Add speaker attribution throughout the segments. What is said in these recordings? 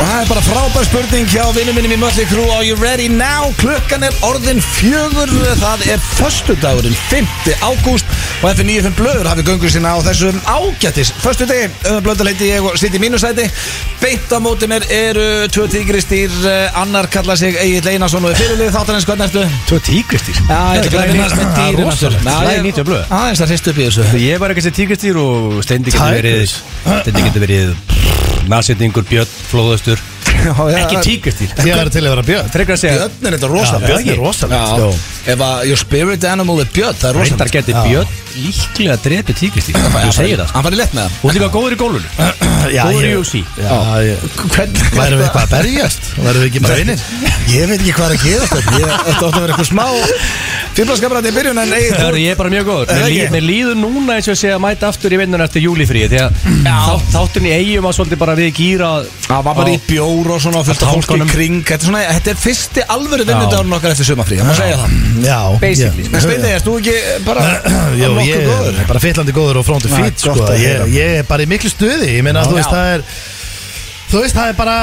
Speaker 1: Það er bara frábær spurning hjá vinnum minnum í Mötli Krú Are you ready now? Klukkan er orðin fjögur Það er föstudagurinn 5. ágúst og F95 Blöður hafi göngu sína á þessum ágættis Föstudegi, öðum blöðarleiti ég og sitt í mínusæti Beint á móti mér eru tvö tígristýr eh, Annar kalla sig Egil Einarsson og er fyrirlið þáttarins Hvernig ertu?
Speaker 2: Þú er tígristýr
Speaker 1: Já, ég ætla ekki að vinna með dýrin aftur.
Speaker 2: rosalegt.
Speaker 1: Já,
Speaker 2: Það er
Speaker 1: ég-
Speaker 2: nýttu að blöða
Speaker 1: Aðeins að hristu upp í þessu
Speaker 2: Ég var ekki að segja tígristýr og steindi getur verið
Speaker 1: Tigers.
Speaker 2: Steindi getur verið Nasendingur, björn, flóðastur Ekki tígristýr
Speaker 3: Ég er til að vera björn
Speaker 2: Frekar að segja
Speaker 1: Björn er þetta
Speaker 2: rosalegt.
Speaker 1: rosalega
Speaker 3: Björn er rosalegt
Speaker 1: Já, ef að your spirit animal er björn, það er rosalega
Speaker 2: Reyndar getur björn líklega að drepa tígristýr Þú segir það sko.
Speaker 1: Hann fann í lett með það
Speaker 2: Þú er líka góður í gólunum
Speaker 3: Já,
Speaker 2: Góður í
Speaker 3: ég-
Speaker 2: UFC
Speaker 3: Já, ég-
Speaker 1: Hvernig
Speaker 3: Værum við eitthvað að berjast? Værum við ekki bara vinnir?
Speaker 1: Ég veit ekki hvað er að gera þetta Ég ætti átt að vera eitthvað smá Fimplaskapræði í byrjun en eigið
Speaker 2: Það er ég er bara mjög góður
Speaker 1: Er
Speaker 2: Mér
Speaker 1: það
Speaker 2: líður,
Speaker 1: ekki?
Speaker 2: mér líður núna eins og ég segja að mæta aftur í vinnun eftir júlifríði Því að þá- þátturinn í eigum að svolítið bara við gýra
Speaker 1: Það var bara í bjór og svona fullt af fólki í
Speaker 2: Tankanum.
Speaker 1: kring Þetta er, svona, þetta er fyrsti alvöru vinnudagurinn okkar eftir sumafrí Það má segja það
Speaker 3: Já
Speaker 2: Basically.
Speaker 3: ég-
Speaker 1: En Steini, erst þú ekki bara
Speaker 3: Jó,
Speaker 1: nokkuð
Speaker 3: ég
Speaker 1: góður?
Speaker 3: er bara fyllandi góður og front to
Speaker 1: Já,
Speaker 3: feet sko.
Speaker 1: gott að
Speaker 3: ég,
Speaker 1: heyra.
Speaker 3: ég er bara í miklu stuði Ég meina, þú veist,
Speaker 1: Já.
Speaker 3: það er Þú veist, það er bara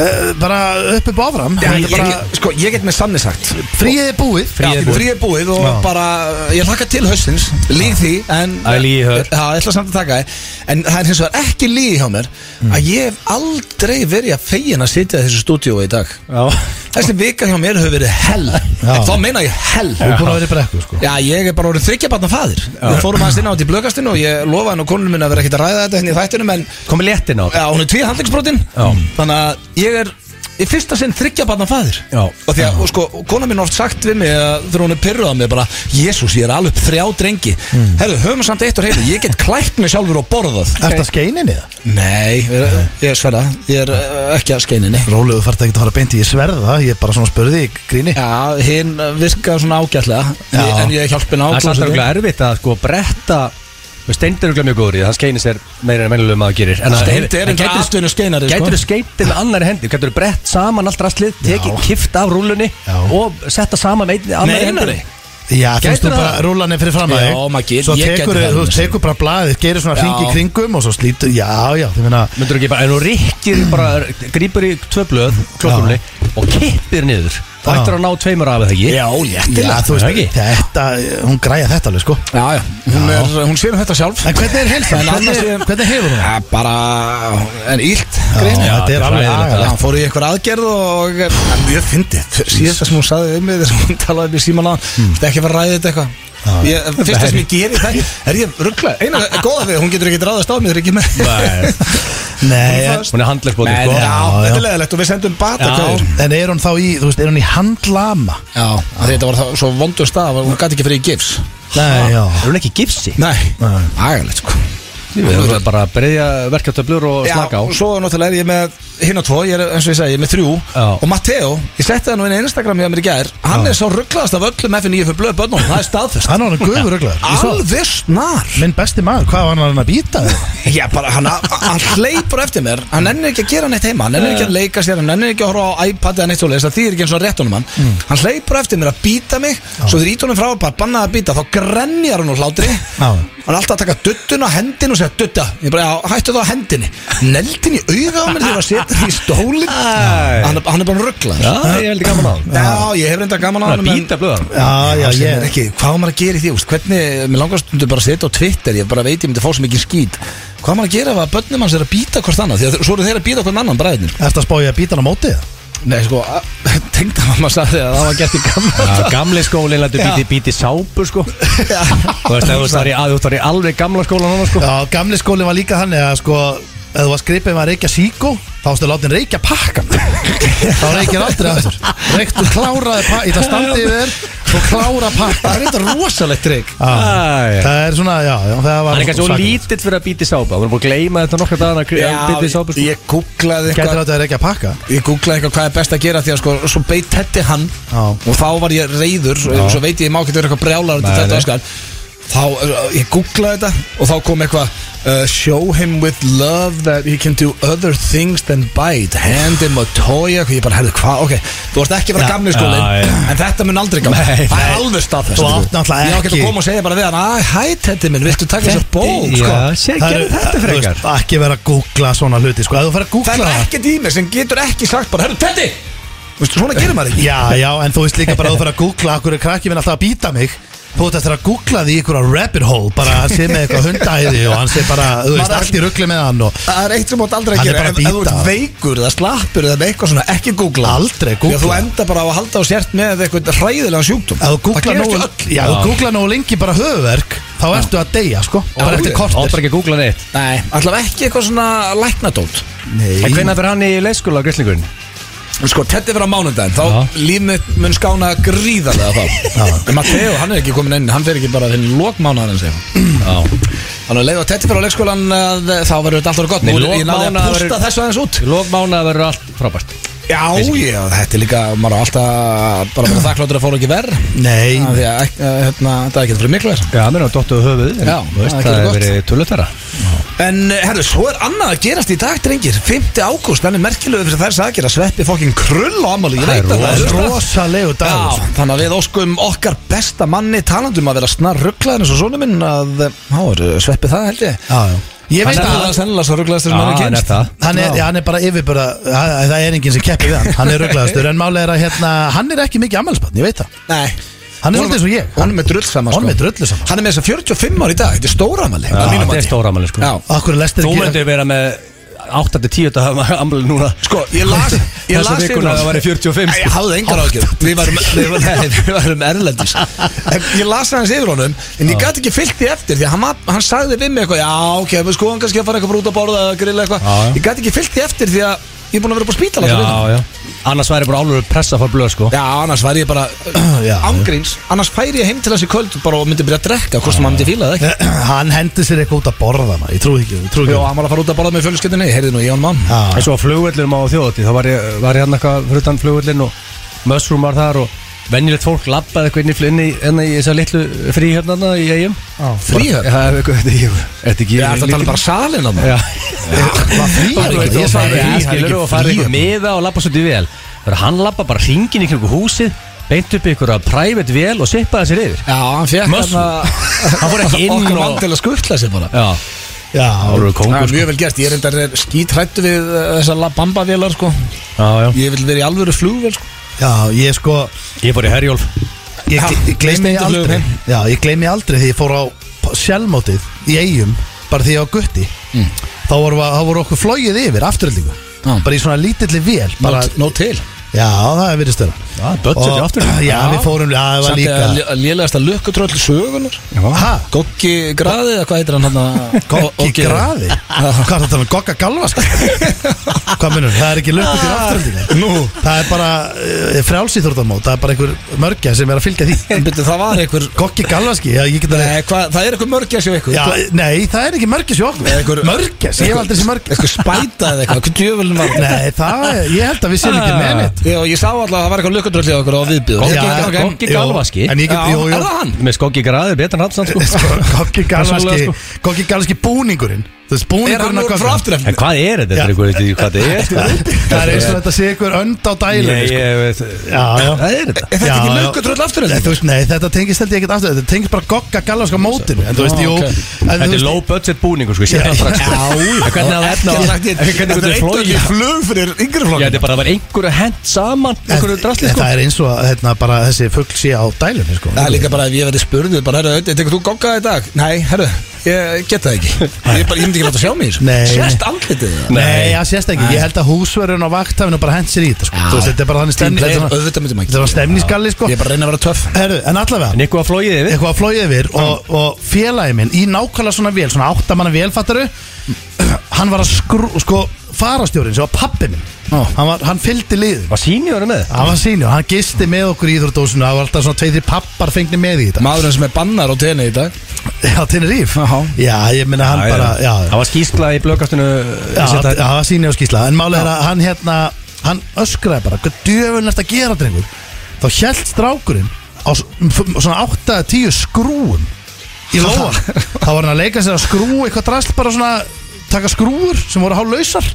Speaker 3: eh, Bara upp upp og áfram
Speaker 1: Já,
Speaker 3: Það
Speaker 1: ég,
Speaker 3: er bara
Speaker 1: ég, sko, ég get með sannig sagt
Speaker 3: Fríið er búið
Speaker 2: Fríið er búið.
Speaker 1: Fríið er búið og bara eh, Ég hlakka til haustins Líð því en
Speaker 2: Æ, lygi í hör.
Speaker 1: Já, ég ætla samt að taka þér En það er hins vegar ekki líð hjá mér
Speaker 3: Mm.
Speaker 1: Að ég hef aldrei verið að fegin að sitja í þessu stúdíói í dag Þessi vika hjá mér hefur verið hell
Speaker 3: Já.
Speaker 1: Þá meina ég hell
Speaker 3: Þú er búin að vera í brekku, sko
Speaker 1: Já, ég er bara orðin þryggjabarna fadir Við fórum aðeins inn á þetta í blökastinu Og ég lofaði nú konunum minna að vera ekkert að ræða þetta henni í þættinum En
Speaker 2: Komið léttin á þetta.
Speaker 1: já, hún er tvið handlingsbrotin Þannig að ég er í fyrsta sinn þryggjabarna fadir
Speaker 2: Já.
Speaker 1: Og því að, og sko, kona mín oft sagt við mig að Þegar hún er pyrruð á mig bara Jésús, ég er alveg upp þrjá drengi Herðu, höfum samt eitt og heilu Ég get klætt mig sjálfur og borðað
Speaker 3: Er þetta skeininni það?
Speaker 1: Nei, ég er, ég er sverða Ég er uh, ekki að skeininni
Speaker 3: Rólegur þarf ekki að fara beint í sverða Ég er bara svona spurði í gríni
Speaker 1: Já, hinn virkaði svona ágætlega
Speaker 3: Já.
Speaker 1: En ég hjálpi ná
Speaker 2: Það er samt örgulega erfitt að sko bretta Steind er örgulega mjög góður í það, hann skeinir sér meira en mennilegum að það gerir En að-
Speaker 1: Steind er
Speaker 2: en
Speaker 1: enda
Speaker 2: gætirðu-
Speaker 1: atvinnu skeinari, sko.
Speaker 2: Gætirðu skeintið með annari hendi, gætirðu brett saman allt rastlið Tekið kift af rúlunni
Speaker 3: Já.
Speaker 2: og setta saman með einni- annari
Speaker 1: Nei,
Speaker 2: hendi
Speaker 1: nei.
Speaker 3: Já, þú veist,
Speaker 2: Gætirðu
Speaker 3: þú bara
Speaker 2: það?
Speaker 3: rúlan er fyrir fram að
Speaker 1: Já,
Speaker 3: þig
Speaker 1: maður gerir-
Speaker 3: Svo
Speaker 1: ég gæti
Speaker 3: tekur,
Speaker 1: það
Speaker 3: þú
Speaker 1: alveg,
Speaker 3: tekur bara blaðið, gerir svona hring í
Speaker 1: Já.
Speaker 3: kringum Og svo slítur, já, já, þið minna
Speaker 2: Myndur ekki bara, en þú rikkir bara, grýpur í tvö blöð, klokkurni Og kippir niður, þá
Speaker 3: Já.
Speaker 2: ættir að ná tveimur af er það ekki
Speaker 1: Já, léttilega
Speaker 3: Já, þú
Speaker 2: það ekki?
Speaker 3: veist, þetta, hún græja þetta alveg, sko
Speaker 1: Já, já, hún, er, hún sér um þetta sjálf
Speaker 3: En hvernig er heilsan?
Speaker 1: En annars
Speaker 3: Hvernig,
Speaker 1: er-
Speaker 3: hvernig hefur hún? það?
Speaker 1: ja, Bara, en ílt grein Já,
Speaker 3: Já, þetta er
Speaker 2: þetta er
Speaker 3: alveg
Speaker 2: hræðilegt.
Speaker 3: agalegt.
Speaker 1: hann fór í eitthvað aðgerð og en mjög fyndið Síðast það sem hún saði um mig þess að hún talaði við síman á hann Þetta er ekki að fara að ræða þetta eitthvað Ég- Fyrst það sem ég geri það er ég rugglað Einu góða við, hún getur ekki ráðast á mig þegar ég kem ekki
Speaker 2: Nei.
Speaker 3: Nei, en,
Speaker 2: Hún er handlegsbótið
Speaker 1: með Já,
Speaker 2: sko
Speaker 3: já.
Speaker 1: þetta er leðilegt og við sendum bata
Speaker 2: Já.
Speaker 3: en er hún þá í, þú veist, er hún í handlama?
Speaker 1: Já, af því þetta var það, svo vondur stað Hún gæti ekki fyrir í gifs
Speaker 3: Nei, já
Speaker 2: Er hún ekki gipsi?
Speaker 1: Nei,
Speaker 3: Nei.
Speaker 1: agalegt sko
Speaker 2: Við erum bara að breyðja verkeftöflur og slaka á
Speaker 1: og svo náttúrulega er ég með hinn og tvo, ég er eins og ég segi, ég er með þrjú
Speaker 2: Já.
Speaker 1: og Matteo, ég setti það nú inn í Instagram hjá mér í gær, hann er svo rugglaðast af öllum F9 fyrir blöð börnum, það er staðfest
Speaker 3: Hann var hann guður
Speaker 1: Ah.
Speaker 3: öglar
Speaker 1: alveg snar
Speaker 3: Minn besti maður, hvað var hann að býta?
Speaker 1: Já, bara, hann, hann hleypur eftir mér hann ennir ekki að gera neitt heima, hann ennir ekki að leika sér hann ennir ekki að horfa á iPad eða neitt svoleiðis það þýðir ekki eins og rétt honum hann hann hleypur eftir mér að býta mig svo þegar ít honum frá og bara bannað að býta þá grenjar hann úr hlátri
Speaker 3: Já.
Speaker 1: hann er alltaf að taka duttun á hendin og segja dutta ég bara, já, hættu það á hendinni neldin í auga á mér þegar að setja því í stólin
Speaker 2: Æ.
Speaker 1: hann, er- hann er bara ruggla
Speaker 2: Já, ég held gaman á hann
Speaker 1: já, ég hef reynda gaman á
Speaker 2: Að
Speaker 1: hann
Speaker 2: býta blöðan
Speaker 3: Já, já,
Speaker 1: sem er
Speaker 3: ég
Speaker 1: ekki, hvað á maður að gera í því úst? hvernig, mér langar stundu bara að setja á Twitter ég bara veit ég myndi fá sem ekki skýt hvað á maður að gera ef að börnum hans er að býta hvort annað því að svo eru þeir að býta hvort annan hérna. bræðinir
Speaker 3: Eftir að spá ég að býta hann á móti það?
Speaker 1: nei sko, tengda mamma sagði að það var gert í gamla
Speaker 2: Já, gamli skólinn lætur
Speaker 1: Já.
Speaker 2: bíti, bíti sápu sko Þú veist, ef þú þar í, að- þú þar í alveg gamla skólan hann sko
Speaker 3: Já, gamli skólinn var líka þannig að sko Ef þú var skripið með að reykja síkó Þá ástu að láta hann reykja pakka Þá reykir aldrei aftur Reyktu kláraði pakka Í það standi við þér Svo klára pakka
Speaker 1: það er eitthvað rosalegt trygg
Speaker 2: Æ.
Speaker 3: Það er svona, já, já Það var
Speaker 2: Hann er kannski svo lítill fyrir að bíti sápu Hann er búin að gleyma þetta nokkra dagana að bíti sápu sko
Speaker 1: ég googlaði
Speaker 3: Gæti
Speaker 1: eitthvað
Speaker 3: látið að reykja pakka
Speaker 1: ég googlaði eitthvað hvað er best að gera því að sko, svo beitt hætti hann
Speaker 3: Já.
Speaker 1: og þá var ég reyður svo, svo veit ég, ég má ekki vera eitthvað brjálar
Speaker 2: Nei,
Speaker 1: þetta
Speaker 2: nei.
Speaker 1: eh, öskar þá, uh, ég googlaði þetta og þá kom eitthvað uh, Show him with love that he can do other things than bite Hand him a toy Ég bara, herðu, hvað, ok Þú varst ekki að vera
Speaker 2: Já,
Speaker 1: gamli skólin
Speaker 2: já, já.
Speaker 1: En þetta mun aldrei gamli
Speaker 2: Nei,
Speaker 1: Það er
Speaker 2: nei.
Speaker 1: alveg staðfest sko.
Speaker 3: Þú átt
Speaker 1: Ég
Speaker 3: náttúrulega
Speaker 1: á ekki
Speaker 3: ekki-
Speaker 1: að koma og segja bara við hann "Æ, Hæ, Teddy minn, viltu taka þessar bók
Speaker 2: Já,
Speaker 1: sko?
Speaker 2: sé,
Speaker 3: Það
Speaker 2: gerðu
Speaker 3: eru-
Speaker 2: þetta
Speaker 3: þú
Speaker 2: frekar
Speaker 3: veist, Ekki vera að googla svona hluti sko. Ef þú fer að
Speaker 1: Það
Speaker 3: googla
Speaker 1: er
Speaker 3: það
Speaker 1: ekki dými sem getur ekki sagt bara Herðu, Teddy Vistu, svona gerir maður ekki
Speaker 3: Já, já, en þú veist líka bara að þú fer að googla Akkur er krakki minn alltaf að býta mig Þú veist eftir að googla því í einhverja rabbit hole Bara að sé með eitthvað hundæði Og hann sé bara, þú veist,
Speaker 1: Maður-
Speaker 3: allt í ruggli með hann og
Speaker 1: Það er eitt sem átt aldrei að
Speaker 3: Hann er
Speaker 1: gera
Speaker 3: bara
Speaker 1: ef,
Speaker 3: að
Speaker 1: ef þú
Speaker 3: bíta.
Speaker 1: ert veikur eða slappur eða með eitthvað svona Ekki googla
Speaker 3: Aldrei
Speaker 1: Því að þú
Speaker 3: googla.
Speaker 1: enda bara á að halda á sért með eitthvað hræðilega sjúkdóm
Speaker 3: Ef þú
Speaker 1: Það
Speaker 3: googla
Speaker 1: gerist í
Speaker 3: nógu,
Speaker 1: öll
Speaker 3: já, ef þú googla nógu lengi bara höfuverk Þá ertu að deyja, sko Og bara eftir
Speaker 2: Átt bara
Speaker 3: kortir
Speaker 2: ekki að googla neitt
Speaker 1: Nei, allavega ekki eitthvað svona læknadót
Speaker 2: En
Speaker 3: Nei,
Speaker 2: hvenær fyrir hann í leikskóla á grislingun?
Speaker 1: Sko, Teddi fyrir á mánudaginn,
Speaker 2: Já.
Speaker 1: þá líf mitt mun skána gríðarlega þá En Matteo, hann er ekki komin inn, hann fyrir ekki bara þinn lókmánaðarinn segja
Speaker 2: Já
Speaker 1: Þannig að leiða Teddi fyrir á leikskólan, eh, þá verður þetta alltaf gott
Speaker 2: Nei,
Speaker 1: Nú, er- Ég náði að
Speaker 2: lokmánaðar-
Speaker 1: pústa þessu aðeins út
Speaker 2: Lók mánuða verður allt frábært
Speaker 1: Já, já, þetta er líka, maður á alltaf bara bara þakkláttur að fóra ekki verð
Speaker 3: nei
Speaker 1: Af Því að eh, hérna, það er ekki fyrir miklu
Speaker 2: Já, mér er dottuð höfuð
Speaker 1: Já,
Speaker 2: þú veist,
Speaker 1: það
Speaker 2: það
Speaker 1: gerir
Speaker 2: hefur
Speaker 1: gott.
Speaker 2: verið tölutara
Speaker 1: En eh, herru, svo er annað að gerast í dag, drengir 5. ágúst, hann er merkilegu fyrir þess að gera Sveppi fokkin krull á ammali, ég
Speaker 2: Það er
Speaker 1: veit að það er
Speaker 3: Rosalegu dagur sko.
Speaker 1: Já, þannig að við óskum okkar besta manni talandum að vera snar rugglaðin eins og sonu minn að, eh, há, er sveppið það held ég
Speaker 3: Já, já.
Speaker 1: Ég veit
Speaker 2: Hann er
Speaker 1: að
Speaker 2: það.
Speaker 1: það er sennilega svo rugglaðist sem
Speaker 2: Já,
Speaker 1: hann er
Speaker 2: hann er
Speaker 1: kynst
Speaker 2: það.
Speaker 3: hann er,
Speaker 1: Já.
Speaker 3: já, hann er bara yfirbara það það er enginn sem keppir við hann hann er rugglaðastur en málega er að hérna, hann er ekki mikið ammælisbarn, ég veit það
Speaker 1: Nei
Speaker 3: Hann er svolítið eins og ég.
Speaker 1: Hann er sko. með drull saman
Speaker 2: sko.
Speaker 3: Hann er með drullu sko. saman.
Speaker 1: Hann er með þess að 45 ár í dag, þetta er stóramæli
Speaker 2: Já, þetta er stóramæli sko
Speaker 1: Já,
Speaker 3: Akkur lestir
Speaker 2: Þú
Speaker 3: ekki
Speaker 2: myndir vera með 8-10 dagar ammali núna
Speaker 1: sko, ég las ég
Speaker 2: Þessa
Speaker 1: las
Speaker 2: vikuna það væri 45
Speaker 1: Nei, Ég hafði engar ágjör Við varum, við varum, nei, við varum erlendis En Ég las aðeins yfir honum En ég gæti ekki fyllt því eftir Því að hann, var- hann sagði við mig eitthvað Já, ok, við skoðum kannski að fara eitthvað bara út að borða eða grilla eitthvað
Speaker 2: Já, já.
Speaker 1: Ég gæti ekki fyllt því eftir Því að ég er búin að vera upp á spítala
Speaker 2: Já,
Speaker 1: fyrir viku.
Speaker 2: já Annars væri bara álur pressa fyrir blöð sko
Speaker 1: já, annars væri ég bara
Speaker 3: Já, já.
Speaker 1: Ángríns Annars færi ég heim til þessi kvöld Bara og myndi byrja að drekka Hvort sem hann myndi fíla það ekki
Speaker 3: Hann hendi sér eitthvað út að borða maður, Ég trúi ekki, ég trúi
Speaker 1: Já,
Speaker 3: ekki.
Speaker 1: hann var að fara út að borða með fjölskyldinni Heyrði nú, ég og hann mann
Speaker 3: Já.
Speaker 2: En svo á flugvellinum á þjóðati Þá var ég, var ég hann eitthvað fyrir utan flugvellin og Mushroom var þar og Venjulegt fólk labbaði eitthvað inn í flinni Enna í þessar litlu fríhörnarna í eigum
Speaker 1: Fríhöfn?
Speaker 2: Já, eitthvað, þetta er ekki- þetta er
Speaker 1: Ég
Speaker 2: ekki
Speaker 1: er að tala bara salin að það
Speaker 2: Já
Speaker 3: Var frí
Speaker 2: Það er
Speaker 3: ekki,
Speaker 2: ekki
Speaker 3: ég
Speaker 2: það er
Speaker 3: sagði það.
Speaker 2: ekki skilur og farið ykkur miða og lappa svolítið vel Það er að hann lappa bara hringin í kringu húsið beint upp ykkur að private vel og sippaði sér yfir
Speaker 1: Já, hann fekk
Speaker 2: Mössu.
Speaker 1: Hann
Speaker 2: Hann fór ekki inn
Speaker 1: Okkur
Speaker 2: og-
Speaker 1: mann til að skuttla sig bara
Speaker 2: Já,
Speaker 3: Já,
Speaker 2: það voru
Speaker 1: Það
Speaker 2: kongur
Speaker 1: er
Speaker 2: sko.
Speaker 1: mjög vel gert, ég er reyndar skítrættu við uh, þessar La Bamba vélar sko
Speaker 2: Já, já
Speaker 1: Ég vil vera í alvöru flugvél sko
Speaker 3: já, ég sko
Speaker 2: Ég fór í Herjólf
Speaker 3: Ég,
Speaker 1: Já,
Speaker 3: ég gleymi
Speaker 1: stundum flugum
Speaker 3: aldrei
Speaker 1: heim.
Speaker 3: Já, ég gleymi aldrei því ég fór á sjálfmótið í eigum bara því ég var á gutti þá voru, þá voru okkur flóið yfir afturöldingu
Speaker 1: Mm. Já.
Speaker 3: bara í svona lítilli vél bara,
Speaker 1: Nó til
Speaker 3: Já, það er verið störa
Speaker 2: Já, budget í afturöldingu.
Speaker 3: Já, við fórum, já, það var
Speaker 1: Samt
Speaker 3: líka
Speaker 1: eða lélegasta lukkutröll sögunar
Speaker 3: Hæ?
Speaker 1: Gokki Graði eða hvað heitir hann hann
Speaker 3: Gokki graði? Hvað er þetta með gokka galvask? sko? Hvað munur? Það er ekki lukku til afturöldingar
Speaker 1: Nú
Speaker 3: Það er bara uh, frjálsýþórtamót Það er bara einhver mörgja sem er að fylgja því
Speaker 1: En byrju það var einhver
Speaker 3: Gokki galvaski, já ég get að
Speaker 1: Nei, hvað, það er einhver mörgjas hjá ykkur
Speaker 3: Já, nei, það er ekki mörgja sjó
Speaker 1: Eða einhver-
Speaker 3: Mörgjas, ég hef aldrei sem mörgja
Speaker 1: Eitthvað spæta eða eitthvað, hvað djöfulinn var það?
Speaker 3: Nei, það, ég held að við séum ekki með neitt
Speaker 1: Já, ég sá alltaf að það var eitthvað lukkutröll hjá ykkur á viðbjöður
Speaker 2: Goggi-
Speaker 1: Já, ok.
Speaker 2: Goggi Galvaski?
Speaker 3: En ég get,
Speaker 1: Já,
Speaker 3: jú,
Speaker 1: er
Speaker 3: jú
Speaker 1: það hann?
Speaker 2: Með skoggi graður, betur en Ramsand sko. Persónulega,
Speaker 3: Gokki galvaski
Speaker 2: sko.
Speaker 3: Gokki galvaski búningurinn Þú veist,
Speaker 1: Er
Speaker 3: búningurinn
Speaker 1: hann
Speaker 3: af
Speaker 1: úr frá
Speaker 3: Gogga.
Speaker 1: aftur
Speaker 2: En hvað er þetta? Þetta er
Speaker 3: Já.
Speaker 2: ykkur, veit ég hvað þetta er sko.
Speaker 3: Það er eins og þetta sé ykkur önd á dælu
Speaker 2: Nei, ég veit
Speaker 3: sko. Já, já
Speaker 2: Hvað er þetta?
Speaker 1: Er þetta
Speaker 3: Já,
Speaker 1: ekki
Speaker 3: já.
Speaker 1: lukkutröll aftur
Speaker 3: Nei, þú veist, nei, þetta tengist held ég ekkert aftur Þetta tengist bara gogga galvarska mótinu En þú veist,
Speaker 1: Já,
Speaker 3: jú
Speaker 1: ok.
Speaker 3: en þú
Speaker 2: Þetta er
Speaker 3: veist-
Speaker 2: low budget búningur sko, ég sé
Speaker 3: Já,
Speaker 2: það strax sko.
Speaker 1: já.
Speaker 2: En Hvernig það efna á En Hvernig
Speaker 1: Þetta
Speaker 2: þetta
Speaker 1: er
Speaker 2: er
Speaker 1: eitt og
Speaker 2: flóið
Speaker 1: ekki flug fyrir yngri flokk
Speaker 2: Já, þetta er bara að vera einhverju hent saman
Speaker 3: en-
Speaker 2: Einhverju drastli
Speaker 3: en
Speaker 2: sko
Speaker 3: Það er eins og að hérna, bara þessi fugg sé á dælunni sko.
Speaker 1: Það er líka bara ef ég verði spurðu bara, herru, Öddi, tekur þú gogga í dag? Nei, herru, ég get það ekki Ég, bara, ég myndi ekki láta sjá mig í þessu
Speaker 3: Nei.
Speaker 1: Sérst andlitið það
Speaker 3: Nei, það sést ekki, ég held að húsverðun og vakthafinu bara hent sér í þetta sko.
Speaker 1: Já.
Speaker 3: Þú veist, Þetta er bara þannig
Speaker 1: Team
Speaker 3: stemni
Speaker 1: player,
Speaker 3: Þetta
Speaker 1: auðvitað myndum ekki
Speaker 3: er bara stemniskalli sko.
Speaker 1: Ég er bara að reyna að vera töff
Speaker 3: Herru, En allavega,
Speaker 2: En eitthvað að flóið yfir
Speaker 3: eitthvað að flóið yfir og, og félagi minn í nákvæmlega svona vél, svona áttamanna vélfattaru Hann var að skrú, sko, farastjórin sem var pappi minn
Speaker 1: Ó.
Speaker 3: Hann, var, hann fylgdi liðum
Speaker 2: Var síni voru með?
Speaker 3: Það var sínjó, hann gisti með okkur í Íþrórdósinu Það var alltaf svona tveið því pappar fengni með í þetta
Speaker 1: Maðurinn sem er bannar á tenni í dag
Speaker 3: Já, Teneríf
Speaker 1: Aha.
Speaker 3: Já, ég meina hann bara Já, já,
Speaker 2: Það var skýrsla í blökastinu
Speaker 3: já það það var sínjó skísla En málið er að hann hérna Hann öskraði bara, hvað djöfun ert að gera, drengur Þá hjælt strákurinn Á s- f- svona 8-10 skrúum í lóan þá var hann að leika sér að skrú eitthvað drast bara svona taka skrúur sem voru hálflausar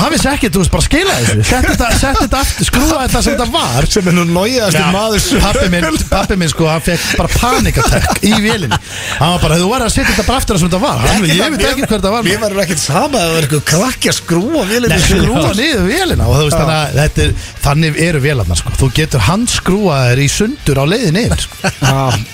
Speaker 3: hann vissi ekki, þú veist, bara skila þessu sett þetta, sett þetta aftur, skrúa þetta sem þetta var
Speaker 1: Sem er nú nóiðast
Speaker 3: Já, pappi minn, pappi minn sko, hann fekk bara panikattack í vélinni hann var bara, þú verður að setja þetta bara aftur sem þetta var hann, ég veit ekki hvað þetta var
Speaker 1: Mér verður ekkert sama að það er eitthvað krakki að skrúa
Speaker 3: Nei,
Speaker 1: vélinni
Speaker 3: skrúa niður vélina og þú veist þannig að þetta er, þannig eru vélarnar sko. þú getur handskrúa þér í sundur á leiðin yfir sko.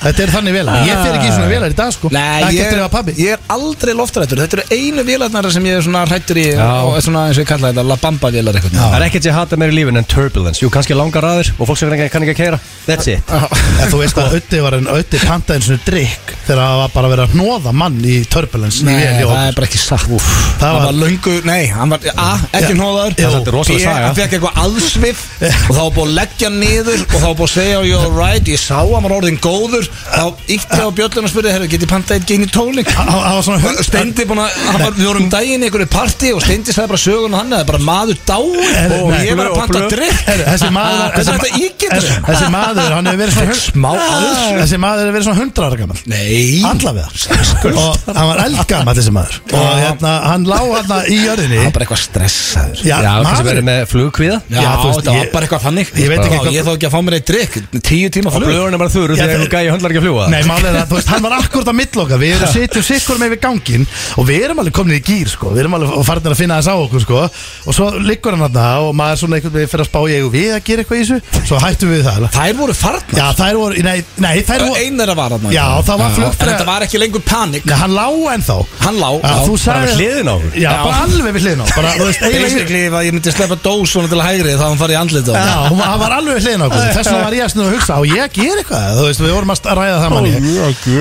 Speaker 3: þetta er þannig vélar ég fer ekki í svona vélar í dag sko
Speaker 1: Nei,
Speaker 3: ekki
Speaker 1: ég,
Speaker 3: eftir að pabbi
Speaker 1: ég er aldrei loftrættur Þetta eru einu vélarnar sem ég er svona hrættur í
Speaker 2: Já.
Speaker 1: og svona eins og ég kalla þetta La Bamba vélar eitthvað
Speaker 2: Það er ekkert sem ég hata meira í lífin en turbulence Jú, kannski langar aður og fólk sem kann ekki- kann ekki að keira That's it
Speaker 3: en þú veist að Ötti var en Ötti pantaði svona drikk þegar það var bara verið að hnóða mann í turbulence í
Speaker 1: Nei,
Speaker 3: vél í
Speaker 1: það
Speaker 3: hópnum.
Speaker 1: er bara ekki satt Úf,
Speaker 3: Það
Speaker 1: Það var
Speaker 3: var
Speaker 1: löngu, nei, hann var A, ekki
Speaker 3: Já.
Speaker 1: hnóðaður
Speaker 3: Já,
Speaker 2: þetta er rosaleg
Speaker 1: B,
Speaker 2: saga.
Speaker 1: Hann fekk eitthvað aðsvif og þá var búið að leggja hann niður og þá var búið að segja you're right, ég sá hann var orðin góður þá ítti á bjöllun og spurði, herru, geti pantað eitt geni tóling
Speaker 3: Hann- hann var svona hund-
Speaker 1: Steindi búin að, hann var, við vorum um daginn í einhverju partí og Steindi sagði bara sögun hann eða bara maður dáin og
Speaker 3: nei,
Speaker 1: ég var að
Speaker 2: blöð og
Speaker 1: panta
Speaker 2: blöð.
Speaker 1: drikk
Speaker 3: Heyrðu, eh, þessi maður
Speaker 1: Hvernig
Speaker 3: þessi
Speaker 1: er þetta
Speaker 3: ma- eh,
Speaker 1: ígildur?
Speaker 3: þessi- þessi maður, hann hefur verið svona hund-
Speaker 1: Smá aðeins
Speaker 3: þessi maður hefur verið svona hundra ára gammal
Speaker 1: Nei
Speaker 3: allavega og hann var eldgammal þessi maður og
Speaker 1: Já.
Speaker 3: hérna, hann lá hérna í jörðinni
Speaker 1: Það var bara eitthvað stressaður
Speaker 3: Já,
Speaker 2: Já, kannski
Speaker 3: maður-
Speaker 2: verið með flugkvíða
Speaker 1: Já,
Speaker 3: Já, þú veist,
Speaker 1: þetta var
Speaker 3: ég-
Speaker 1: bara eitthvað þannig
Speaker 3: ég veit ekki
Speaker 1: Vá,
Speaker 3: hvað-
Speaker 1: Ég þá ekki að fá mér eitt drikk Tíu tíma flug
Speaker 2: Flugurinn er bara þurru
Speaker 3: Já,
Speaker 2: þegar
Speaker 3: það-
Speaker 2: einhver gæi höndlar ekki að fljúa
Speaker 3: Nei, málið er að, þú veist, hann var akkurat að milloka Við erum sitjum sikkur með við gangin Og við erum alveg komin í gýr, sko Við erum alveg farin að finna þess á okkur, sko Og svo liggur hann þarna og maður svona einhvern veginn fyrir að spá ég og við að gera eitthvað í þessu Svo hættum við það
Speaker 1: Þær voru farnar
Speaker 3: Já, þær voru, nei, nei þær voru
Speaker 1: Einn er að vara þarna
Speaker 3: Já, það var flugfræ-
Speaker 1: En þetta var ekki lengur panik
Speaker 3: Nei, hann lá ennþá
Speaker 1: Hann lá,
Speaker 3: Já,
Speaker 1: já.
Speaker 3: þú
Speaker 2: Bara við
Speaker 3: sagði-
Speaker 2: hliðina á okkur.
Speaker 3: Já,
Speaker 1: Já.
Speaker 3: bara alveg við hliðin á Bara, þú veist, eiginlega
Speaker 1: Basically að ég myndi sleppa dós svona til hægri þá hann farið í andlita
Speaker 3: Já, hún var- hann var alveg hliðin á okkur Þess vegna var ég að snuða að hugsa Á ég að gera eitthvað Þú veist, við vorum að st- ræða það manni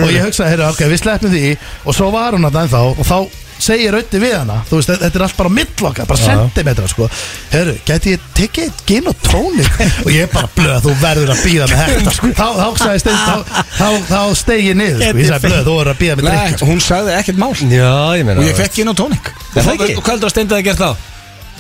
Speaker 3: Og ég hugsaði, heyrðu, okay, við sleppum því Og svo var hún að ennþá Og þá segir Ötti við hana Þú veist, þetta er allt bara mittlokkar Bara sentimetra, sko Heyrðu, gæti ég tekið eitt gin og tónik Og ég bara blöð, þú verður að býða með þetta sko. Þá, þá, sagði Steinn- þá, þá, þá steg ég niður sko. Ég sagði, blöð, þú verður að býða með
Speaker 1: Nei,
Speaker 3: drikk sko.
Speaker 1: hún sagði ekkert mál
Speaker 2: Já, ég meina
Speaker 1: Og ég fekk inn á tónik
Speaker 2: Er það ekki?
Speaker 1: Og hvað heldur að steinda það gert þá?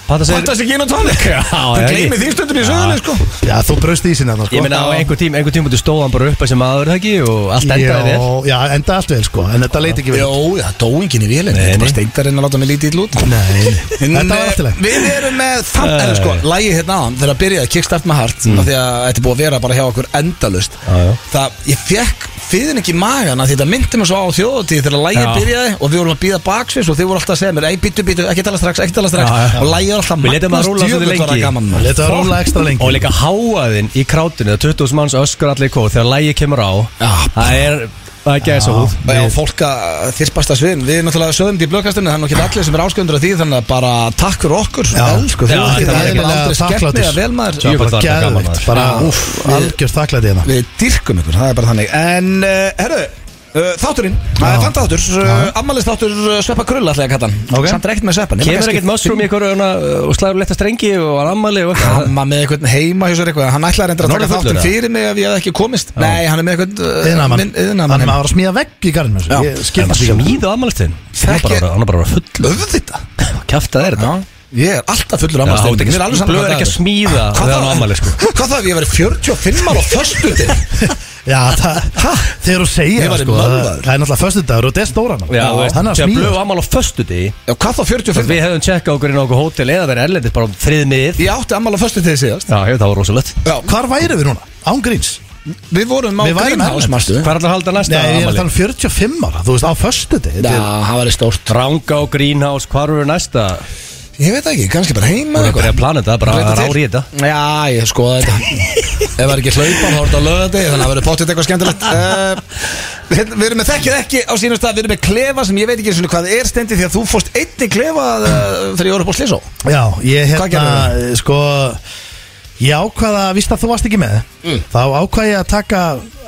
Speaker 2: Panta segir
Speaker 1: Panta sig inn á tónik
Speaker 2: Já,
Speaker 1: Það
Speaker 2: já,
Speaker 1: gleymi
Speaker 2: ég-
Speaker 1: því stundum í söðunni sko
Speaker 3: Já, þú braust í sinna sko.
Speaker 2: Ég meina á einhver tím, einhver tím búið stóðan bara upp að sem aður það ekki og allt endaði þér
Speaker 3: Já, já, endaði allt vel, sko En þetta leit ekki vel
Speaker 1: Jó, það dó enginn í vélinn
Speaker 2: Nei,
Speaker 1: Þetta er bara
Speaker 2: nei.
Speaker 1: steindarinn að láta mig lítið í lút
Speaker 3: Nei,
Speaker 1: En,
Speaker 3: þetta var allt í
Speaker 1: eh,
Speaker 3: lagi
Speaker 1: Við erum með þann, eða sko, lægi hérna áðan Þegar að byrjaði Kickstart með Heart mm. Því að þetta er búið að vera bara hjá okkur endalust
Speaker 2: Já, já.
Speaker 1: Það, ég fekk fyrirning í magan Því þetta myndi mér svo á þjóðutíð Þegar lægi
Speaker 2: Já.
Speaker 1: byrjaði og við vorum að býða baksvís Og þið voru alltaf að segja mér, ei, býtu, býtu, ekki tala strax, ekki tala strax
Speaker 2: Já, já, já.
Speaker 1: Og lægi var alltaf
Speaker 2: Við létum það
Speaker 1: magnast,
Speaker 2: rúlla svolítið
Speaker 1: djöfull var
Speaker 2: lengi.
Speaker 1: það gaman
Speaker 3: Hann
Speaker 1: maður.
Speaker 3: leta að róla ekstra lengi
Speaker 2: Og líka háaðinn í krátinu, það 20.000 manns öskur allir í kóð þegar lægi kemur á
Speaker 1: Já.
Speaker 2: Það er, það er gæsa húð
Speaker 1: Og Já, fólk að þyrspasta sviðin Við náttúrulega sögum þetta í blökkastunni Þannig ekki allir sem er ásköndur af því Þannig að bara takk fyrir okkur
Speaker 3: Já. sko,
Speaker 1: Elsku,
Speaker 2: Já,
Speaker 1: þú veist,
Speaker 2: sko, þetta
Speaker 1: það
Speaker 2: var
Speaker 1: er bara aldrei
Speaker 3: virkilega
Speaker 1: skemmt
Speaker 3: þakklátur.
Speaker 1: með að vel maður
Speaker 2: Jú,
Speaker 3: Það
Speaker 2: Jöfull
Speaker 3: var
Speaker 2: var þetta gaman,
Speaker 3: geðveikt,
Speaker 2: maður.
Speaker 3: bara
Speaker 1: Já.
Speaker 3: úff, algjör þakklæði hérna
Speaker 1: Við dyrkum ykkur, það er bara þannig En, uh, herru, uh, þátturinn Það er fantáttur, uh, ammælist þáttur uh, Sveppa Krull alltaf að kalla hann
Speaker 2: Ok.
Speaker 1: Samt er ekkert með Sveppan
Speaker 2: Kemur ekkert mushroom í einhverju hana, og slæður letta strengi og var ammali og eitthvað
Speaker 1: Amma með eitthvað heima hjá sér eitthvað Hann ætlaði reyndar að
Speaker 2: Hann
Speaker 1: taka
Speaker 2: orðið
Speaker 1: þáttinn
Speaker 2: fullur, eða?
Speaker 1: fyrir mig ef ég hef ekki komist Nei, hann er með eh, eitthvað
Speaker 3: Iðnaðarmann Þannig að
Speaker 1: Yðnamann
Speaker 3: maður var að smíða vegg í garðinu
Speaker 1: Já.
Speaker 3: Ég skil
Speaker 2: Kemur
Speaker 3: það
Speaker 2: sig
Speaker 3: ekki
Speaker 2: mýð á ammalistin Hann er
Speaker 1: Þekki-
Speaker 2: bara- hann er bara að vera full
Speaker 1: Öðvita
Speaker 2: Kæftað er þetta
Speaker 1: Já, ég er alltaf fullur
Speaker 2: Já,
Speaker 1: ammælist
Speaker 2: þetta er ekki- blöð er ekki að smíða
Speaker 1: Hvað
Speaker 2: þegar hann á
Speaker 1: það
Speaker 2: afmæli, sko.
Speaker 1: Hvað það ef ég verið 45 ára á föstuði
Speaker 3: Já, það Þegar þú segir
Speaker 1: Ég var
Speaker 3: það
Speaker 1: í
Speaker 3: sko Það
Speaker 1: mölvaður.
Speaker 3: það er náttúrulega föstudagur og þetta er stóran
Speaker 2: Já, þú veist,
Speaker 3: Þannig að
Speaker 2: þegar blöð
Speaker 3: smíða
Speaker 2: á ammali á föstu
Speaker 1: Hvað þá 45
Speaker 2: Við hefðum tjekkað okkur inn á okkur hótel eða verið erlendis bara um þrið mið Já,
Speaker 1: Ég átti ammæli á föstuði síðast
Speaker 2: ég, það var rosalegt
Speaker 1: Já,
Speaker 3: Hvar væru við núna? Án gríns
Speaker 1: við vorum á
Speaker 3: Við værum
Speaker 1: Greenhouse,
Speaker 3: erlendis.
Speaker 1: marstu
Speaker 2: hérna. Hvað er alltaf að halda
Speaker 3: Nei,
Speaker 2: næsta
Speaker 3: ég er að tala
Speaker 2: ammali?
Speaker 3: um 45 ára Þú veist, á föstudegi
Speaker 1: Já, það var stórt
Speaker 2: Ranga og Greenhouse, hvað eru næsta?
Speaker 1: Ég veit það ekki, kannski bara heima
Speaker 2: Þú erum að byrja að plana þetta, bara
Speaker 1: Breyta
Speaker 2: að
Speaker 1: til.
Speaker 2: rári í þetta
Speaker 1: Já, ég skoða þetta Ef það er ekki hlaupa, þá er þetta að löða þig Þannig að það verður potið eitthvað skemmtilegt uh, hérna, Við erum með þekkið ekki á sínum stað Við erum með klefa sem ég veit ekki einu sinni hvað er stendi Því að þú fórst einni klefa uh, þegar ég voru upp á Slisó
Speaker 3: Já, ég
Speaker 1: Hvað
Speaker 3: hérna
Speaker 1: gerðirðu?
Speaker 3: Sko Ég ákvaða, víst að þú varst ekki með
Speaker 2: Mm.
Speaker 3: Þá ákvaða ég að taka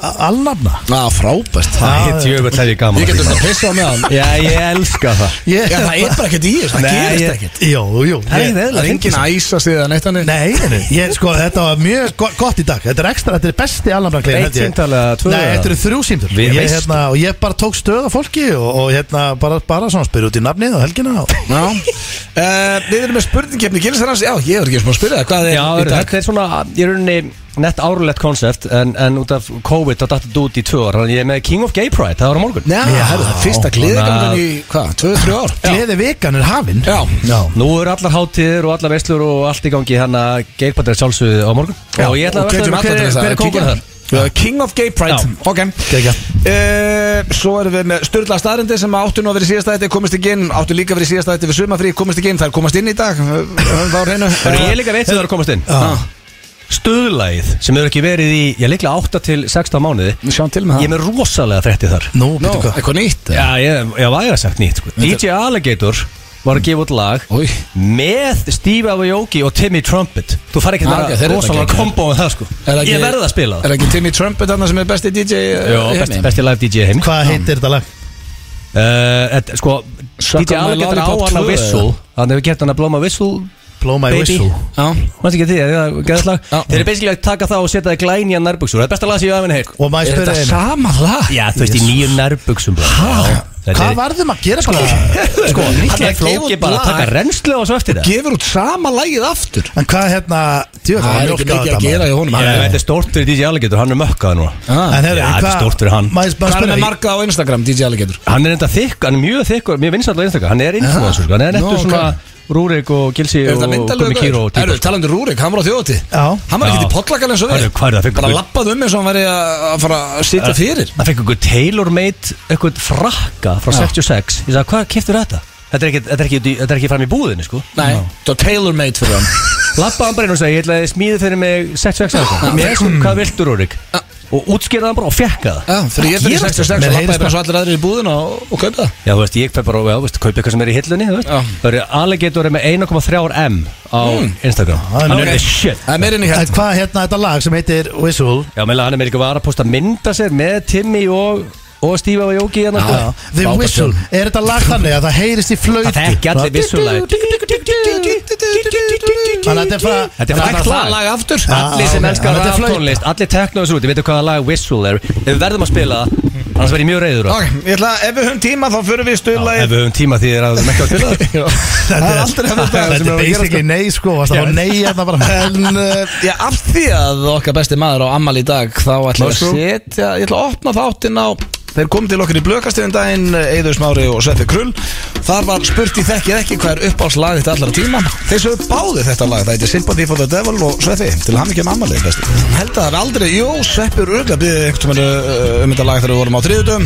Speaker 3: a- alnafna
Speaker 1: Já,
Speaker 2: Ah,
Speaker 1: frábært
Speaker 3: Já,
Speaker 2: Það hitt jöfnveld þegar ég gaman
Speaker 1: Ég
Speaker 2: að
Speaker 1: getur
Speaker 2: því.
Speaker 1: þetta að pissa á með hann
Speaker 2: Já, ég elska það
Speaker 3: Ég-
Speaker 1: Já, það er bara ekkert í þessu, það
Speaker 2: Nei,
Speaker 1: gerist
Speaker 2: ég-
Speaker 1: ekkert
Speaker 3: Jú, jú
Speaker 2: Það er
Speaker 3: ég-
Speaker 2: eðlilega
Speaker 1: Það er engin æsa síðan eitt hann
Speaker 3: Nei, nei, nei. Ég, sko, þetta var mjög go gott í dag Þetta er ekstra, þetta er besti alnafnaklein
Speaker 2: Eitt símtal eða tvö
Speaker 3: Nei,
Speaker 2: eða?
Speaker 3: þetta eru þrjú símtal
Speaker 2: Við
Speaker 3: ég,
Speaker 2: veistum.
Speaker 3: hérna, og ég bara tók stöð af fólki og, og hérna, bara, bara svona spyrir út í nafnið og helgina og...
Speaker 1: Já Eh, uh, Við erum með spurningkeppni Gilsarans Já, ég er ekki sem að spyrja það Hvað er
Speaker 2: Já,
Speaker 1: í dag?
Speaker 2: þetta er svona, í rauninni nett árulegt konsept en, en út af COVID þá datt þetta út í tvö ár Þannig að ég er með King of Gay Pride, það var á morgun
Speaker 1: Já, herðu, það er fyrsta gleðigangan í, hvað, 2-3 ár
Speaker 3: Gleði vikan er hafinn
Speaker 1: Já.
Speaker 2: Nú eru allar hátíðir og allar veislur og allt í gangi hann að geirpættir sjálfsögðu á morgun og ég ætla að versla
Speaker 1: getum
Speaker 2: um
Speaker 1: alla
Speaker 2: hver,
Speaker 1: til
Speaker 2: er-
Speaker 1: þess að
Speaker 2: hver er kókur
Speaker 1: kíkja.
Speaker 2: þar
Speaker 1: Uh, King of Gay Pride
Speaker 2: Já.
Speaker 1: Ok uh, Svo erum við með Sturla staðrindi sem áttu nú að vera í síðasta þetta komist ekki inn, áttu líka að vera í síðasta þetta við sumafrí, komist ekki inn, þær komast inn í dag uh, Það var hreinu
Speaker 2: Það er ég Ah. líka veit sem það er að komast inn
Speaker 1: Já.
Speaker 2: Stöðlæð sem hefur ekki verið í, ég líklega 8 til 16 mánuði
Speaker 1: Við sjáum til með
Speaker 2: Ég
Speaker 1: það
Speaker 2: er með rosalega frétti þar
Speaker 3: Nú,
Speaker 1: Nó,
Speaker 3: býttu hvað
Speaker 1: eitthvað nýtt
Speaker 2: Já, ég, ég væri að sagt nýtt sko. DJ Alligator var að gefa út lag
Speaker 1: Új.
Speaker 2: með Steve Aoki og Timmy Trumpet Þú fari ekki
Speaker 1: Ah, ok,
Speaker 2: með
Speaker 1: þeir eru
Speaker 2: rosalega
Speaker 1: þetta
Speaker 2: kombo með það sko
Speaker 1: Er það ekki-
Speaker 2: Ég verði að
Speaker 1: Er
Speaker 2: spila það
Speaker 1: það ekki Timmy Trumpet þarna sem er besti eh, DJ
Speaker 2: Jó, besti, besti live DJ heim uh,
Speaker 3: Hvað heitir þetta lag?
Speaker 2: et, Sko,
Speaker 1: Suck
Speaker 2: DJ
Speaker 1: on my
Speaker 2: Alligator á
Speaker 1: lollipop
Speaker 2: hann
Speaker 1: 2,
Speaker 2: að whistle Hann hefur gert hann að blóma whistle
Speaker 3: Blow my
Speaker 2: Baby.
Speaker 3: whistle
Speaker 1: Já,
Speaker 2: Mannst ekki að því að það er gæðslag
Speaker 1: Já.
Speaker 2: Þeir eru basically að taka það og setja það í glæni að nærbuksur Það er besta lag sem ég hef að heyrt
Speaker 3: Og maður
Speaker 1: er
Speaker 3: spyrir
Speaker 1: þetta
Speaker 3: einu
Speaker 1: sama lag?
Speaker 2: Já, þú veist, í nýju nærbuksum
Speaker 3: Hvað
Speaker 2: Hvað
Speaker 3: varðum að gera bara?
Speaker 2: Sko, hann er
Speaker 1: að gefa
Speaker 2: flóki
Speaker 1: út
Speaker 2: bara að
Speaker 1: lag.
Speaker 2: taka reynslu og svo eftir það
Speaker 1: Gefur út sama lagið aftur
Speaker 3: En hvað hérna djú,
Speaker 1: Það
Speaker 3: var
Speaker 1: er ekki mikið
Speaker 3: mjólk á þetta,
Speaker 1: að gera
Speaker 3: maður.
Speaker 1: í honum
Speaker 2: Ég,
Speaker 1: hann-
Speaker 2: Þetta er stórt fyrir DJ Alligator, hann er mökkað nú
Speaker 1: Ah.
Speaker 3: En herru,
Speaker 2: Já, þetta er
Speaker 3: hvað-
Speaker 2: stórt fyrir hann.
Speaker 3: Maður maður
Speaker 1: Hvað er
Speaker 3: spyrir
Speaker 1: með
Speaker 3: einu
Speaker 1: marga á Instagram, DJ Alligator?
Speaker 2: Hann er enda þykk, hann er mjög þykk og mjög vinsall á Instagram Hann er influencer, sko, hann er
Speaker 1: Nú,
Speaker 2: nettur
Speaker 1: ok.
Speaker 2: svona Rúrik og Gilsi
Speaker 1: Er
Speaker 2: og
Speaker 1: þetta
Speaker 2: Gumi
Speaker 1: myndalögur?
Speaker 2: Kíró og
Speaker 1: Erðu,
Speaker 2: típa
Speaker 1: talandi um Rúrik, hann var á þjóðati
Speaker 3: Já.
Speaker 1: Hann var ekkert
Speaker 2: Já.
Speaker 1: í potlakan eins og við
Speaker 2: Hörru, hvað er það fyrir
Speaker 1: Bara
Speaker 2: gull?
Speaker 1: lappað um eins og hann væri að að fara að sitja fyrir
Speaker 2: Það fekk einhver tailor-made eitthvað frakka frá 66 Ég sagði, hvað keftur þetta? Þetta er ekki, þetta er ekki, þetta er ekki fram í búðinu, sko
Speaker 1: Nei, það var tailor-made fyrir hann
Speaker 2: Lappa hann bara inn og sagði, ég ætlaði smíði fyrir mig 66 eitthvað Mér er svona, hvað viltu Rúrik? Og útskýrði hann bara og fekka það
Speaker 1: Já, fyrir ég fyrir
Speaker 2: Gerist
Speaker 1: 66
Speaker 3: það?
Speaker 1: og
Speaker 3: Mér
Speaker 1: lappaði
Speaker 3: heyrist
Speaker 1: bara svo allir aðrir í búðina og, og kaupa það
Speaker 2: Já, þú veist, ég fæ bara, já, þú veist, kaupa eitthvað sem er í hillunni, þú veist
Speaker 1: Já.
Speaker 2: Það eru Alligator er með 1,3 M á Instagram
Speaker 3: Hmm. það er
Speaker 2: Hann
Speaker 3: nú-
Speaker 2: er the shit
Speaker 1: Það er meirinn í
Speaker 3: En
Speaker 1: hætt
Speaker 3: hvað hérna þetta lag sem heitir Whistle
Speaker 2: Já, meðlega hann er með eitthvað var að posta mynda sér með Timmy og, og Steve og Jóki hérna
Speaker 3: Já, The
Speaker 2: Frábært
Speaker 3: Whistle
Speaker 2: sjón.
Speaker 3: Er þetta lag þannig að það heyrist í flöytu
Speaker 2: Það þekki allir vissulega
Speaker 3: Þannig að þetta er frá
Speaker 2: Þetta er
Speaker 1: Það er
Speaker 2: frækt
Speaker 1: það
Speaker 2: lag
Speaker 1: lag aftur
Speaker 3: Já.
Speaker 2: Allir sem
Speaker 3: ok.
Speaker 2: elskar
Speaker 3: Þetta er flauta.
Speaker 2: raftónlist, allir tekna þessu út, ég veit hvaða lag Whistle er Við verðum að spila það, annars verð ég mjög reyður á
Speaker 1: Ok, ég ætla að ef við höfum tíma þá förum við
Speaker 2: það
Speaker 1: stöðla
Speaker 2: Ef við höfum tíma því þér að við mekka að spila það
Speaker 1: Það er aldrei hefðu dag
Speaker 3: Þetta er basically nei sko varst Það var nei hérna bara
Speaker 1: En uh, já, af því að okkar besti maður á ammal í dag þá ætla ég að
Speaker 3: Mushroom.
Speaker 1: setja ég ætla að opna þáttinn á þeir kom til okkur í blökastiðin daginn Eður Smári og Sveppi Krull þar var spurt í þekkið ekki hvað er uppáhaldslagið þetta allra tíma þeir sögðu báði þetta lag það heitir Sympathy for the Devil og Sveppi til hann ekki um ammalið besti held að það er aldrei jú Sveppi Rugga byggði einhvern veginn um þetta lag þegar við vorum á þriðutum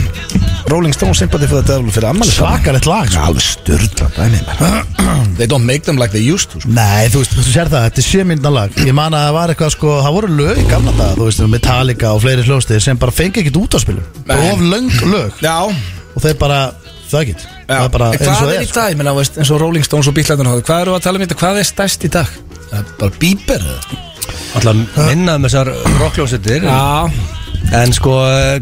Speaker 1: Rolling Stone Sympathy for the Devil fyrir ammalið
Speaker 3: Svakarlegt lag sko
Speaker 1: alveg styrla dæmi maður. they don't make them like they used to sko.
Speaker 3: Nei, þú veist, þú sér það, þetta er sjömyndan lag Ég man að það var eitthvað sko, það voru lög í gamla dag Þú veist, Metallica og fleiri hljóðstir sem bara fengi ekkit út á spilum
Speaker 1: Nei.
Speaker 3: Of löng lög
Speaker 1: já
Speaker 3: Og þeir bara, það ekkit Það er bara
Speaker 1: En
Speaker 3: eins
Speaker 1: Hvað er
Speaker 3: og
Speaker 1: í
Speaker 3: það er sko.
Speaker 1: dag, menna, veist, eins og Rolling Stones og Bíklarnar hóðu Hvað eru að tala um þetta, hvað er stærst í dag? Það er bara bíber
Speaker 2: Alltaf minna um þessar rockljósetir
Speaker 1: Já,
Speaker 2: En sko,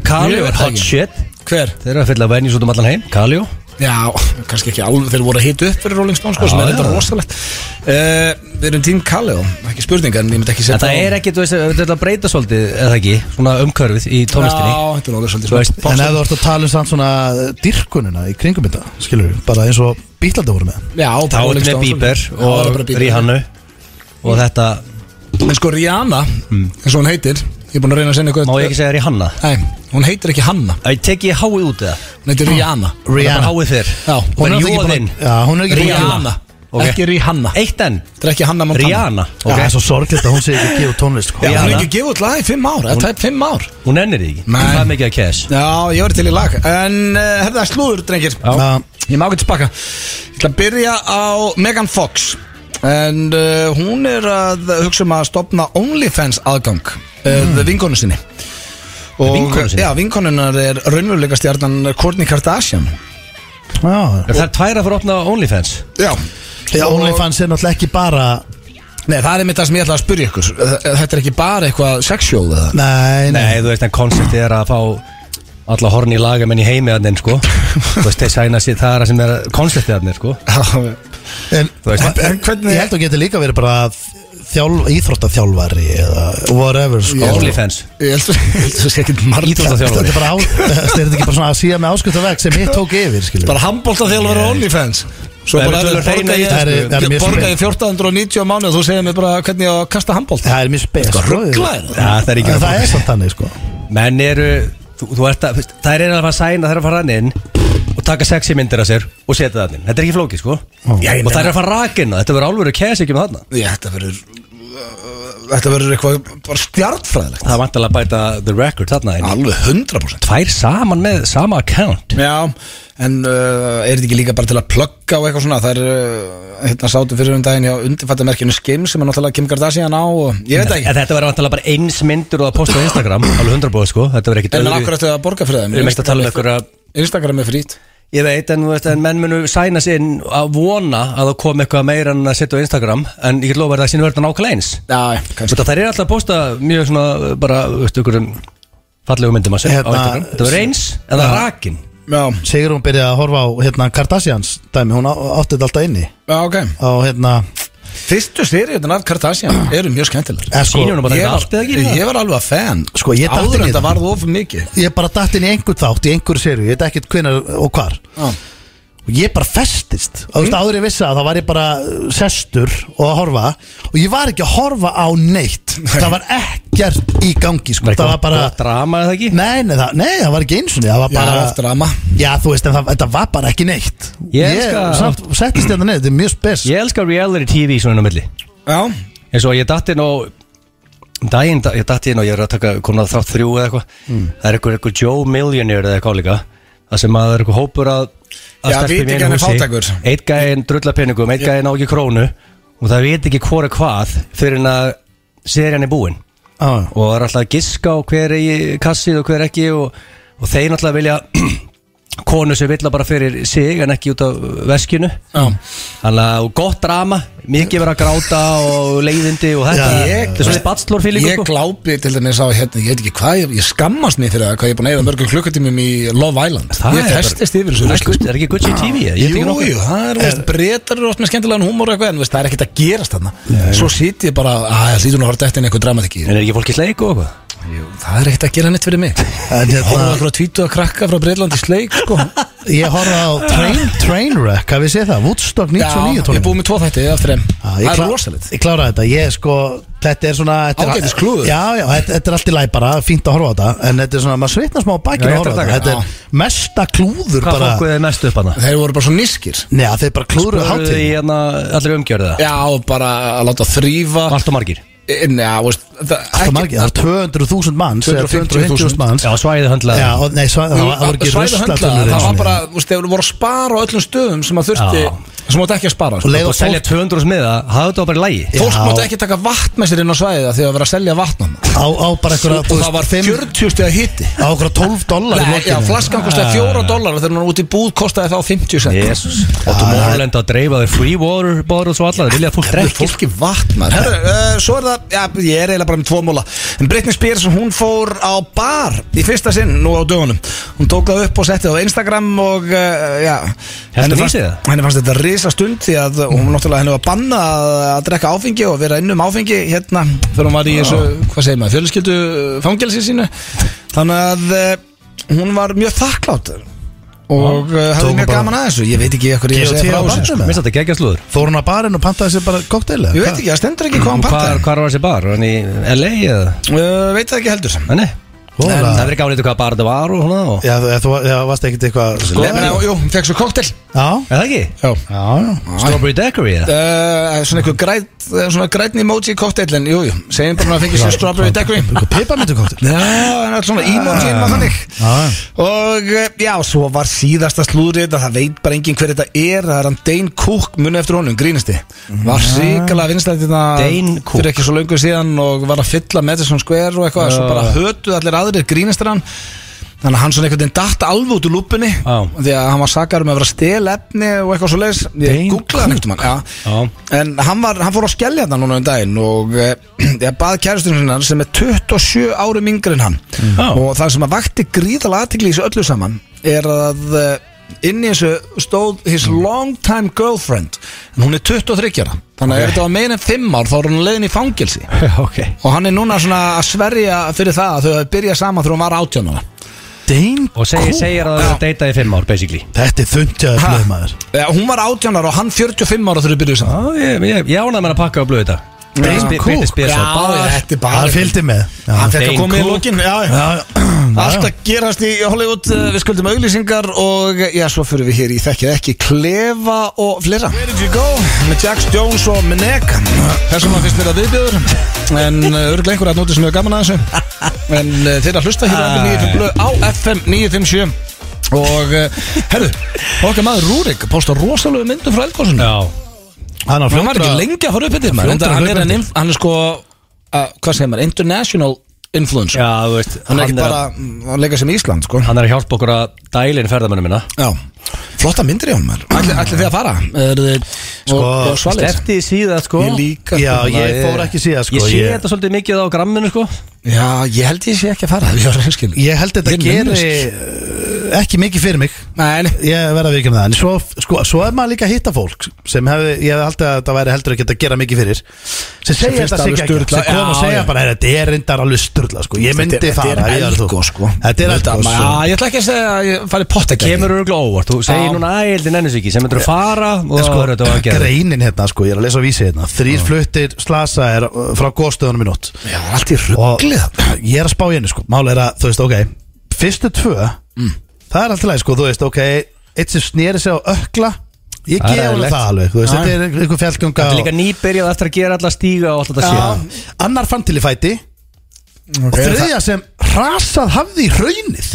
Speaker 2: Kalio
Speaker 1: Ég veit
Speaker 2: er
Speaker 1: það
Speaker 2: hot
Speaker 1: ekki.
Speaker 2: shit
Speaker 1: hver?
Speaker 2: Þeir eru að fylla venjus út um allan heim, Kalio
Speaker 1: Já, kannski ekki alveg, þeir voru að hita upp fyrir Rolling Stones sko, sem
Speaker 2: Já,
Speaker 1: er þetta
Speaker 2: já.
Speaker 1: rosalegt uh, Við erum tím Kaleo, ekki spurning en ég myndi ekki
Speaker 2: En
Speaker 1: setja
Speaker 2: það er ekki, þú veist, við ætlum að breyta svolítið, eða ekki, svona umhverfið í
Speaker 1: Já,
Speaker 2: tónlistinni
Speaker 1: þetta er alveg svolítið
Speaker 2: Þú veist,
Speaker 1: svona pop-
Speaker 3: En ef þú ert að tala um samt svona eh, dýrkunina í kringum þetta Skilur við, bara eins og bítlandi voru með
Speaker 1: Já,
Speaker 2: Þá
Speaker 1: bara
Speaker 2: er
Speaker 1: Rolling
Speaker 2: með
Speaker 1: Stones
Speaker 2: Bieber
Speaker 1: Já, það er
Speaker 2: og
Speaker 1: bara Bieber.
Speaker 2: Rihanna og þetta,
Speaker 1: En sko Rihanna, eins og hún heitir Ég er búin að reyna að segja eitthvað
Speaker 2: Mm. má ég ekki segja Rihanna?
Speaker 1: Nei, hún heitir ekki Hanna,
Speaker 2: Æ, tek ég háið út eða?
Speaker 1: hún heitir Rihanna
Speaker 2: Það er
Speaker 3: Rihanna.
Speaker 2: bara háið fyrr
Speaker 1: Já,
Speaker 2: Hún er
Speaker 3: náttúrulega ekki búin
Speaker 2: jóðinn
Speaker 3: að- Já, hún er ekki búin að-
Speaker 1: Rihanna,
Speaker 2: Ok.
Speaker 1: ekki Rihanna
Speaker 2: Eitt enn,
Speaker 1: Þetta er ekki Hanna Montana
Speaker 2: Rihanna
Speaker 3: Já,
Speaker 2: ok?
Speaker 3: Það er svo sorgleitt að hún sé ekki að gefa út tónlist
Speaker 1: Já,
Speaker 3: sko.
Speaker 1: hún
Speaker 2: Rihanna.
Speaker 1: hefði ekki gefið út lag í fimm ár, eða tæp fimm ár
Speaker 2: Hún ennir því ekki,
Speaker 1: Nei.
Speaker 2: það er mikið að cash
Speaker 1: Já, ég var til í lag En uh, herða, slúður, drengir
Speaker 2: Já.
Speaker 3: Já.
Speaker 1: Ég má ekki tilbaka Ég ætla að byrja á Megan Fox En uh, hún er að hugsa um að stopna OnlyFans aðgang mm. Vinkonu sinni Og,
Speaker 2: Vinkonu sinni?
Speaker 1: Já, vinkonunar er raunveruleika stjarnan Kourtney Kardashian
Speaker 3: Já,
Speaker 2: Það er tværa fyrir að opna OnlyFans
Speaker 1: Já
Speaker 3: Já, OnlyFans er náttúrulega ekki bara
Speaker 1: Nei, það er með það sem ég ætla að spyrja ykkur Þetta er ekki bara eitthvað sexual eða
Speaker 3: Nei, nei,
Speaker 2: Nei, þú veist, en konceptið er að fá alla horni lagamenn í heimi þannig sko Þú veist, þeir sæna sér það er það sem er konceptið þannig sko
Speaker 3: En,
Speaker 2: Þú veist,
Speaker 3: en, en hvernig Ég held að geta líka verið bara þjálf, íþróttaþjálfari eða whatever sko.
Speaker 2: Onlyfans
Speaker 1: Ég held að það sé ekkert margir
Speaker 3: Þetta
Speaker 2: Íþróttaþjálfari
Speaker 3: er bara á, þetta er ekki bara svona að síða með áskutavegg sem hitt tók yfir skilur.
Speaker 1: Bara handbólta þegar það var OnlyFans Svo
Speaker 2: Það eru
Speaker 1: bara
Speaker 2: tölur
Speaker 1: ef þið
Speaker 2: hreinar í
Speaker 3: þessu.
Speaker 1: borga ég
Speaker 3: Það eru- það eru mjög
Speaker 1: Borga
Speaker 3: svo-
Speaker 1: ég 1490 á mánu og þú segir mér bara hvernig ég á að kasta handbólta
Speaker 3: Það er mjög spes
Speaker 1: Sko,
Speaker 3: sko.
Speaker 1: rugglaður
Speaker 2: Já, það er ekki
Speaker 3: En Það er samt þannig sko
Speaker 2: Menn eru þú, þú ert að, veist, Það er að fara að sæna, það er að fara hann inn og taka sexy myndir af sér og setja það inn Þetta er ekki flókið sko
Speaker 1: Já, ég
Speaker 2: Og það
Speaker 1: meina-
Speaker 2: er að fara rakina, þetta verður álveru kæs ekki með þarna
Speaker 1: Ég, Þetta verður uh, Þetta verður eitthvað bara stjartfræðilegt
Speaker 2: Það er vantilega að bæta the record þarna inn
Speaker 1: Alveg 100%
Speaker 2: Tvær saman með sama account
Speaker 1: Já, en uh, er þetta ekki líka bara til að plugga og eitthvað svona Það er, uh, hérna sátu fyrir um daginn hjá undirfattamerkinu Skim sem er náttúrulega Kim Kardashian á og ég veit það
Speaker 2: En
Speaker 1: ekki
Speaker 2: þetta verður vantilega bara eins myndir og að posta á Instagram Alveg 100% sko, þetta verður ekkit
Speaker 1: En
Speaker 2: öðru-
Speaker 1: akkur eftir að borga fyrir það
Speaker 2: Við erum ekki að tala um einhverja
Speaker 1: Instagram er frýtt
Speaker 2: Ég veit, en, þú veist, en menn munu sæna sér inn að vona að það kom eitthvað meira en að setja á Instagram en ég get lofa að það sinni verður nákvæmlega eins
Speaker 1: Já, kannski
Speaker 2: Það er alltaf að posta mjög svona bara, veistu, einhverjum fallegum myndum að segja á
Speaker 3: Hérna,
Speaker 2: Instagram Það verður eins, en það er rakin
Speaker 1: Já,
Speaker 3: Sigrún byrjaði að horfa á hérna Kardashians dæmi Hún á- átti þetta alltaf inni
Speaker 1: já, ok
Speaker 3: Á hérna
Speaker 1: Fyrstu seriðin af Kardashian eru mjög skemmtilegar
Speaker 3: eh, sko,
Speaker 2: Sýnir hún bara
Speaker 1: ég,
Speaker 2: þetta allt eða
Speaker 1: var-
Speaker 2: ekki
Speaker 1: ég var alveg að fan
Speaker 3: Sko, ég datt
Speaker 1: Áður
Speaker 3: inn
Speaker 1: en
Speaker 3: í
Speaker 1: það
Speaker 3: það.
Speaker 1: varð of mikið
Speaker 3: Ég bara datt inn í einhver þátt Í einhver seríu Ég veit ekkert hvenar og hvar
Speaker 1: Já.
Speaker 3: Og ég bara festist
Speaker 2: Mm.
Speaker 3: Og þú veist áður ég vissi það Þá var ég bara uh, sestur Og að horfa Og ég var ekki að horfa á neitt Það var ekkert í gangi sko. Það var bara
Speaker 2: gott drama eða ekki
Speaker 3: Nei, nei, það, nei, það var ekki eins og niður, það var
Speaker 1: Já,
Speaker 3: bara
Speaker 1: oft drama.
Speaker 3: Já, þú veist, en það, þetta var bara ekki neitt
Speaker 2: Ég elska-
Speaker 3: samt, settist þetta neður, þetta er mjög spes
Speaker 2: Ég elska reality TV svona inn á milli
Speaker 1: Já,
Speaker 2: En svo ég datt inn á daginn, da- ég datt inn og ég er að taka komin að þátt þrjú eða eitthvað
Speaker 1: Mm.
Speaker 2: Það er einhver, einhver Joe Millionaire eða eitthvað líka Það sem að það er einhver hópur að, að
Speaker 1: Já,
Speaker 2: stelpum í
Speaker 1: viti ekki
Speaker 2: einu
Speaker 1: hann er
Speaker 2: húsi.
Speaker 1: fátækur.
Speaker 2: Einn gæinn drulla peningum, einn gæinn á ekki krónu Og það veit ekki hvora hvað fyrir en að serían er búin
Speaker 3: Á,
Speaker 2: og það er alltaf að giska á hver er í kassið og hver ekki og, og þeir náttúrulega vilja konu sem vilja bara fyrir sig en ekki út af veskinu þannig að og gott drama, mikið verið að gráta og leiðindi og þetta
Speaker 3: Já,
Speaker 2: ég, þetta er svona
Speaker 1: ég
Speaker 2: bachelor feeling sko.
Speaker 1: glápi til þess að hérna, ég veit ekki hvað, ég, ég skammast mér fyrir það hvað ég er búin að eða mörgum klukkutímum í Love Island
Speaker 2: Það
Speaker 1: Ég
Speaker 2: er bara-
Speaker 1: festist yfir þessu
Speaker 2: Það er
Speaker 1: rusli,
Speaker 2: Gucci- það er ekki Gucci TV ég, ég
Speaker 1: Jú, jú, það er, veist, breytar eru oft með skemmtilegan húmor og eitthvað en veist, það er ekkert að gerast þarna Svo sit ég bara, að það lítur nú að horta eftir en eitthvað dramatík í
Speaker 2: en er ekki fólk í sleik og eitthvað
Speaker 1: Það er ekkert að gera neitt fyrir mig
Speaker 3: En hérna-
Speaker 1: Hóða okkur að tvítu að krakka frá Breitlandi sleik, sko
Speaker 3: Ég horfði á train, Trainwreck, hafið séð það, Woodstock
Speaker 1: Já,
Speaker 3: 99
Speaker 1: ég er búið með tvo þætti af þeim Það er rosalegt
Speaker 3: Ég kláraði þetta, ég sko, þetta er svona þetta er-
Speaker 1: Ágætis klúður.
Speaker 3: Já, já, þetta, þetta er allt í læg bara, fínt að horfa á þetta En þetta er svona, maður svitnar smá á
Speaker 2: Já,
Speaker 3: bakinu
Speaker 2: ég
Speaker 3: að horfa á
Speaker 2: ætla að
Speaker 3: þetta
Speaker 2: taka,
Speaker 3: Þetta er mesta
Speaker 2: hvað
Speaker 3: klúður bara
Speaker 2: fólk er mest upp hana
Speaker 1: Þeir voru bara svo nískir
Speaker 3: Nei, þeir bara klúður
Speaker 2: Spurðu í
Speaker 3: hátíð
Speaker 2: hérna allir umgjörða
Speaker 1: Já, og bara að láta E, þrýfa
Speaker 2: allt og margir
Speaker 1: Já, veist Það
Speaker 3: Það margir, það er 200.000 manns eða
Speaker 1: 250.000
Speaker 3: 250.000 manns
Speaker 2: já, svæðið höndlaði
Speaker 3: Já, og nei, svæ- það var- það voru ekki
Speaker 1: Svæði
Speaker 3: ruslatölur
Speaker 1: höndla,
Speaker 3: einu
Speaker 1: það var
Speaker 3: sinni.
Speaker 1: bara, þú veist, þeir voru að spara á öllum stöðum sem að þurfti,
Speaker 2: Já.
Speaker 1: sem átti ekki að spara
Speaker 3: Og
Speaker 1: sko.
Speaker 3: leið
Speaker 2: og
Speaker 3: og fólk
Speaker 2: selja 200 smiða, hafðu þetta bara í lægi
Speaker 1: Fólk
Speaker 3: Já.
Speaker 1: mátti ekki taka vatn með sér inn á svæðið af því að vera að selja vatn á það
Speaker 3: á, á bara einhverja
Speaker 1: Og
Speaker 3: þú veist,
Speaker 1: það var
Speaker 3: fimm-
Speaker 1: 40 stið að hitti
Speaker 3: á einhverja 12 dólar í
Speaker 1: Nei, Já,
Speaker 3: lokinu.
Speaker 1: flaskan kostiði 4 dólar þegar hún var út í búð kostaði þá 50 cent
Speaker 2: Jesus Og Tomorrowland að dreifa þau free water bottles og alla Það vilja að fólk
Speaker 1: Herru,
Speaker 2: drekki
Speaker 1: fólki vatnar Herru, uh, svo er það, já, ég er eiginlega bara með tvo múla En Britney Spears, hún fór á bar Í fyrsta sinn nú á dögunum Hún tók það upp og setti það á Instagram Og, uh, já henni
Speaker 2: hún
Speaker 1: fannst,
Speaker 2: í sig það?
Speaker 1: henni fannst þetta risa stund Því að hún náttúrulega henni var banna að, að drekka áfengi Og vera innum áfengi hérna Þegar hún var í þessu, hvað segir maður, fjölskyldu eh, Fangelsi sínu Þannig að uh, hún var mjög þakklátt Og uh, hafði
Speaker 3: Tók
Speaker 1: mjög
Speaker 3: bara-
Speaker 1: gaman að þessu Ég veit ekki hvað ég
Speaker 3: G.O.T.
Speaker 1: að segja
Speaker 3: á
Speaker 1: frá þessu
Speaker 3: barnum,
Speaker 1: sko.
Speaker 3: eða?
Speaker 2: Mér satt að gegja slúður
Speaker 3: Fór hún að barinn og pantaði sér bara kokteil
Speaker 1: Ég veit ekki, það stendur ekki hvað hann
Speaker 2: Hvar,
Speaker 1: pantaði
Speaker 2: hvar var þessi bar? Var hann í LA eða?
Speaker 1: Uh, veit það ekki heldur
Speaker 2: Nei, nei
Speaker 3: Hún
Speaker 2: En
Speaker 3: var
Speaker 2: Það
Speaker 3: að-
Speaker 2: verður gáðið hvað bar þetta var og hana og
Speaker 3: Já, þú já, þú var- já, varst ekkert eitthvað
Speaker 1: Lemina, jú, hún fekk svo koktel
Speaker 3: Já,
Speaker 2: Er það ekki?
Speaker 1: Já
Speaker 3: já, já
Speaker 2: Strawberry Daiquiri eða?
Speaker 1: Uh, svona einhver græt, eh, svona grætni emoji kokteilin, jú, jú, segjum bara að fengi sér strawberry daiquiri
Speaker 3: Eitthvað piparmyndu kokteil
Speaker 1: Já, en allt svona emoji og þannig
Speaker 3: Já, já.
Speaker 1: Og eh, já, svo var síðasta slúðrið þetta, það veit bara enginn hver þetta er Það er hann Dane Cook, muni eftir honum, grínisti Var ríkala vinstætt þetta
Speaker 2: Dane Cook.
Speaker 1: Fyrir ekki svo löngu síðan og var að fylla Madison Square og eitthvað Svo bara hötuð allir aðrir grínistir hann Þannig að hann svona einhvern veginn datt alveg út úr lúpunni
Speaker 2: Já.
Speaker 1: Því að hann var sakar um að vera stel efni og eitthvað svo leis Ég
Speaker 2: Dein
Speaker 1: googlaði hann einhvern veginn
Speaker 2: Já.
Speaker 1: En hann, var, hann fór á skellja þetta núna um daginn Og eh, ég bað kæristinu sinna sem er 27 árum yngri en hann
Speaker 2: Já.
Speaker 1: Og það sem að vakti gríðalega athygli í þessu öllu saman Er að eh, inn í þessu stóð his long time girlfriend En hún er 23 ára Þannig að ef þetta var meina en 5 ár þá er hún leiðin í fangilsi
Speaker 2: ok
Speaker 1: Og hann er núna svona að sverja fyrir það að þau hafi byrjað saman þegar hún var 18 ára
Speaker 3: Dein
Speaker 2: Og seg,
Speaker 3: kú-
Speaker 2: segir að það er að deyta í fimm ár, basically
Speaker 3: Þetta er þundjaður
Speaker 1: Ha?
Speaker 3: blöð maður
Speaker 1: Já, Eh, hún var 18 ára og hann 45 ára þegar þau byrjuðu saman
Speaker 2: Já, ég, ég, ég ánaði mér að pakka og blöðu þetta Bitni-
Speaker 3: kúk.
Speaker 2: bitni spyr svo,
Speaker 1: Já,
Speaker 2: bara-
Speaker 1: þetta er bara
Speaker 3: Hann fylgdi með
Speaker 1: Hann fekk að
Speaker 2: Dein
Speaker 1: koma í
Speaker 2: kúk.
Speaker 1: lokin já, já. Allt
Speaker 3: Alltaf
Speaker 1: að gerast í Hollywood uh, Við skuldum auglýsingar og Já, svo fyrir við hér í þekkið ekki Klefa og fleira Where did you go? Með Jax Jones og Minek Þessum að finnst mér að viðbjöður En uh, örgulega einhver að nóti sem hefur gaman að þessu En uh, þeir að hlusta hér á FM 95 blöð á FM 957 Og, uh, herru, okkar maður Rúrik Pósta rosalegu myndum frá eldgóðsuna
Speaker 2: Já,
Speaker 3: Hann
Speaker 1: Hann
Speaker 3: á
Speaker 1: var
Speaker 3: fljóttur
Speaker 1: ekki
Speaker 3: að-
Speaker 1: lengi að fara upp yfir maður
Speaker 3: Fljótur
Speaker 1: Enda,
Speaker 3: að
Speaker 1: hann, er
Speaker 3: hlaupa
Speaker 1: en,
Speaker 3: undir.
Speaker 1: inf- hann er sko uh, Hvað segir maður? International influencer
Speaker 2: já, þú veist
Speaker 1: Hann er ekki bara mm, Hann leika sem Ísland sko
Speaker 2: Hann er að hjálpa okkur að dæla inn ferðamönnum minna
Speaker 1: Já Flotta myndir í honum maður Ætli, ætli þið að fara Er þið sko, og, og svalir
Speaker 2: Stefti í síða, sko
Speaker 1: Ég líka
Speaker 3: Já,
Speaker 1: sko,
Speaker 3: ég
Speaker 1: maður,
Speaker 3: fór ekki síðan sko
Speaker 2: Ég sé þetta svolítið mikið á gramminu, sko
Speaker 1: Já, ég held ég sé ekki að fara Ég var reynskil
Speaker 3: Ég held þetta
Speaker 1: Ég
Speaker 3: geri
Speaker 1: minnist.
Speaker 3: uh, ekki mikið fyrir mig
Speaker 1: Nei,
Speaker 3: Ég verða að vikina það En svo, sko, svo er maður líka að hitta fólk sem hefði, ég hefði haldið að þetta væri heldur ekki að gera mikið fyrir sem segja
Speaker 1: finnst
Speaker 3: þetta
Speaker 1: alveg
Speaker 3: sig ekki
Speaker 1: sturla.
Speaker 3: sem kom og
Speaker 1: Já,
Speaker 3: segja
Speaker 1: já.
Speaker 3: bara, "Heyrðu, þetta er reyndar alveg sturla sko. ég myndi
Speaker 1: þetta er-
Speaker 3: fara
Speaker 1: Þetta
Speaker 3: ég
Speaker 1: er
Speaker 3: er þú."
Speaker 1: elgo sko
Speaker 3: Þetta er elgo
Speaker 1: Já, ég ætla ekki að segja að ég fari potta
Speaker 2: Kemur örgulega óvart, þú segir
Speaker 1: Já.
Speaker 2: núna ældin ennisviki sem myndur að fara og
Speaker 3: En
Speaker 2: það
Speaker 3: sko,
Speaker 2: verður þetta að gera
Speaker 3: greinin hérna, sko, ég er að lesa á vísi hérna Þrýr fluttir slasa er uh, frá góðstöðunum í nótt
Speaker 1: Já, allt í
Speaker 3: Og
Speaker 1: rugglið
Speaker 3: ég er að spá í henni, sko Mál er að, þú veist, ok Fyrstu tvö, það er alltaf leið, sko Þú veist, ok, eitt sem sneri sig á ökla Ég
Speaker 2: Það er
Speaker 3: gef henni
Speaker 2: eðlilegt.
Speaker 3: það alveg, þú veist,
Speaker 1: Já.
Speaker 3: þetta er einhver fjallgönga
Speaker 2: Þetta er líka nýbyrjað eftir að gera alla stíga og allt þetta sé
Speaker 3: Já, annar fann til í fæti Og þriðja sem rasað hafði í raunið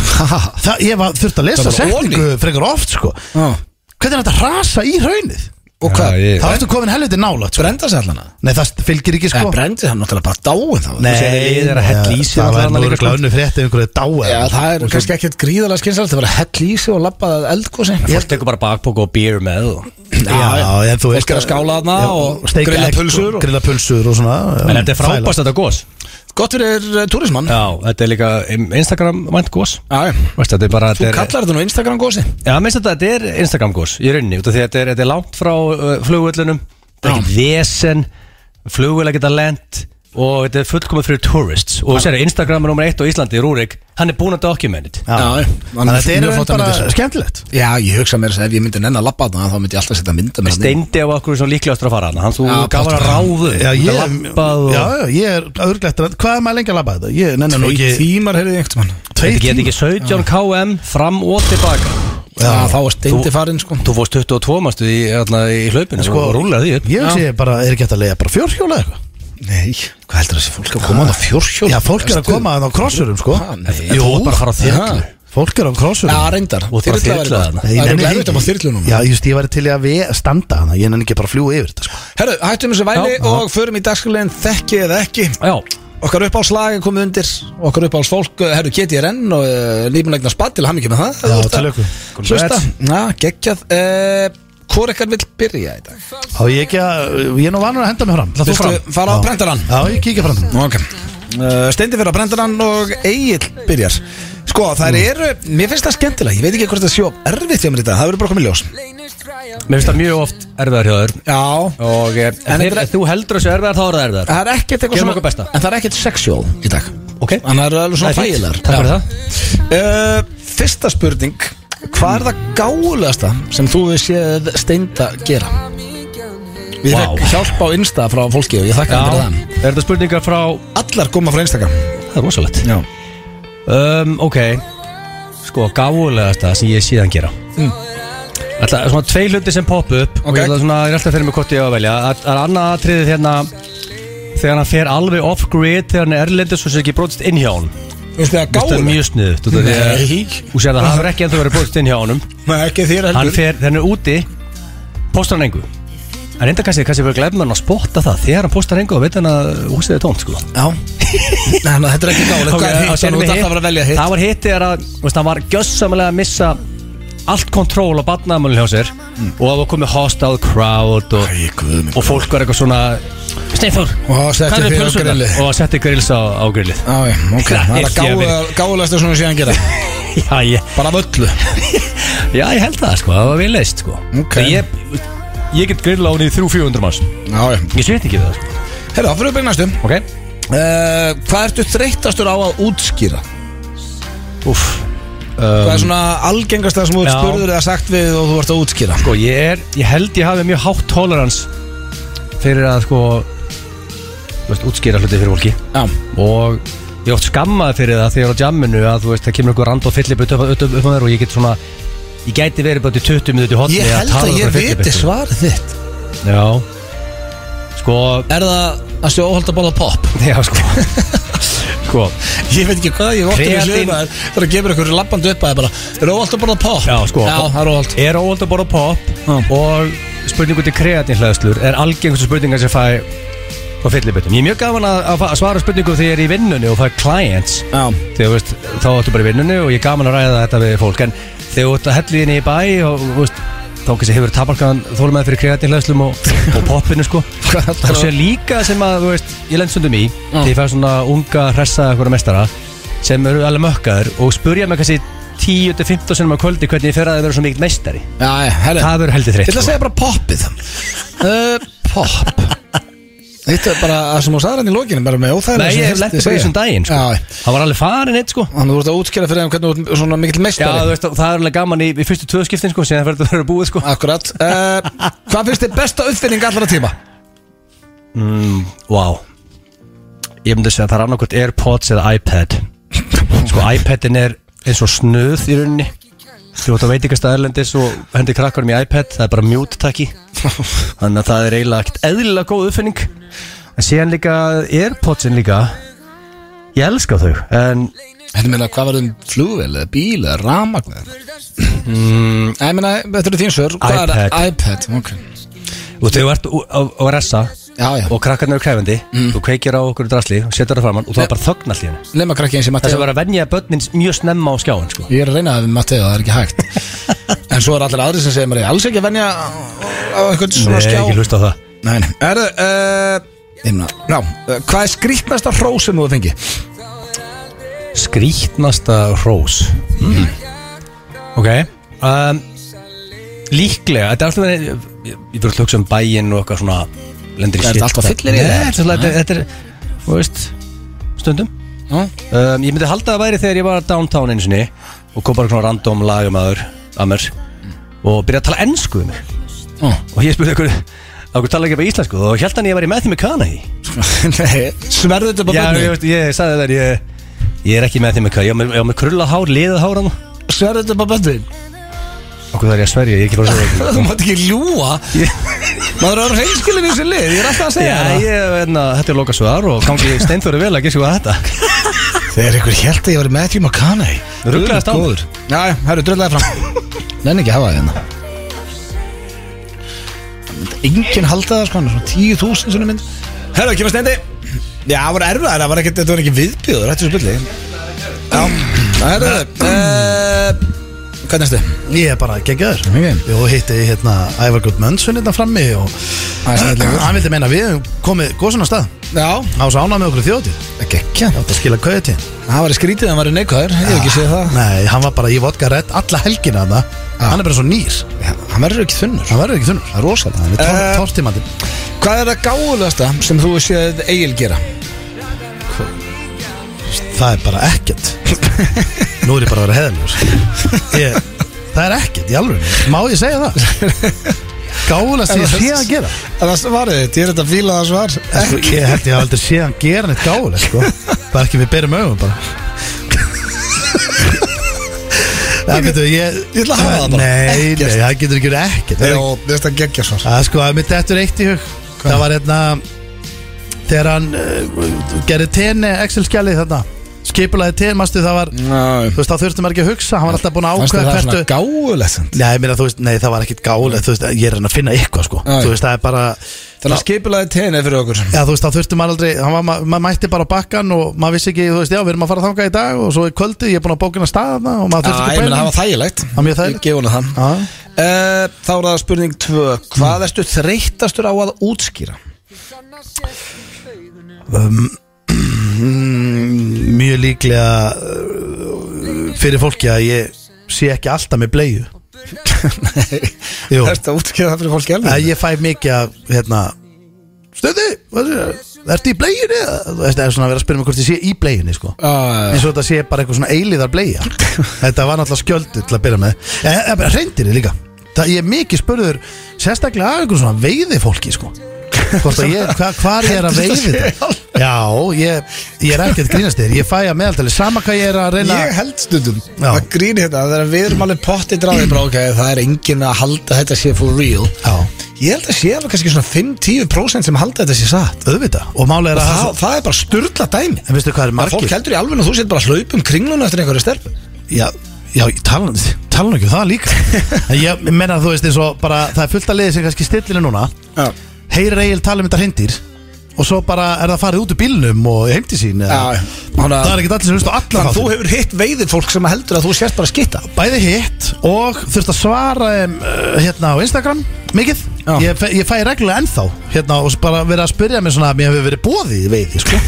Speaker 3: Það, ég var þurft að lesa
Speaker 1: Það var
Speaker 3: setningu frekar oft, sko Hvernig er þetta rasa í raunið?
Speaker 1: Og hvað?
Speaker 2: Já, ég-
Speaker 3: Það ertu komin helviti nálátt, sko
Speaker 1: Brenda sér allan að
Speaker 3: Nei, það fylgir ekki
Speaker 1: Það
Speaker 3: sko
Speaker 1: brendi hann náttúrulega bara dáin þá
Speaker 2: Þú segir liðið er að hella í sig
Speaker 3: það
Speaker 2: og
Speaker 3: var
Speaker 2: þarna líka,
Speaker 3: nú
Speaker 2: sko.
Speaker 3: örgulega önnu frétt ef einhverju dáið
Speaker 1: Já, það er kannski ekkert gríðalega skynsalegt að vera hell í sig og labbað eldgósi
Speaker 2: Fólk tekur bara bakpók og býr með og-
Speaker 3: já, já, en þú
Speaker 1: Fólk
Speaker 3: veist
Speaker 1: er að skála þarna
Speaker 3: Já,
Speaker 1: og
Speaker 3: steikja
Speaker 1: grilla
Speaker 3: egg
Speaker 1: pulsur
Speaker 3: og
Speaker 1: og-
Speaker 3: Grilla pulsur og svona já,
Speaker 2: En þetta er
Speaker 3: þvæla.
Speaker 2: frábæst þetta gos
Speaker 1: Gott fyrir uh, túrismann
Speaker 2: Já, þetta er líka Instagram vænt gos
Speaker 1: Já,
Speaker 2: Veist, þetta er bara
Speaker 1: Þú
Speaker 2: þetta er,
Speaker 1: kallar þetta nú Instagram gósi
Speaker 2: Já, minnst þetta, þetta er Instagram gos í rauninni út af því að þetta er, þetta er langt frá uh, flugvöllunum Þetta er ekki vesen Flugvölla geta lent Og þetta er fullkomið fyrir tourists Og þú sér, Instagram er nummer eitt á Íslandi, Rúrik Hann er búin að document it
Speaker 3: Já,
Speaker 1: Já, já.
Speaker 3: Þannig að
Speaker 1: Mjög
Speaker 3: þetta er
Speaker 1: flottar myndir.
Speaker 3: bara skemmtilegt
Speaker 1: Já, ég hugsa mér að ef ég myndi nenn að labba þarna þá myndi ég alltaf setja mynda mér
Speaker 2: Steindi á okkur sem líklegastur að fara hann Hann þú
Speaker 1: Já,
Speaker 2: gaf hann
Speaker 1: pottur.
Speaker 2: ráðu
Speaker 3: Já, ég,
Speaker 2: Lampað og
Speaker 3: já, já, ég er örglegt Hvað er maður lengi að labba þetta? Ég nenni nú
Speaker 1: Tvei
Speaker 3: ekki
Speaker 1: tímar heyrði ég einhvern mann
Speaker 3: Tveir
Speaker 2: Þetta geti ekki 17 km fram og tilbaka
Speaker 1: Já, þá var steindi
Speaker 2: Þú-
Speaker 1: farinn sko
Speaker 2: Þú fórst 22 mástu í, þarna í hlaupinu
Speaker 3: sko,
Speaker 2: og rúlar því upp
Speaker 3: Ég sé bara, er ekki hægt að leiða bara fjórhjóla eða eitthvað
Speaker 1: Nei, hvað heldur þessi fólk að koma á fjórhjól?
Speaker 3: Já, fólk er að koma að á krossurum sko
Speaker 1: Ha, nei.
Speaker 2: Jú,
Speaker 3: Jú,
Speaker 2: þú ert bara að fara á þyrlu
Speaker 1: Ha.
Speaker 3: fólk er á
Speaker 1: Já,
Speaker 3: krossurum
Speaker 1: reyndar
Speaker 2: Og bara
Speaker 1: Þyrla væri
Speaker 2: þyrla
Speaker 1: bara-
Speaker 2: þarna.
Speaker 1: Það
Speaker 3: Ég
Speaker 1: er
Speaker 3: nenni
Speaker 1: glæður
Speaker 3: ekki-
Speaker 1: þetta á þyrlu núna
Speaker 3: Já, just, ég væri til í að ve- standa hana Ég nenni ekki bara að fljúa yfir þetta sko.
Speaker 1: Herru, hættum þessu væli
Speaker 2: Já, já.
Speaker 1: og förum í dagskalinn Þekki eða ekki
Speaker 2: Já,
Speaker 1: Okkar uppáhaldslag er komið undir Okkar uppáhaldsfólk, uh, herru Keti RN og uh, nýbunlegna spatt til hammingi með það
Speaker 3: Já,
Speaker 1: Þú ert
Speaker 3: til
Speaker 1: að
Speaker 3: lukku.
Speaker 1: Hlusta, já, geggjað uh, Hvor ekkert vill byrja í dag?
Speaker 3: Á ég ekki að, ég er nú vanur að henda mig fram
Speaker 1: Viltu fara á
Speaker 3: Já.
Speaker 1: prentarann?
Speaker 3: Já, ég kíkja fram
Speaker 1: Ok uh, Steindi fyrir að brendarann og Egil byrjar Sko, þær
Speaker 2: Mm.
Speaker 1: eru, mér finnst það skemmtilega Ég veit ekki hvort það sé of erfitt hjá mér í dag Það verður bara komið ljós
Speaker 2: Mér finnst það mjög oft erfiðar hjá þér
Speaker 1: Já,
Speaker 2: Og eh, ef
Speaker 1: En
Speaker 2: þeir-
Speaker 1: þetta-
Speaker 2: ef þú heldur þessu erfiðar þá er það erfiðar
Speaker 1: það er ekkert eitthvað
Speaker 2: Gerum
Speaker 1: svona-
Speaker 2: okkar besta.
Speaker 1: En það er ekkert sexual í dag
Speaker 2: Ok,
Speaker 1: Þannig að það eru alveg svona
Speaker 2: Það er fínt.
Speaker 1: þægilegar
Speaker 2: Takk fyrir
Speaker 1: Já. Eh, Fyrsta spurning Hvað er það gáulegasta sem þú hefur séð steinda gera? Við
Speaker 2: Vá.
Speaker 1: fekk hjálp á Insta frá fólki og ég þakka það fyrir það
Speaker 2: er þetta spurningar frá
Speaker 1: Allar koma frá Instagram
Speaker 2: Það er rosalegt
Speaker 1: Já
Speaker 2: um, Ok, sko gáfulegasta sem ég síðan gera Ætla, svona tvei hluti sem popp upp og
Speaker 1: Mm. Ok.
Speaker 2: ég ætla svona, ég er alltaf fyrir mig hvort ég á að velja Það er annað atriðið hérna þegar hann fer alveg off-grid þegar hann er erlendis og sér ekki brotist inn hjá hann
Speaker 1: Þú veist það
Speaker 2: Þetta er
Speaker 1: gáuleg
Speaker 2: mjög sniðut og sér það hafur ekki ennþá verið brotist inn hjá honum
Speaker 1: Nei, ekki þér
Speaker 2: hann
Speaker 1: heldur
Speaker 2: fer, þegar hann er úti postar hann engu en enda kannski, kannski verið glæfum hann að spotta það þegar hann postar engu og veit hann að húsið er tómt sko
Speaker 1: Já Nei, ná, þetta er ekki gálega,
Speaker 2: Ok,
Speaker 1: hvað er hitt?
Speaker 2: segjum
Speaker 1: Þannig
Speaker 2: við
Speaker 1: að það var að velja hitt
Speaker 2: Það var hitt þegar að þú veist, hann var gjössamlega að missa allt kontról á barnaðamölinu hjá sér
Speaker 1: Mm.
Speaker 2: og það var komið hostile crowd og,
Speaker 1: Æ, guð minn
Speaker 2: og fólk var eitthvað svona Steinþór,
Speaker 1: Og setti
Speaker 2: hvað er
Speaker 1: þig á
Speaker 2: pulsurnar?"
Speaker 1: grillið.
Speaker 2: og setti grills á, á grillið
Speaker 1: Já, já, ok, það er að gálegasta svona síðan gera
Speaker 2: já, ég,
Speaker 1: Bara af öllu
Speaker 2: já, ég held það sko, það var vel leist sko
Speaker 1: Ok.
Speaker 2: Þegar ég, ég get grilla á hún í 300-400 manns
Speaker 1: Já, já
Speaker 2: ég sveit ekki það sko
Speaker 1: Herra, það fyrir upp í næstu
Speaker 2: okay?
Speaker 1: uh, Hvað ertu þreytastur á að útskýra?
Speaker 2: Úff
Speaker 1: Hvað er svona algengast það sem þú ert
Speaker 2: Um, Já.
Speaker 1: spurður eða sagt við og þú ert að útskýra?
Speaker 2: Sko ég er, ég held ég hafi mjög hátt tolerans fyrir að sko þú veist, útskýra hluti fyrir fólki
Speaker 1: Já,
Speaker 2: og ég er oft skammaði fyrir það þegar ég er á jamminu að þú veist, það kemur einhver rand og fyllip upp, upp, upp, upp á mér og ég get svona ég gæti verið bara til 20 minúti hotni
Speaker 1: ég held að ég viti svarið þitt
Speaker 2: sko. Já Sko,
Speaker 1: Er það að stjó óhald að bóla pop?
Speaker 2: já sko Sko,
Speaker 1: Ég veit ekki hvað, ég er óhald að bóla
Speaker 2: Kreatín.
Speaker 1: pop Það er að gefa ykkur lappandi upp að það bara Er óhald að bóla pop?
Speaker 2: já sko
Speaker 1: Já, það er óhald
Speaker 2: Er óhald að borða pop
Speaker 1: Já.
Speaker 2: og spurningu til kreatín hlæðslur er algengustu spurningar sem fæ á fyllibötum. Ég er mjög gaman að, að fa- að svara spurningum þegar ég er í vinnunni og fæ clients
Speaker 1: Já,
Speaker 2: þegar þú veist, þá ættu bara í vinnunni og ég er gaman að ræða þetta við fólk en þegar þú ert að hellu þín í bæ og þú veist, þá kannski hefur tabarkaðan þólmaði fyrir kreatinhlæðslum og, og poppinu sko
Speaker 1: Hvað er
Speaker 2: og sér líka sem að, þú veist, ég lend stundum í
Speaker 1: Já.
Speaker 2: þegar ég fæ svona unga hressa eitthvað mestara sem eru alveg mökkaður og spurja mig kannski 10-15 sinum á kvöldi hvernig ég fer að það vera svo mikill meistari
Speaker 1: Já, já, herri
Speaker 2: það verður heldur
Speaker 1: Ég ætla að
Speaker 2: þreytt sko.
Speaker 1: segja bara popið uh, Pop Þetta er bara að sem þú sagði hann í lokinu bara með óþægilega
Speaker 2: sko. Nei, ég lendi bara í þessum daginn sko.
Speaker 1: Já,
Speaker 2: Það var alveg farin eitt sko
Speaker 1: þannig að þú ert að útskjæra fyrir þeim hvernig þú ert svona mikill
Speaker 2: Já,
Speaker 1: meistari
Speaker 2: þú veist, það er alveg gaman í, í fyrstu tvö skiptin sko síðan verður það að vera búið sko
Speaker 1: Akkurat uh, Hvað finnst þið besta uppfinning allra tíma?
Speaker 2: Vá Ég myndi segja að það er annarkvæmt Airpods eða iPad Sko iPadin er eins og snuð í rauninni Þú ert að veit ekki að staðarlendis og hendi krakkarum í iPad Það er bara mute takki Þannig að það er eiginlega ekkert eðlilega góð uppfinning En síðan líka Airpodsin líka Ég elska þau En
Speaker 1: Þetta meina, hvað verður um flugvél, eða bíl, eða ramagn mm, Ég meina, þetta eru þín sör Hvað er iPad? Ok
Speaker 2: og þau ert á, á, á ressa
Speaker 1: Já, já
Speaker 2: Og krakkarnir eru kræfandi
Speaker 1: Mm.
Speaker 2: Þú kveikir á okkur drasli og setur það framann Og þú er bara þögn allt í henni
Speaker 1: Nefna krakki eins og
Speaker 2: Það
Speaker 1: Matti
Speaker 2: sem var að venja börnin mjög snemma á skjáin sko.
Speaker 1: Ég er að reyna það við Matteo, það er ekki hægt En svo er allir aðri sem segir mér "Ég er alls ekki að venja á á einhvern svona
Speaker 2: Nei,
Speaker 1: skjá
Speaker 2: ekki hlusta á það
Speaker 1: Nei, nei Erðu, uh, einna, já, uh, hvað er skrýtnasta hrós sem þú hefur fengið?
Speaker 2: Skrítnasta rós mm. Ok um, Líklega Þetta er alltaf verið Ég ég fyrir að hugsa um bæinn og eitthvað svona Lendir í sko.
Speaker 1: Er þetta alltaf fyllir í
Speaker 2: Nei,
Speaker 1: það?
Speaker 2: þetta er alltaf- Þetta er Þú veist Stundum
Speaker 1: Já.
Speaker 2: um, Ég myndi halda að væri þegar ég var downtown einu sinni Og kom bara svona random lagumæður Að mér Og byrja að tala ennsku um mig
Speaker 1: Ó.
Speaker 2: Og ég spurði okkur Okkur tala ekki bara íslensku Og held hann ég væri með því með kana í
Speaker 1: Nei, sverðu þetta bara
Speaker 2: Já, ég,
Speaker 1: bönni
Speaker 2: veist, ég sagði það ég, ég er ekki með þeim eitthvað Ég á með, ég á með krullað hár, liðað hár hann
Speaker 1: Sverðu þetta bara bönni
Speaker 2: Okkur það er ég að sverja, ég er ekki bara að segja
Speaker 1: Þú mátt ekki ljúa Maður er reynskilin í þessu lið, ég er alltaf að
Speaker 2: Já,
Speaker 1: segja það
Speaker 2: ég, enna, þetta er loka svar og gangi steinþóri vel að gíska hvað þetta
Speaker 1: Þegar ykkur held að ég var Matthew McConaughey
Speaker 2: Ruglaðist á
Speaker 1: Góður. Já, já, herru, drullaði fram Nenni ekki að hafa það hérna Engin halda það sko, hann er svona tíu þúsund svona mynd Herru, kemur stendi Já, það var erfið, það var ekkert, þetta var ekki viðbjöður, þetta er spilli Já, herru uh, Hvað næstu?
Speaker 3: Ég er bara geggjaður
Speaker 1: Ok.
Speaker 3: Jó, hitti hérna Ævar Guðmundsson hérna frammi og
Speaker 1: Æ, snillingur.
Speaker 3: hann vildi meina að við höfum komið góðsuna stað
Speaker 1: Já,
Speaker 3: á svo ánað með okkur þjótið
Speaker 1: ekki ekki
Speaker 3: Já, það skila kauði til
Speaker 1: Það var skrítið, hann var neikvæður, ég hef ekki séð það
Speaker 3: Nei, hann var bara í vodka redd alla helgina þarna
Speaker 1: Ah.
Speaker 3: Hann er bara svo nýr
Speaker 1: Já, Hann verður ekki þunnur
Speaker 3: Hann verður ekki þunnur
Speaker 1: Það er rosalega
Speaker 3: Við
Speaker 1: Eh,
Speaker 3: tórtimandi
Speaker 1: Hvað er það gáðulegasta sem þú séð Egil gera?
Speaker 3: Það er bara ekkert Nú er ég bara að vera heðaljós ég, Það er ekkert, í alveg Má ég segja það? Gáðulegast ég sé að gera
Speaker 1: Er það svarið þitt? Ég er þetta að fíla það svar
Speaker 3: sko, Ég held ég að aldrei sé að gera neitt gáðulegast sko. Bara ekki við berum augum bara Það getur ég
Speaker 1: Ég ætla að hafa það bara.
Speaker 3: Nei, nei,
Speaker 1: Ekkert.
Speaker 3: það getur ekki verið ekkert Það er
Speaker 1: Jó, þetta er geggja svar
Speaker 3: Það er sko, að mitt eftir eitt í hug Það var hérna Þegar hann uh, gerði tenni eh, Excel-skjalið þarna skipulaði til, mástu það var
Speaker 1: Ná,
Speaker 3: Þú veist, þá þurftum maður ekki að hugsa, hann var alltaf búin að
Speaker 1: Fannst þér
Speaker 3: ákveða
Speaker 1: það
Speaker 3: hvertu
Speaker 1: svona gáulegt samt?
Speaker 3: Nei, meina, þú veist, nei, það var ekkit gálega, þú veist, ég er að reyna að finna eitthvað, sko
Speaker 1: Já, já.
Speaker 3: Þú veist, það er bara
Speaker 1: Þannig að skipulaði tenið fyrir okkur
Speaker 3: Já, þú veist, þá þurftum maður aldrei, hann var- ma- maður mætti bara á bakkan og maður vissi ekki, þú veist, já, við erum að fara þangað í dag og svo er kvöldið, ég er búin að bókina staðna og maður
Speaker 1: Já,
Speaker 3: þurfti
Speaker 1: ég
Speaker 3: ekki
Speaker 1: meina það
Speaker 3: að
Speaker 1: var þægilegt
Speaker 3: var mjög þægilegt.
Speaker 1: Ég gef hana það
Speaker 3: Já.
Speaker 1: Eh, Þá er það spurning 2 Hvað erstu þreytastur á að útskýra?
Speaker 3: bæna Mjög líklega uh, fyrir fólki að ég sé ekki alltaf með bleiðu Jú.
Speaker 1: Erstu að útskýra það fyrir fólki alveg?
Speaker 3: að ég fæ mikið að, hérna, stöði, hvað er það, ertu í bleiðinni? Þú veist, það er svona að vera að spyrja mig hvort ég sé í bleiðinni, sko
Speaker 1: Já,
Speaker 3: eins og þetta sé bara eitthvað svona eilíðar bleia þetta var náttúrulega skjöldu til að byrja með en reyndir líka það, ég er mikið spurður sérstaklega að einhvern svona veiði fólki sko Hvort að ég, hva, hvar ég er að veiði þetta já, ég, ég er ekkert grínast þér ég fæ að meðaltali, sama hvað ég er að reyna
Speaker 1: Ég held stundum
Speaker 3: Já.
Speaker 1: að gríni hérna þegar við erum alveg potti dráði bara ok, það er enginn að halda þetta sé for real
Speaker 3: já,
Speaker 1: Ég held að sé alveg kannski svona 5-10% sem halda þetta sé satt
Speaker 3: auðvitað, og málega er
Speaker 1: og
Speaker 3: að
Speaker 1: það, það er bara styrla dæmi
Speaker 3: en veistu hvað er
Speaker 1: að fólk
Speaker 3: margir
Speaker 1: heldur í alveg og þú sétt bara að hlaupa um kringlun eftir einhverju stelpu
Speaker 3: já, já, talan talan ekki um það líka en ég menna þú veist eins og bara það er fullt að liði sem kannski stillinu núna
Speaker 1: Já,
Speaker 3: heyrir Egil tala um þetta hrindir og svo bara er það farið út úr bílnum og heim til sín eða-
Speaker 1: Þannig
Speaker 3: það er
Speaker 1: að
Speaker 3: ekkert allir sem hlustu alla
Speaker 1: þannig að þú
Speaker 3: þáttir
Speaker 1: hefur hitt veiðið fólk sem heldur að þú sért bara að skitta
Speaker 3: bæði hitt og þurft að svara um, uh, hérna á Instagram mikið
Speaker 1: Já.
Speaker 3: ég, fe- ég fæ reglulega ennþá hérna og s- bara verið að spyrja mig svona að mér hefur verið bóðið í veiði sko.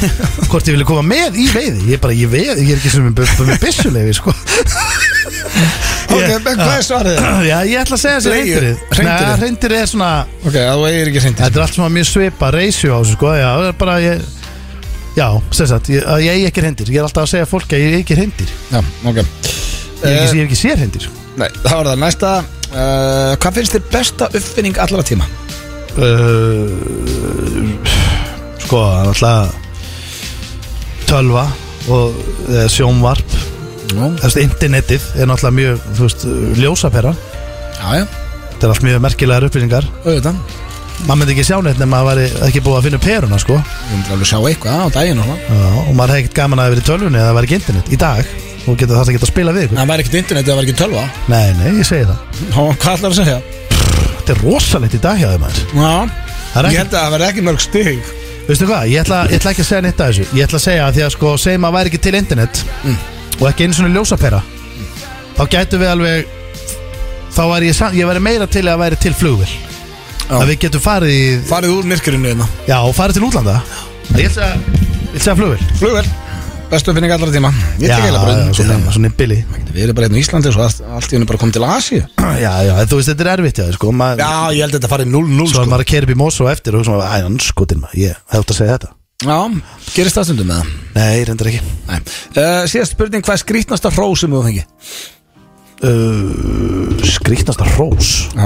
Speaker 3: hvort ég vilja koma með í veiði ég er bara, ég, veið, ég er ekki sem með byssuleifi sko.
Speaker 1: Ok,
Speaker 3: Ég-
Speaker 1: en hvað er svarið?
Speaker 3: já, ég ætla að segja þessi
Speaker 1: Bleiu,
Speaker 3: reyndirið
Speaker 1: hreindýrið.
Speaker 3: Nei, reyndirið er svona
Speaker 1: Ok, að þú eigir ekki hreint
Speaker 3: Þetta er allt svona mjög svipa reysju á þessu sko Já, það er bara ég Já, sem sagt, ég, að ég eigi ekki reyndir Ég er alltaf að segja fólki að ég eigi ekki reyndir
Speaker 1: Já, ok Eh,
Speaker 3: Ég er ekki, sko. ég er ekki sér reyndir
Speaker 1: Nei, það var það næsta uh, Hvað finnst þér besta uppfinning allra tíma?
Speaker 3: uh, Sko, það er alltaf Tölva og e, sjónvarp
Speaker 1: Nú,
Speaker 3: Þú veist, Internetið er náttúrulega mjög, þú veist, ljósapera
Speaker 1: já, já,
Speaker 3: Þetta er allt mjög merkilegar uppbyrningar
Speaker 1: auðvitað
Speaker 3: Maður myndi ekki sjá neitt nema að væri ekki búið að finna upp peruna, sko
Speaker 1: Við myndum alveg sjá eitthvað á daginn og svona
Speaker 3: Já, Og maður hefði ekkert gaman að það verið í tölvunni eða það væri ekki internet í dag Þú getur það að geta að spila við ykkur
Speaker 1: Það var ekkert internetið, það var ekki tölva
Speaker 3: Nei, nei, ég segi það
Speaker 1: Og hvað ætlar að segja?
Speaker 3: Þetta er rosalegt í dag hjá þeim aðeins
Speaker 1: Já,
Speaker 3: Það er
Speaker 1: ég
Speaker 3: ekki-
Speaker 1: held að það var ekki mörg stig
Speaker 3: Veistu hvað, ég ætla, ég ætla ekki að segja neitt að þessu Ég ætla að segja að því að sko segjum að væri ekki til internet Og ekki einu svona ljósapera Þá gætum við alveg Þá væri ég, sam- ég væri meira til að væri til flugvél
Speaker 1: Já.
Speaker 3: Að við getum farið í
Speaker 1: Farið úr myrkurinu hérna
Speaker 3: Já, og farið til útlanda Ég ætla að, ég ætla að segja flugvél
Speaker 1: Flugvel, bestu uppfinning allra tíma Ég
Speaker 3: Já,
Speaker 1: tek eiginlega bara sko.
Speaker 3: já,
Speaker 1: undir
Speaker 3: svona,
Speaker 1: það.
Speaker 3: svona billi
Speaker 1: Við erum bara hérna í Íslandi og svo allt- allt í hennu bara komið til Asi Já,
Speaker 3: Já, já, þú veist, þetta er erfitt já, sko, maður,
Speaker 1: ég held að þetta farið 0-0
Speaker 3: Svo
Speaker 1: sko.
Speaker 3: að maður að keira upp í Mosó eftir og svona, æ, hann skotin maður, ég hefði að segja þetta
Speaker 1: Já, gerist það stundum með það
Speaker 3: Nei, reyndar ekki
Speaker 1: Nei. Uh, síðast spurning, hvað er skrýtnasta hró sem þú fengi?
Speaker 3: uh, Skrýtnasta rós
Speaker 1: Já.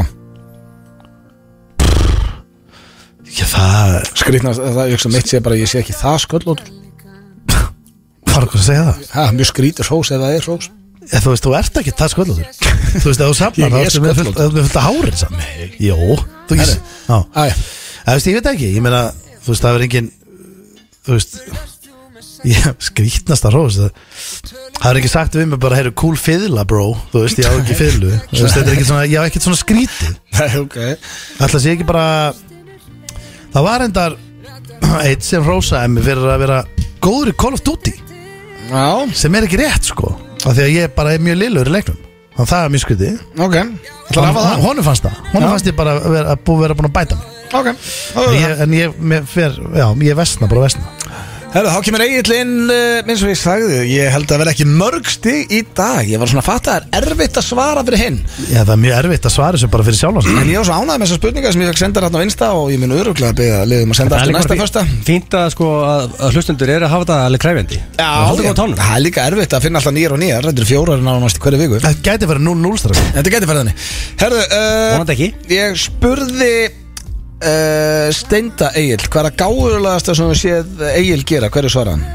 Speaker 3: Já, það
Speaker 1: Skrýtnasta, það er ekki sem mitt sé bara, ég sé ekki það sko, sköllótur
Speaker 3: Hvað er okkur að segja það?
Speaker 1: Það er mjög skrýtur hrós eða það er hrós
Speaker 3: Ég, þú veist, þú ert ekki það sköllótur Þú veist, ef þú
Speaker 1: Ég
Speaker 3: safnar þá
Speaker 1: er
Speaker 3: ertu með fullt-
Speaker 1: sköllóttur.
Speaker 3: þú ert með fullt að hárið saman Jó, þú ekki
Speaker 1: Herri.
Speaker 3: Já,
Speaker 1: Æ,
Speaker 3: þú veist, ég veit ekki Ég meina, þú veist, það er engin Þú veist Ég skrýtnasta rós Það það er ekki sagt við mig bara, heyrðu, cool fiðla, bro Þú veist, ég á ekki fiðlu Þú veist, þetta er ekki svona, ég á ekkert svona skrítið
Speaker 1: Nei, ok
Speaker 3: Ætla sé ekki bara Það var endar Eitt sem rósaði mig fyrir að vera Góður í Call of Duty
Speaker 1: Já,
Speaker 3: Sem er ekki rétt sko Af því að ég bara er mjög lillur í leiknum Þannig að það er mjög skriti
Speaker 1: ok Það var það
Speaker 3: Honum fannst það Honum
Speaker 1: Já.
Speaker 3: fannst ég bara að vera, að bú, vera búin að bæta mig
Speaker 1: Ok,
Speaker 3: En ég, en ég, mér fer, já, ég vesna bara vesna
Speaker 1: Herru, þá kemur Egil inn uh, eins og ég sagði, ég held að vera ekki mörg stig í dag, ég var svona að fatta það er erfitt að svara fyrir hinn
Speaker 3: Já það er mjög erfitt að svara þessu bara fyrir sjálf
Speaker 1: en ég var svo ánægð með þessar spurningar sem ég fekk senda hérna á Insta og ég mun öruglega að beða liðum um að senda
Speaker 2: Það er
Speaker 1: aftur
Speaker 2: líka
Speaker 1: næsta
Speaker 2: bara
Speaker 1: fyrsta
Speaker 2: fí- Fínt að sko að, að hlustendur eru að hafa það alveg kræfjandi
Speaker 1: Já,
Speaker 2: Haldur
Speaker 1: ég-
Speaker 2: góð tónum
Speaker 1: það er líka erfitt að finna alltaf nýjar og nýjar Þetta eru fjórar nánast í hverju viku
Speaker 3: Það gæti verið 0-0 strax
Speaker 1: Þetta geti verið þannig Herðu, uh,
Speaker 2: Vonandi ekki.
Speaker 1: ég spurði uh, Steinda Egil Hvað er að gáðurlegasta sem þú séð Egil gera? Hverju svara hann?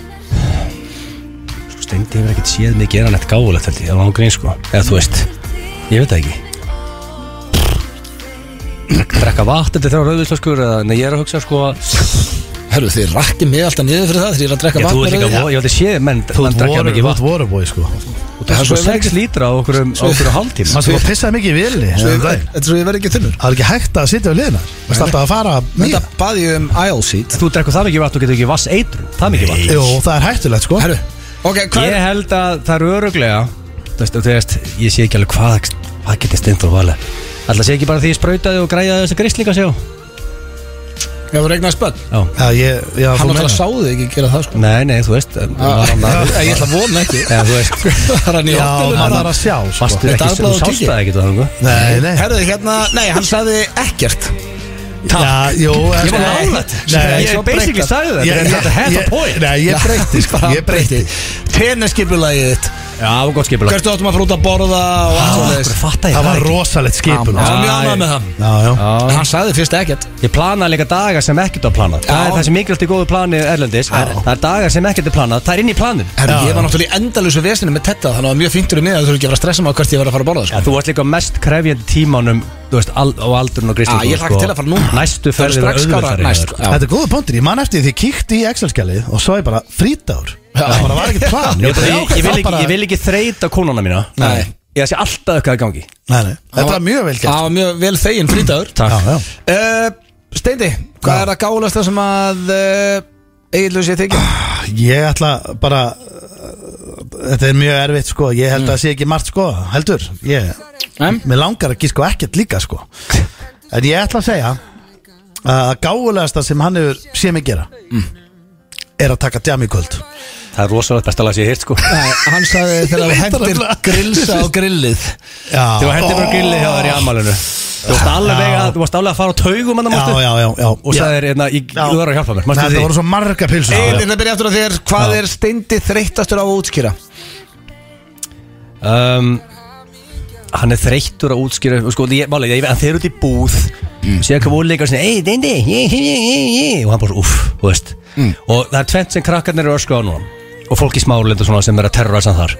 Speaker 2: Sko, Steindi hefur ekkert séð mig gera neitt gáfulegt held ég, það var án grín sko Eða þú veist, ég veit það ekki Drekka vatn eftir þrjá rauðvíslöskur eða, nei ég er sko, að hugsa sko að
Speaker 1: Herru, þið rakkið mig alltaf niður fyrir það þegar ég er að drekka
Speaker 2: Já, þú
Speaker 1: vatn með
Speaker 2: ert líka
Speaker 1: rauði.
Speaker 2: voru, ég ætla að sé, menn,
Speaker 3: Þú
Speaker 2: hann drakk mikið
Speaker 3: ert
Speaker 2: vatn
Speaker 3: voruboy sko
Speaker 2: Þú tókst
Speaker 1: Svo
Speaker 2: sko
Speaker 1: ég verð
Speaker 2: 6 lítra á okkur um, á okkur hálftíma
Speaker 3: Hann sko pissaði mikið í villi
Speaker 1: Svo ég-
Speaker 3: um daginn.
Speaker 1: Þetta er svo ég verð ekki þunnur
Speaker 3: Það er ekki hægt að sitja við liðina Það er alltaf að fara
Speaker 1: Þetta
Speaker 3: mýra
Speaker 1: baði ég um aisle seat
Speaker 2: Þú drekku það mikið vatn, þú getur ekki vass eitrun Það mikið vatn
Speaker 3: Jú, það er hættulegt sko
Speaker 1: Herru, ok, hvað
Speaker 2: Ég
Speaker 1: er
Speaker 2: held að það eru öruglega Þú veist, þú veist, ég sé ekki alveg hvað Hvað getið stendur valega Alltaf sé ekki bara því ég sprautaði og græjaði þessi grislinga sjá
Speaker 1: Ég hafði regnað spöld
Speaker 2: Já
Speaker 3: Já, ég, já,
Speaker 1: Hann
Speaker 3: þú
Speaker 1: náttúrulega
Speaker 3: meina
Speaker 1: sáði ekki gera það sko
Speaker 2: Nei, nei, þú veist
Speaker 1: Ah,
Speaker 2: var hann að-
Speaker 1: Ég ætla að vona ekki
Speaker 2: Já, þú veist
Speaker 1: Það er hann í
Speaker 3: Já,
Speaker 1: hoppinu
Speaker 3: maður
Speaker 1: bara.
Speaker 3: þarf að sjá
Speaker 2: Vastu
Speaker 3: sko
Speaker 1: Með
Speaker 2: ekki, þú
Speaker 1: dagblað og
Speaker 2: sást
Speaker 1: kíkir.
Speaker 2: það ekki sko. það þangu
Speaker 3: Nei, nei
Speaker 1: Herðu, hérna, nei, hann sagði ekkert
Speaker 3: Já, jú
Speaker 2: Ég var
Speaker 3: Nei.
Speaker 2: nálægt
Speaker 3: Nei, sko.
Speaker 2: Ég
Speaker 1: svo
Speaker 2: basically
Speaker 1: breytt.
Speaker 2: sagði það
Speaker 3: Ég-
Speaker 2: En þetta er half a
Speaker 3: ég-
Speaker 2: point
Speaker 3: Nei, ég breyti sko Ég breyti
Speaker 1: Tenniskipulagið þitt
Speaker 2: Já, það var gott skipulag
Speaker 1: Hvertu áttum að fara út að borða og allt
Speaker 2: Hvað
Speaker 1: svoleiðis.
Speaker 2: fattar ég
Speaker 3: Það var
Speaker 2: ekki?
Speaker 3: rosalegt skipun
Speaker 1: Hann
Speaker 3: Já,
Speaker 1: var mjög
Speaker 2: Æ.
Speaker 1: ánægð með það
Speaker 3: já
Speaker 1: En
Speaker 2: Já,
Speaker 1: Hann sagði fyrst ekkert
Speaker 2: Ég planaði líka daga sem ekkert var planað Það
Speaker 1: Já.
Speaker 2: er það sem mikilvægt í góðu plani Erlendis er- Það er dagar sem ekkert er planað Það er inn í planinu
Speaker 1: Herru,
Speaker 3: Já.
Speaker 1: ég var náttúrulega í endalösu vesinu með Tetta Þannig að það var mjög fíntur í mig að þú þurfum ekki að vera að stressa mig á hvert ég var að fara að borða sko.
Speaker 2: Já, þú varst líka mest krefjandi tímanum Þú veist, al, á aldurinn og gristingum
Speaker 1: Já, ég hlakka til að fara núna.
Speaker 2: Næstu
Speaker 1: Það eru
Speaker 2: ferðir
Speaker 1: strax skárra næst, sko. Já.
Speaker 3: Þetta er góða punktur, ég man eftir því ég kíkti í Excel-skjalið og svo ég bara frítagur Það bara var ekkert plan
Speaker 2: Ég, ég, ég, vil
Speaker 3: Það
Speaker 2: ekki,
Speaker 3: bara-
Speaker 2: ég vil ekki þreita konuna mína
Speaker 1: Nei.
Speaker 2: Ég sé alltaf eitthvað að gangi
Speaker 3: Nei, nei, Þetta
Speaker 1: Það
Speaker 3: var mjög vel gert
Speaker 1: Það var mjög vel þegin frítagur
Speaker 2: Takk
Speaker 3: Já, já.
Speaker 1: uh, Steindi, hvað
Speaker 3: Já.
Speaker 1: er að gála það sem að uh, Egilur sé tekið?
Speaker 3: Ég ætla bara uh, Þetta er mjög erfitt sko Ég
Speaker 2: Mm.
Speaker 3: held að það sé ekki margt sko Heldur ég,
Speaker 1: Nei.
Speaker 3: Mér langar ekki sko ekkert líka sko En ég ætla að segja að gáulegasta sem hann hefur sé mig gera
Speaker 2: Mm.
Speaker 3: er að taka djam í kvöld
Speaker 2: Það er rosalega besta lag sem ég heilt sko
Speaker 1: Nei, hann sagði þegar þú hendir grillsa á grillið
Speaker 3: Já,
Speaker 2: Þú hendur bara grilli hjá þér í amalinu Þú varst alveg
Speaker 3: Já.
Speaker 2: að, þú varst alveg að fara á taugum hann
Speaker 3: já,
Speaker 2: mástu
Speaker 3: já, já, já.
Speaker 2: Og sagðir, hérna, ég-
Speaker 3: Já.
Speaker 2: þú verður að hjálpa mér, manstu
Speaker 3: Þetta
Speaker 2: því?
Speaker 3: voru svo marga pilsur
Speaker 1: Egilur, það byrja aftur á þér Hvað
Speaker 2: Já.
Speaker 1: er Steindi þreyttastur á að útskýra?
Speaker 2: um, Hann er þreyttur að útskýra og sko, ég, málega, ég, hann fer út í búð mm. sér hvað voleika og svona ei, dindi, ei, ei, ei, ei og hann bara, uff, þú veist
Speaker 1: Mm.
Speaker 2: og það er tvent sem krakkarnir eru ösku á núna og fólk í smálind og svona sem er að terrorisa hann þar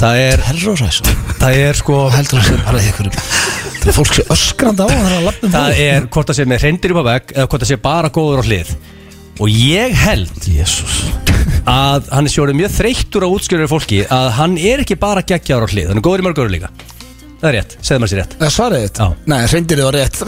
Speaker 2: það er,
Speaker 1: Herroræs
Speaker 2: það er sko
Speaker 1: Heldur hann sem bara hérna? ykkur Það er fólk sem öskrandi á hann þegar hann um lappum
Speaker 2: það er hvort það sé með hreindir upp á vegg eða hvort það sé bara góður á hlið og ég held
Speaker 3: Jésús
Speaker 2: að hann er sjórið mjög þreyttur á útskjöru fólki að hann er ekki bara geggjáður á hlið hann er góður í mörgur líka það er rétt, segðu maður sér rétt
Speaker 1: Það svaraði þetta?
Speaker 2: Já.
Speaker 1: Nei, reyndir þið var rétt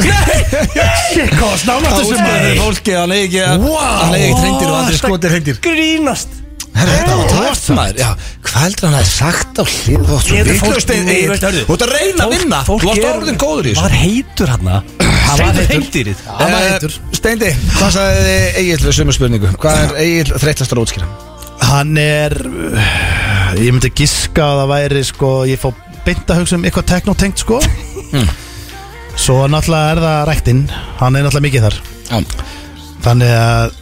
Speaker 3: Shit, hvað snála
Speaker 1: Það
Speaker 3: þessu
Speaker 1: útskýraði
Speaker 3: maður
Speaker 1: fólki að hann eigi ekki
Speaker 3: Vá.
Speaker 1: Hann eigi ekki reyndir og
Speaker 2: Ó,
Speaker 1: aldrei
Speaker 2: þetta
Speaker 1: skotir reyndir
Speaker 2: grínast
Speaker 1: Herra, þetta var
Speaker 3: rosalegt.
Speaker 1: tæft maður Já, Hvað heldur hann að sagt á hlið Þú
Speaker 2: Ég veit,
Speaker 1: varst
Speaker 2: fólk-
Speaker 1: vitlaust, Egill.
Speaker 2: ég veit, hörðu.
Speaker 1: Þú ert að reyna að
Speaker 2: Fólk-
Speaker 1: vinna Þú
Speaker 2: fólk
Speaker 1: varst
Speaker 2: er-
Speaker 1: orðin góður í þessu
Speaker 2: var heitur hann
Speaker 3: var
Speaker 2: Segðu
Speaker 3: heitur.
Speaker 2: heimdýrið
Speaker 3: hann var heitur.
Speaker 1: Eh, Steindi, hvað sagði þið Egil við sömu spurningu? Hvað er Egil þreyttastur að útskýra?
Speaker 3: Hann er uh, Ég myndi giska að það væri sko Ég fó beint að hugsa um eitthvað teknotengt sko
Speaker 2: Hmm.
Speaker 3: Svo náttúrulega er það ræktinn Hann er náttúrulega mikið þar
Speaker 1: Já.
Speaker 3: Þannig að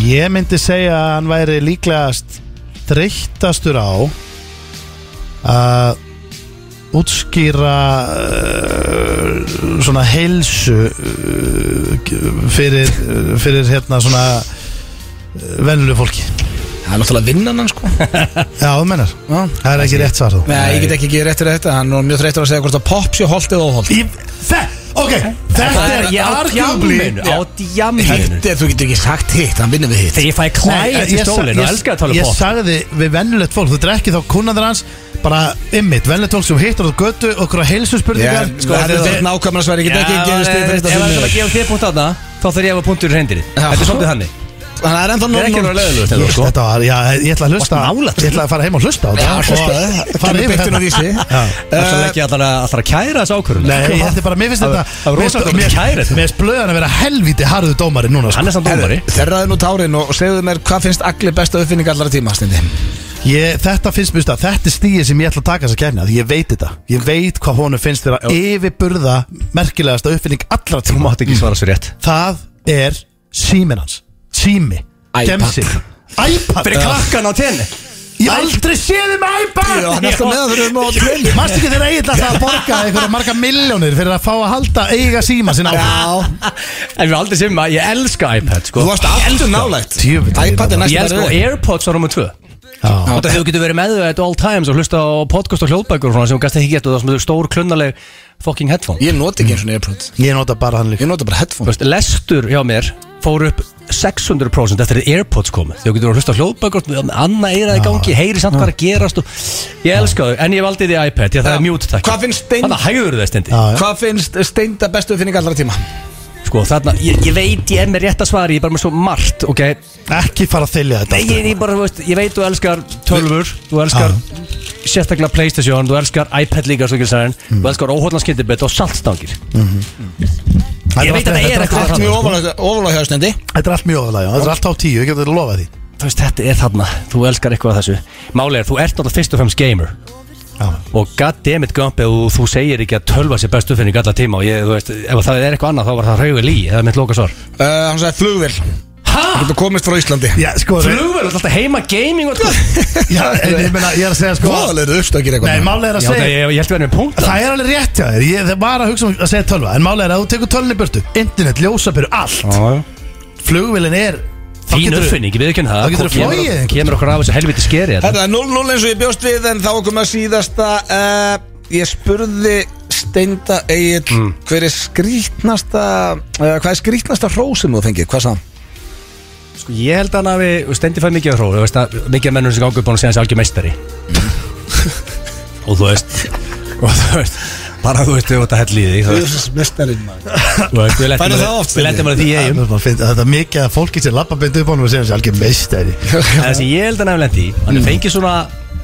Speaker 3: Ég myndi segja að hann væri líklegast Þreyttastur á Að útskýra uh, svona heilsu uh, fyrir, fyrir hérna svona venlu fólki
Speaker 1: Það er náttúrulega vinnan hann sko
Speaker 3: Já, þú mennar
Speaker 1: Já.
Speaker 3: Það er ekki rétt svar þú
Speaker 1: Nei, ég get ekki gefið rétt fyrir þetta Hann er mjög þreyttur að segja hvort að pop sé holt eða óholt
Speaker 3: Ég- Þe- Ok, þetta er
Speaker 2: Ég á
Speaker 3: arguably
Speaker 2: djamminu Á djamminu
Speaker 1: Hitt er, þú getur ekki sagt hitt, hann vinnur við hitt
Speaker 2: Þegar ég fæ
Speaker 3: Nei,
Speaker 2: klæðið í
Speaker 3: ég sa-
Speaker 2: stólinn og
Speaker 3: ég-
Speaker 2: elskar að tala
Speaker 3: Ég
Speaker 2: um pop
Speaker 3: sagði við vennulegt fólk Þú drekkið þá kunnaður hans Bara ymmit, vennulegt fólk sem hittur á götu Okkur á heilsu
Speaker 1: Já,
Speaker 3: spurningar
Speaker 1: sko, það er þetta nákvæmna svar, ég get ekki gefið stig fyrir
Speaker 2: Ef
Speaker 1: þetta
Speaker 2: hann
Speaker 1: fyrir
Speaker 2: er að
Speaker 1: mig.
Speaker 2: gefa þér punkt aðna Þá þarf ég að hafa punktur í hreindirinn Þetta er svolítið þannig
Speaker 1: Þannig að það er ennþá
Speaker 2: Ég er ekki að vera leiðilegur, Steindór, sko.
Speaker 3: Þetta var, já, ég ætla að hlusta
Speaker 2: Varstu nálægt?
Speaker 3: Ég ætla að fara heim og hlusta á
Speaker 1: Já,
Speaker 3: þetta og
Speaker 1: hlusta, það
Speaker 3: fara
Speaker 1: kemur
Speaker 3: yfir
Speaker 1: beintun á
Speaker 3: þetta.
Speaker 1: vísi
Speaker 3: Já.
Speaker 2: Það er svolítið ekki alltaf að alltaf að kæra þessu ákvörðun
Speaker 3: Nei, þetta er bara, mér finnst
Speaker 2: Það-
Speaker 3: þetta
Speaker 2: það var
Speaker 3: mér-
Speaker 2: rosalega
Speaker 3: mér-
Speaker 2: kæri þetta.
Speaker 3: Mér splöðan að vera helvíti harðu dómari núna sko.
Speaker 2: Hann er samt dómari
Speaker 1: Þerraðu nú tárin og segðu mér hvað finnst allir besta uppfinning allara tíma, Steindi
Speaker 3: Ég, þetta finnst mér, þetta er stíið sem ég ætla að taka þess að kemna Ég veit þetta, ég veit hvað honum finnst þér að yfirburða merkilegasta uppfinning allra
Speaker 2: Þú
Speaker 3: tíma
Speaker 2: mátt ekki svara svo rétt
Speaker 3: Það er símin hans, sími,
Speaker 1: iPad.
Speaker 3: gemsi iPad,
Speaker 2: Fyrir krakkan á tenni
Speaker 3: ég aldrei séði með iPad
Speaker 1: Já, hann er alltaf meðan þurfum á trinn
Speaker 3: Mastu ekki þeirra eigin alltaf að borga einhverja marga milljónir fyrir að fá að halda eiga síma sinna
Speaker 1: Já,
Speaker 2: En við aldrei sem að ég elska iPad sko
Speaker 1: þú varst aftur nálægt
Speaker 3: Djöfull, ég
Speaker 1: iPad er
Speaker 3: er
Speaker 1: næst
Speaker 2: Ég elska og AirPods á nummer 2
Speaker 3: Já.
Speaker 2: Þetta hefur getur verið með þau at all times og hlusta á podcast og hljóðbækur og svona sem þú gæst ekki gett og það sem eru stór klunnaleg fucking headphone
Speaker 1: Ég noti ekki eins og AirPod
Speaker 3: Ég nota bara hann líka
Speaker 1: Ég nota bara
Speaker 2: Þú
Speaker 1: headphone
Speaker 2: veist, Lestur hjá mér fór upp 600% eftir að Airpods komu Þegar getur að hlusta á hljóðbækur með Anna eirað í
Speaker 1: Ah.
Speaker 2: gangi, heyri samt hvað er að gerast og... Ég elska þau, en ég valdi því iPad Því að það er
Speaker 1: Já.
Speaker 2: mute takk
Speaker 1: Ah. Hvað finnst Ah. Stein-
Speaker 2: Þannig hægur þau stendi
Speaker 3: Já, já.
Speaker 1: Hvað finnst steinda bestu uppfinning allra tíma?
Speaker 2: Sko þarna, ég, ég veit ég er með rétt að svari Ég er bara með svo margt, ok
Speaker 3: Ekki fara að þylja þetta
Speaker 2: Nei, ég, ég, bara, þú veist, ég veit þú elskar tölfur Þú elskar sérstaklega Playstation Þú elskar iPad líka, svo ekki sæðan
Speaker 3: Mm.
Speaker 2: Þú elskar óhóllanskindibett og saltstangir
Speaker 3: Þetta
Speaker 2: ég veit
Speaker 3: allt-
Speaker 2: að það er
Speaker 3: þetta
Speaker 2: eitthvað
Speaker 3: allt
Speaker 2: þarna.
Speaker 3: mjög-
Speaker 1: Mjög ofalega hjá stendi
Speaker 3: Þetta er allt mjög ofalega, þetta er allt á tíu, ég getur þetta lofað því
Speaker 2: Þú veist, þetta er þarna, þú elskar eitthvað af þessu Máli er, þú ert náttúrulega fyrst og fremst gamer
Speaker 3: Já.
Speaker 2: Og goddammit Gump ef þú segir ekki að tölva sér bestu uppfinning alla tíma og ég, þú veist, ef það er eitthvað annað þá var það raugur lí eða mitt loka svar
Speaker 1: Uh, hann sagði flugvél Þú
Speaker 2: Hæ?
Speaker 1: getur komist frá Íslandi
Speaker 3: Já, sko,
Speaker 2: Flugvel, alltaf heima gaming og þetta
Speaker 3: já, en ég, meina, ég er að segja sko
Speaker 1: Hvaðalega eru uppstökir
Speaker 3: Nei,
Speaker 1: eitthvað
Speaker 3: málega er að
Speaker 2: Já, það,
Speaker 3: segja
Speaker 2: ég, ég held að vera með punkt
Speaker 3: Það er alveg rétt hjá þér, ég það var að hugsa um að segja tölva En málega er að þú tekur tölvunni í burtu Internet, ljósabyrju, allt Flugvillin er þá
Speaker 2: Þín
Speaker 3: geturðu-
Speaker 2: uppfinning, við ekki það
Speaker 3: Þá geturðu
Speaker 2: kemur-
Speaker 3: flogið einhvern.
Speaker 2: Kemur okkur af þessu helviti skeri hérna. þetta
Speaker 1: Þetta er 0-0 eins og ég bjóst við En þá kom að síðasta uh, Ég spurði steinda Egil Hver er skrítnasta uh, Hvað er skrítnasta hrósum þú fengið? Hvað sagði hann?
Speaker 2: Sko, ég held að hann hafi stendi fæði mikið á hróð, þú veist að mikið af mennum sem gangi upp á hann séðan sem algjör meistari Og þú veist Og þú veist Bara þú veist, þú veist að hella í því þú veist.
Speaker 1: Mestarinn maður
Speaker 2: Þú veist, Við
Speaker 1: Færðu það oft, Steindi?
Speaker 2: lettum alveg því í
Speaker 3: Já,
Speaker 2: eigum
Speaker 3: maður finnst- Þetta er mikið að fólki sem lappa beint upp á hann og segja hans algjör meistari
Speaker 2: En Það sem ég held að nefnilega lendi í Hann mm. fengið svona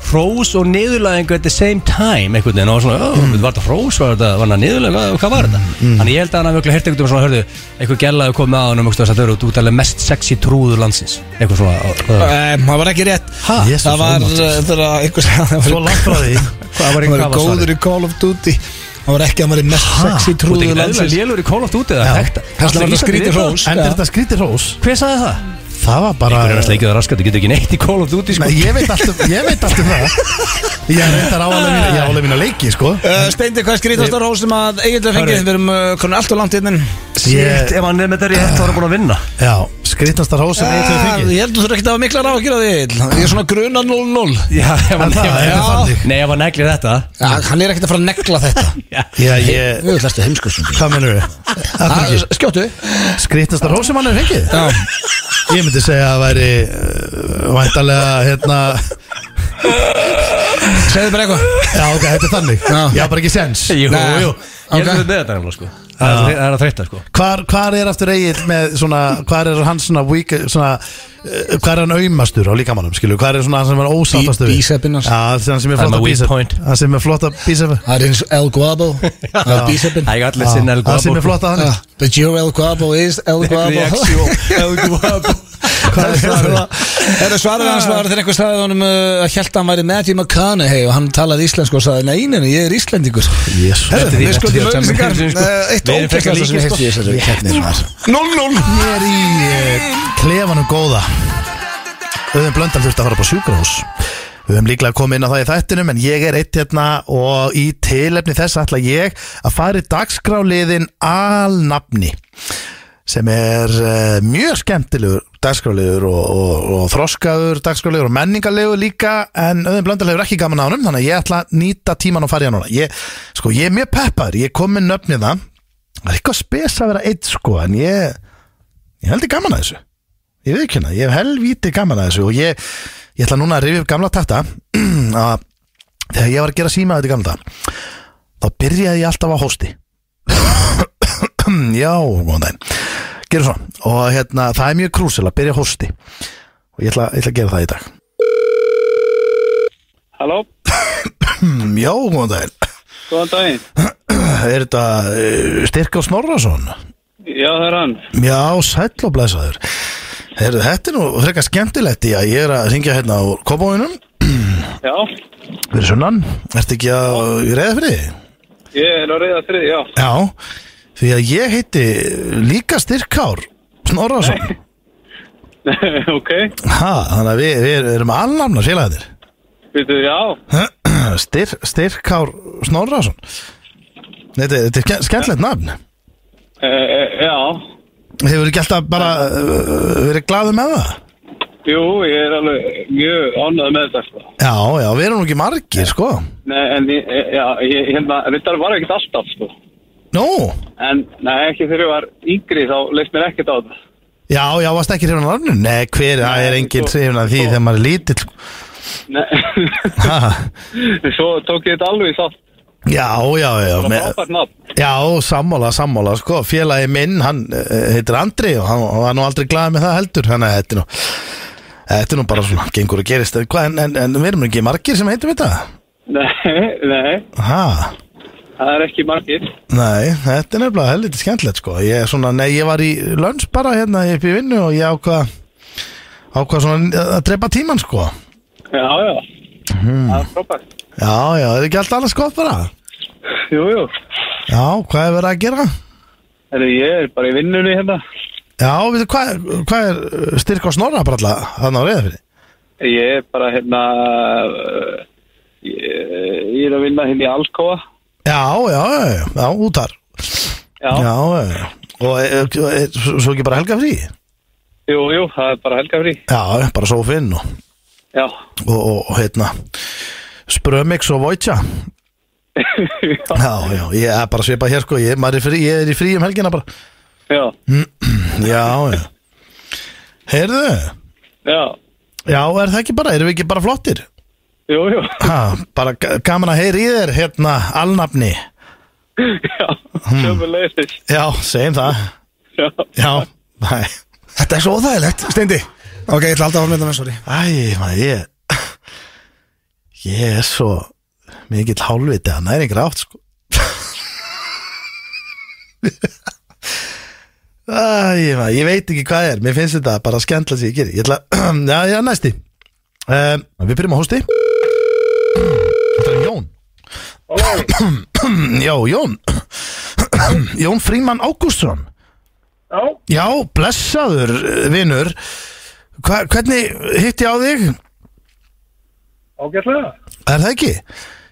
Speaker 2: hrós og niðurlæðingu at the same time einhvern veginn og svona, oh,
Speaker 1: Mm.
Speaker 2: var þetta hrós, var þetta var þetta niðurlæðing, hvað, hvað var þetta? Þannig ég held að hann hafi örugglega heyrt einhvern veginn svona, hörðu, einhver gellaði komið á hann og það eru út alveg mest sexy trúður landsins eitthvað svona uh,
Speaker 1: Það Eh, var ekki rétt
Speaker 2: Ha?
Speaker 3: Jesús,
Speaker 1: Það var
Speaker 3: almáttugur.
Speaker 1: uh, þegar einhver sagði að
Speaker 3: Svo
Speaker 1: hann
Speaker 3: langt frá því
Speaker 2: Hvað var
Speaker 1: var- hann
Speaker 2: einhver
Speaker 1: var
Speaker 2: hvað var svarið?
Speaker 1: góður í Call of Duty Hann var ekki að maður er mest
Speaker 2: Ha?
Speaker 1: sexy
Speaker 2: Þú ert
Speaker 1: trúður
Speaker 2: ekki
Speaker 1: landsins
Speaker 2: eðlilega lélur í kólátt úti
Speaker 3: Já.
Speaker 2: það þekkt
Speaker 1: Kannski var þetta skrítið hrós.
Speaker 3: En
Speaker 1: Já.
Speaker 3: er þetta skrítið hrós
Speaker 2: Hver sagði það?
Speaker 3: Það var bara
Speaker 2: Það er alltaf ekki það raskat, þú getur ekki neitt í kólátt úti sko
Speaker 3: Nei, ég veit allt um, ég veit allt um það Ég er reyndar á alveg mína, ég á alveg mína leiki, sko
Speaker 1: Uh, Steindi, hvað er skrítnasta hrós sem að eiginlega fengið?
Speaker 2: Hörru.
Speaker 1: Við erum uh, komin allt og langt inn en
Speaker 2: Shit, ef hann er með þetta rétt þá er hann búin að vinna
Speaker 3: Já, skrítnastar hós sem eitthvað
Speaker 1: Ah,
Speaker 3: fengið
Speaker 1: Ég held að þú þurfa ekkert að hafa mikla rákir á því Egill. Ég er svona gruna 0-0
Speaker 2: Já, ef hann-
Speaker 3: það,
Speaker 2: ef
Speaker 3: er það
Speaker 2: hann-
Speaker 3: þannig?
Speaker 2: Nei, ef hann neglir þetta
Speaker 1: ja, Hann er ekkert að fara að negla þetta
Speaker 2: Já.
Speaker 3: Já, ég,
Speaker 1: Mjög hlæstu heimskursum
Speaker 3: hvað mennur við?
Speaker 1: Skjóttu
Speaker 3: Skrítnastar hós sem hann er fengið Ég myndi segja að væri uh, Væntalega, hérna
Speaker 1: Segðu bara eitthvað
Speaker 3: Já, ok, þetta er þannig
Speaker 1: Já.
Speaker 3: Ég haf bara ekki sens
Speaker 2: Jú,
Speaker 1: Nei.
Speaker 2: jú Ég er
Speaker 1: Ok.
Speaker 2: með þetta nefnilega sko Það er- það er að þreytta sko
Speaker 3: Hvar, hvar er aftur eigið með svona Hvar er hann svona, weak, svona uh, Hvar er hann aumastur á líkamannum skilur Hvar er svona hann sem er ósáttastur
Speaker 1: Bí- bísepinn hans.
Speaker 3: Já, hann sem er
Speaker 2: Það er
Speaker 3: flotta
Speaker 2: my weak
Speaker 3: bísep
Speaker 2: point.
Speaker 3: Hann sem er flotta bísep
Speaker 1: Það er eins El Guabo Það er bísöpinn
Speaker 2: Það er allir sinna El
Speaker 3: Hann sem er flotta hann
Speaker 1: But your El Guabo is El
Speaker 2: The
Speaker 1: Guabo
Speaker 2: actual El Guapo
Speaker 1: Hvað er svarið? Er það svarið hans var þegar einhver sagði honum uh, að held að hann væri Matthew McConaughey og hann talaði íslensku og sagði nei, nei, nei, ég er íslendingur
Speaker 3: Jésus
Speaker 1: Herru,
Speaker 2: Þetta er
Speaker 1: við
Speaker 2: því-
Speaker 1: skuldum
Speaker 2: þetta er því-
Speaker 1: auðvisingar
Speaker 2: þetta er því- sko.
Speaker 1: Eitt
Speaker 2: Við erum frekar
Speaker 1: ókvæmst sem ég
Speaker 2: líkir,
Speaker 1: heiti í
Speaker 2: sko.
Speaker 1: þessari keppni var 0-0
Speaker 3: Ég er í eh, klefanum góða Öðum blöndal þurfti að fara upp á sjúkrahús Við höfum líklega komið inn á það í þættinum En ég er eitt hérna og í tilefni þess ætla ég að fara í dagskráliðin alnafni sem er uh, mjög skemmtilegur dagskráliður og, og, og þroskaður dagskráliður og menningarlegur líka en auðvitað blöndal hefur ekki gaman á honum þannig að ég ætla að nýta tíman og fara í hann núna ég, sko, ég er mjög peppar, ég kom með nöfnið það það er eitthvað spes að vera eitt sko en ég, ég heldur gaman að þessu ég veit ekki hérna, ég hef helvíti gaman að þessu og ég, ég ætla núna að rifja upp gamla takta að þegar ég var að gera síma þetta gamla dag þá byrjaði ég alltaf á hósti já, góðan daginn gera svona og hérna, það er mjög krúsil að byrja á hósti og ég ætla, ég ætla að gera það í dag
Speaker 4: Halló,
Speaker 3: Mm, já, góðan daginn
Speaker 4: góðan daginn.
Speaker 3: er þetta uh, Styrka Snorrason?
Speaker 4: Já, það er hann.
Speaker 3: Já, sæll og blæsaður Heyrðu, þetta er nú frekar skemmtilegt í að ég er að ringja hérna á kobóinum
Speaker 4: Já,
Speaker 3: Við erum sunnan, ertu ekki að ég reyða fyrir því?
Speaker 4: ég er að reyða þrið, já.
Speaker 3: Já, því að ég heiti líka styrkár Snorrason
Speaker 4: ok,
Speaker 3: ha, Þannig að við, við erum alnafna félagarnir
Speaker 4: býtu, já,
Speaker 3: Styr, Styrkár Snorrason Þetta, þetta er ske- skemmtilegt nafn
Speaker 4: e, e, já,
Speaker 3: Hefur ekki alltaf bara uh, verið glaðu með það?
Speaker 4: jú, ég er alveg mjög ánægð með þetta, sko.
Speaker 3: Já, já, við erum nú ekki margir, sko
Speaker 4: Nei, en ég, e, já, ég, hérna, þetta var ekkert alltaf, sko.
Speaker 3: Nú,
Speaker 4: En, nei, ekki þegar ég var yngri, þá leist mér ekkert á þetta.
Speaker 3: Já, já, varst ekki hrifin af nafninu? Nei, hver, það er
Speaker 4: Nei,
Speaker 3: engin
Speaker 4: sko-
Speaker 3: hrifin af því
Speaker 4: sko-
Speaker 3: þegar maður er lítill sko.
Speaker 4: Nei,
Speaker 3: Ha,
Speaker 4: svo tók ég þetta alveg í sátt
Speaker 3: Já, já, já
Speaker 4: Það var
Speaker 3: með,
Speaker 4: frábært nafn
Speaker 3: Já, sammála, sammála, sko Félagi minn, hann eh, heitir Andri og hann hann var nú aldrei glaðið með það heldur Þannig að þetta er nú Þetta er nú bara svona, gengur að gerist En, hvað, en, en, en við erum nú ekki margir sem heitum þetta
Speaker 4: Nei, nei,
Speaker 3: Hæ?
Speaker 4: það er ekki margir
Speaker 3: Nei, þetta er nefnilega helviti skemmtilegt sko Ég, er svona, nei, ég var í lönns bara hérna upp í vinnu og ég ákvað ákvað svona að drepa tímann sko
Speaker 4: Já, já, það er frábært
Speaker 3: Já, já, er ekki allt annars gott bara
Speaker 4: Jú, jú,
Speaker 3: Já, hvað er verið að gera?
Speaker 4: Heru, ég er bara í vinnunni hérna
Speaker 3: Já, veitu, hvað, er- hvað er uh, styrk á snorra bara alltaf hann á reyðafyrir?
Speaker 4: Ég er bara hérna uh, ég, ég er að vinna hérna í Alcoa
Speaker 3: Já, já, já, já, já, út þar
Speaker 4: Já,
Speaker 3: Já, já, já Og er, er, er, svo ekki bara helga frí?
Speaker 4: jú, jú, það er bara helgafrí
Speaker 3: Já, já, bara sófinn og,
Speaker 4: Já,
Speaker 3: og, og, og hérna Sprömix og Vojtja
Speaker 4: já,
Speaker 3: Já, já, ég er bara svipað hér sko, ég, maður er, frí, ég er í frí um helgina bara
Speaker 4: já,
Speaker 3: Já, já Heyrðu,
Speaker 4: já,
Speaker 3: já, er það ekki bara, erum við ekki bara flottir?
Speaker 4: jú, jú
Speaker 3: Ha, bara ga- gaman að heyri í þér, hérna, alnafni
Speaker 4: Já, sömulegis
Speaker 3: Já, segjum það
Speaker 4: Já,
Speaker 3: Já, næ
Speaker 1: Þetta er svo óþægilegt, Steindi Ok, ég ætla alltaf að mynda með, sorry
Speaker 3: Æ, maður, ég Ég er svo mikill hálfviti að næri grátt, sko Æ, maður, ég veit ekki hvað er Mér finnst þetta bara skemmtilega sem ég gerir Ég ætla, já, já, næsti um, Við byrjum á hósti Þetta er Jón Já, Jón Jón Fríman Ágústsson
Speaker 4: já,
Speaker 3: Já, blessaður, eh, vinur Hva, Hvernig hitti ég á þig?
Speaker 4: ágætlega
Speaker 3: Er það ekki?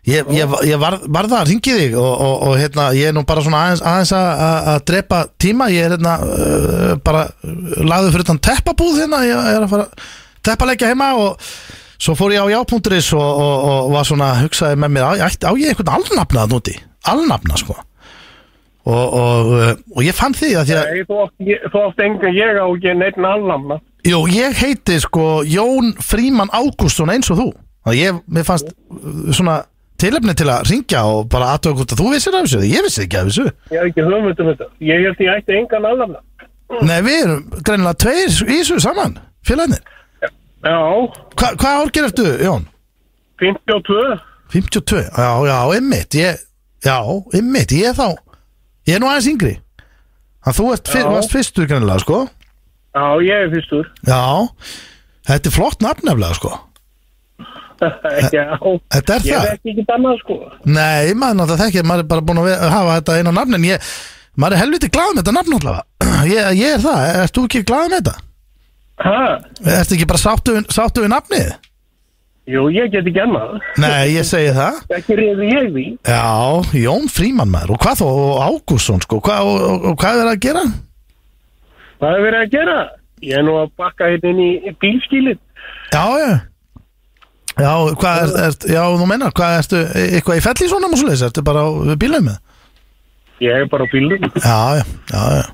Speaker 3: Ég, ég, ég var, var það að ringi þig og, og, og hérna, ég er nú bara svona aðeins, aðeins að, að- að drepa tíma Ég er hérna uh, bara lagður fyrir utan teppabúð hérna Ég er að fara að teppaleggja heima og svo fór ég á já.is og, og, og var svona hugsaði með mér Á, ég ætti- á ég einhvern alnafna þann úti? Alnafna sko Og, og, uh, og ég fann því að því að
Speaker 5: Nei, þú átt, ég- þú átt enga ég á ekki neitt alnafna.
Speaker 3: Jú, ég heiti sko Jón Fríman Ágústsson eins og þú Það ég, mér fannst uh, svona tilefni til að ringja og bara aðtöða hvort að þú vissir af þessu, ég vissi ekki af þessu
Speaker 5: Ég hef ekki hugmynd um þetta. Ég held ég ætti engan alnafna. Mm.
Speaker 3: Nei, við erum greinilega tveir í þessu saman, félagarnir
Speaker 5: Já,
Speaker 3: Hva, Hvað ár gerir eftir, Jón?
Speaker 5: 52.
Speaker 3: 52, já, já, ymmit ég, Já, ymmit, ég er þá Ég er nú aðeins yngri Þannig þú ert fyr,
Speaker 5: Já.
Speaker 3: varst fyrstur greinilega, sko
Speaker 5: Já, ég er fyrstur.
Speaker 3: Já, þetta er flott nafn nefnilega, sko
Speaker 5: Já,
Speaker 3: Þetta er
Speaker 5: ég
Speaker 3: það
Speaker 5: veit ekki annað sko.
Speaker 3: Nei, maður náttúrulega þekkir, maður er bara búin að ve- hafa þetta eina nafn en ég, maður er helviti glad með þetta nafn allavega ég, ég er það, ert þú ekki glad með þetta?
Speaker 5: Hæ?
Speaker 3: Ertu ekki bara sáttu, við- sáttu við nafnið?
Speaker 5: Jú, ég get ekki annað.
Speaker 3: Nei, ég segi það
Speaker 5: Ekki reyði ég því.
Speaker 3: Já, Jón Fríman maður og hvað þó, og Ágússon sko hvað, og, og, og hvað er að gera?
Speaker 5: Hvað er verið að gera? Ég er nú að bakka hérna inn í bílskilið.
Speaker 3: Já, já Já, hvað er, er, já, þú meinar, hvað ertu, e, eitthvað í felli svona og svoleiðis, ertu bara á bílum með?
Speaker 5: Ég er bara á bílum.
Speaker 3: Já, já, já, já.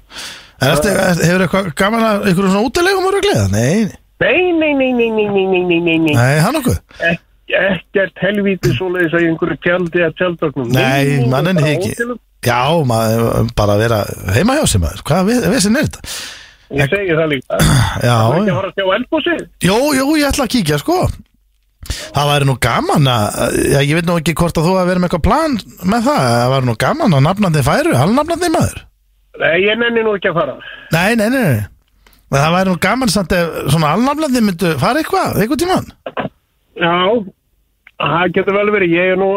Speaker 3: En ertu, hefur eitthvað gaman að, eitthvað svona útilegum að röglega? Nei, nei.
Speaker 5: Nei, nei, nei, nei, nei, nei, nei, nei, nei, nei.
Speaker 3: nei, hann okkur?
Speaker 5: Ek- Ekkert helvítið svoleiðis að einhverju tjaldi að tjaldögnum.
Speaker 3: Nei, mann enni
Speaker 5: bara
Speaker 3: ekki
Speaker 5: hótelum.
Speaker 3: Já, maður bara vera heima hjá sem maður Hvað við, við sem er þetta?
Speaker 5: Ég segi það líka. Það er
Speaker 3: Já,
Speaker 5: ekki
Speaker 3: já.
Speaker 5: að fara að sjá elbúsið.
Speaker 3: Jó, jú, ég ætla að kíkja sko Það væri nú gaman að já, Ég veit nú ekki hvort að þú að vera með eitthvað plan með það Það væri nú gaman að nafnandi færu Halnafnandi maður
Speaker 5: Nei, ég nenni nú ekki að fara.
Speaker 3: Nei, nei, nei, nei En Það væri nú gaman samt ef svona halnafnandi myndu fara eitthvað, eitthvað tímann
Speaker 5: Já, það getur vel verið. Ég er nú,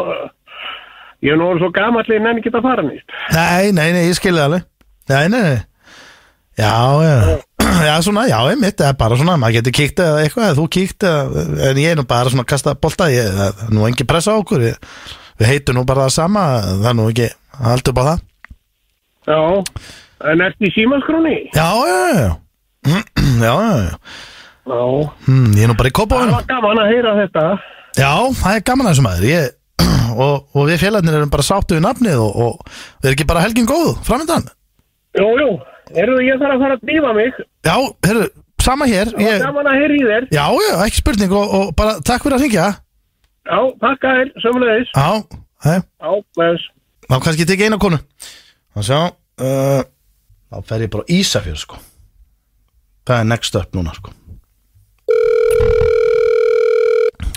Speaker 5: ég er nú orðinn svo gamall ég nenni ekki að fara nýtt.
Speaker 3: Nei, nei, nei, ég skilði alveg Nei, nei, nei Já, já, já, svona, já, einmitt Það er bara svona, maður getur kíkt eða eitthvað eða þú kíkt eða, en ég er nú bara svona að kasta bolta, ég, það er nú engi pressa á okkur við, við heitum nú bara það sama það er nú ekki, allt upp á það
Speaker 5: Já, en ertu í símaskrúni?
Speaker 3: Já, já, já, já Já, já, já,
Speaker 5: Já,
Speaker 3: hm, ég er nú bara í
Speaker 5: það
Speaker 3: kópaðunum
Speaker 5: var gaman að heyra þetta.
Speaker 3: Já, það er gaman að þessu maður ég, og, og við félagarnir erum bara sáttu við nafnið og, og við erum ekki bara helgin góð, framöndan
Speaker 5: Jú, jú, Herðu, ég þarf að fara að dýfa mig
Speaker 3: Já, herru, sama hér
Speaker 5: Það var
Speaker 3: ég,
Speaker 5: gaman að heyri í þér
Speaker 3: Já, já, ekki spurning og, og bara takk fyrir að hringja
Speaker 5: Já, takk að þér, sömulegis
Speaker 3: Já, hei,
Speaker 5: Já, bless
Speaker 3: þá kannski tekið eina konu Þá sjá uh, Þá fer ég bara á Ísafjör sko Það er next up núna sko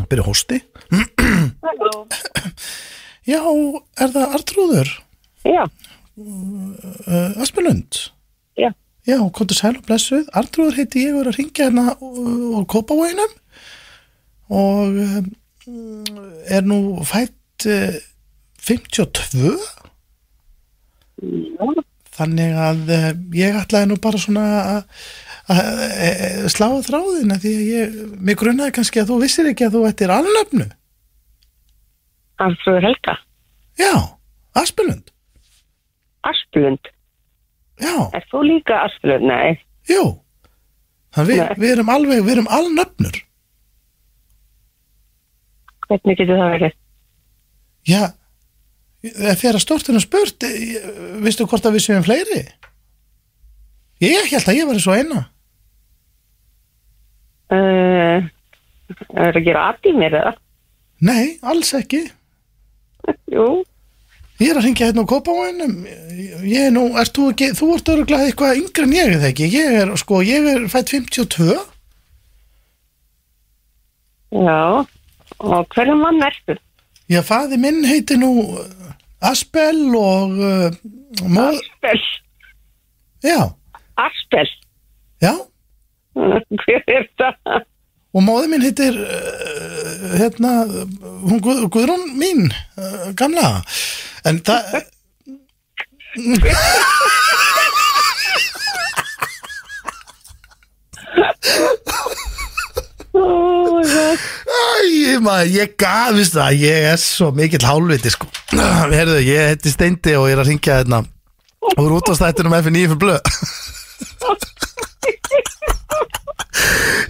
Speaker 3: Byrja hósti Já, er það Artrúður?
Speaker 6: Já,
Speaker 3: Uh, Aspilund?
Speaker 6: já,
Speaker 3: Já, komdu sæl og blessuð. Artrúður heiti ég og er að ringja hérna úr Kópavoginum og um, er nú fætt uh, 52 þannig að uh, ég ætlaði nú bara svona að- að eh, slá að þráðina því að ég, mig grunnaði kannski að þú vissir ekki að þú ættir alnöfnu.
Speaker 6: Arnfröður Helga,
Speaker 3: Já, Aspilund.
Speaker 6: Asplund,
Speaker 3: Já,
Speaker 6: er þú líka Asplund? Nei,
Speaker 3: jú. Þannig
Speaker 6: Nei.
Speaker 3: við, við erum alveg, við erum alnöfnur.
Speaker 6: hvernig getur það verið?
Speaker 3: Já, þegar stórtinu spurt, eh, veistu hvort að við séum fleiri? Ég held að ég var svo eina.
Speaker 6: Uh, er að gera aðt í mér eða?
Speaker 3: Nei, alls ekki.
Speaker 6: Jú,
Speaker 3: Ég er að hringja hérna á Kópavóinum. Ég- Ég er nú, ert þú ekki, þú ert öruglega eitthvað yngri en ég er það ekki. Ég er, sko, ég er fætt 52.
Speaker 6: já, og hverjum mann ertu?
Speaker 3: Ég faði minn heiti nú eh, Aspel og uh, móð,
Speaker 6: Aspel,
Speaker 3: já,
Speaker 6: Aspel,
Speaker 3: já.
Speaker 6: hver er það?
Speaker 3: Og móði minn heitir, uh, hérna, hún Guð, Guðrún mín, uh, gamla. En það,
Speaker 6: Oh,
Speaker 3: Æ, maður, ég gafist það, ég er svo mikill hálfviti sko Herðu, ég heiti Steindi og ég er að hérna. ringja þarna úr útastættinum F9 fyrir blöð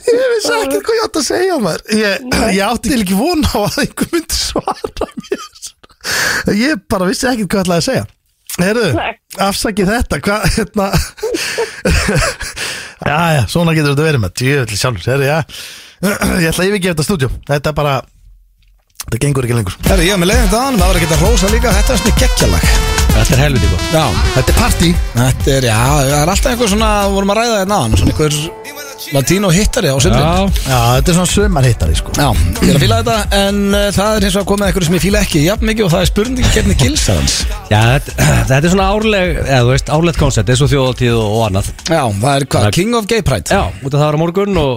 Speaker 3: Ég vissi ekki hvað ég átt að segja maður Ég, ég átti til ekki von á að einhver myndi svara mér Ég bara vissi ekki hvað ég ætlaði að segja Herðu,
Speaker 6: Nei.
Speaker 3: afsakið þetta, hvað, hérna Jæja, svona getur þetta verið með Djöfell sjálfur, herðu, já Ég ætla að yfirgefa þetta stúdjó Þetta er bara, þetta gengur ekki lengur
Speaker 1: Herri, ég var með leiðin dagann, það var ekki að hrósa líka Þetta er svona geggjalag
Speaker 2: Þetta er helviti góð
Speaker 1: Já,
Speaker 3: Þetta er partí
Speaker 1: þetta er, já, það er alltaf einhver svona við vorum að ræða hérna aðan, svona einhver latínó hittari á sundin
Speaker 2: Já,
Speaker 3: Já, þetta er svona sömarhittari sko
Speaker 1: Já, ég er að fíla þetta en uh, það er hins vegar komið eitthvað sem ég fíla ekki jafn mikið og það er spurning hvernig gilsar hans
Speaker 2: já þetta, þetta er svona árleg eða þú veist, árlegt koncept, eins og þjóðaltíð og, og annað
Speaker 1: Já, það er hvað,
Speaker 2: Það-
Speaker 1: King of Gay Pride
Speaker 2: Já, út af það var á morgun og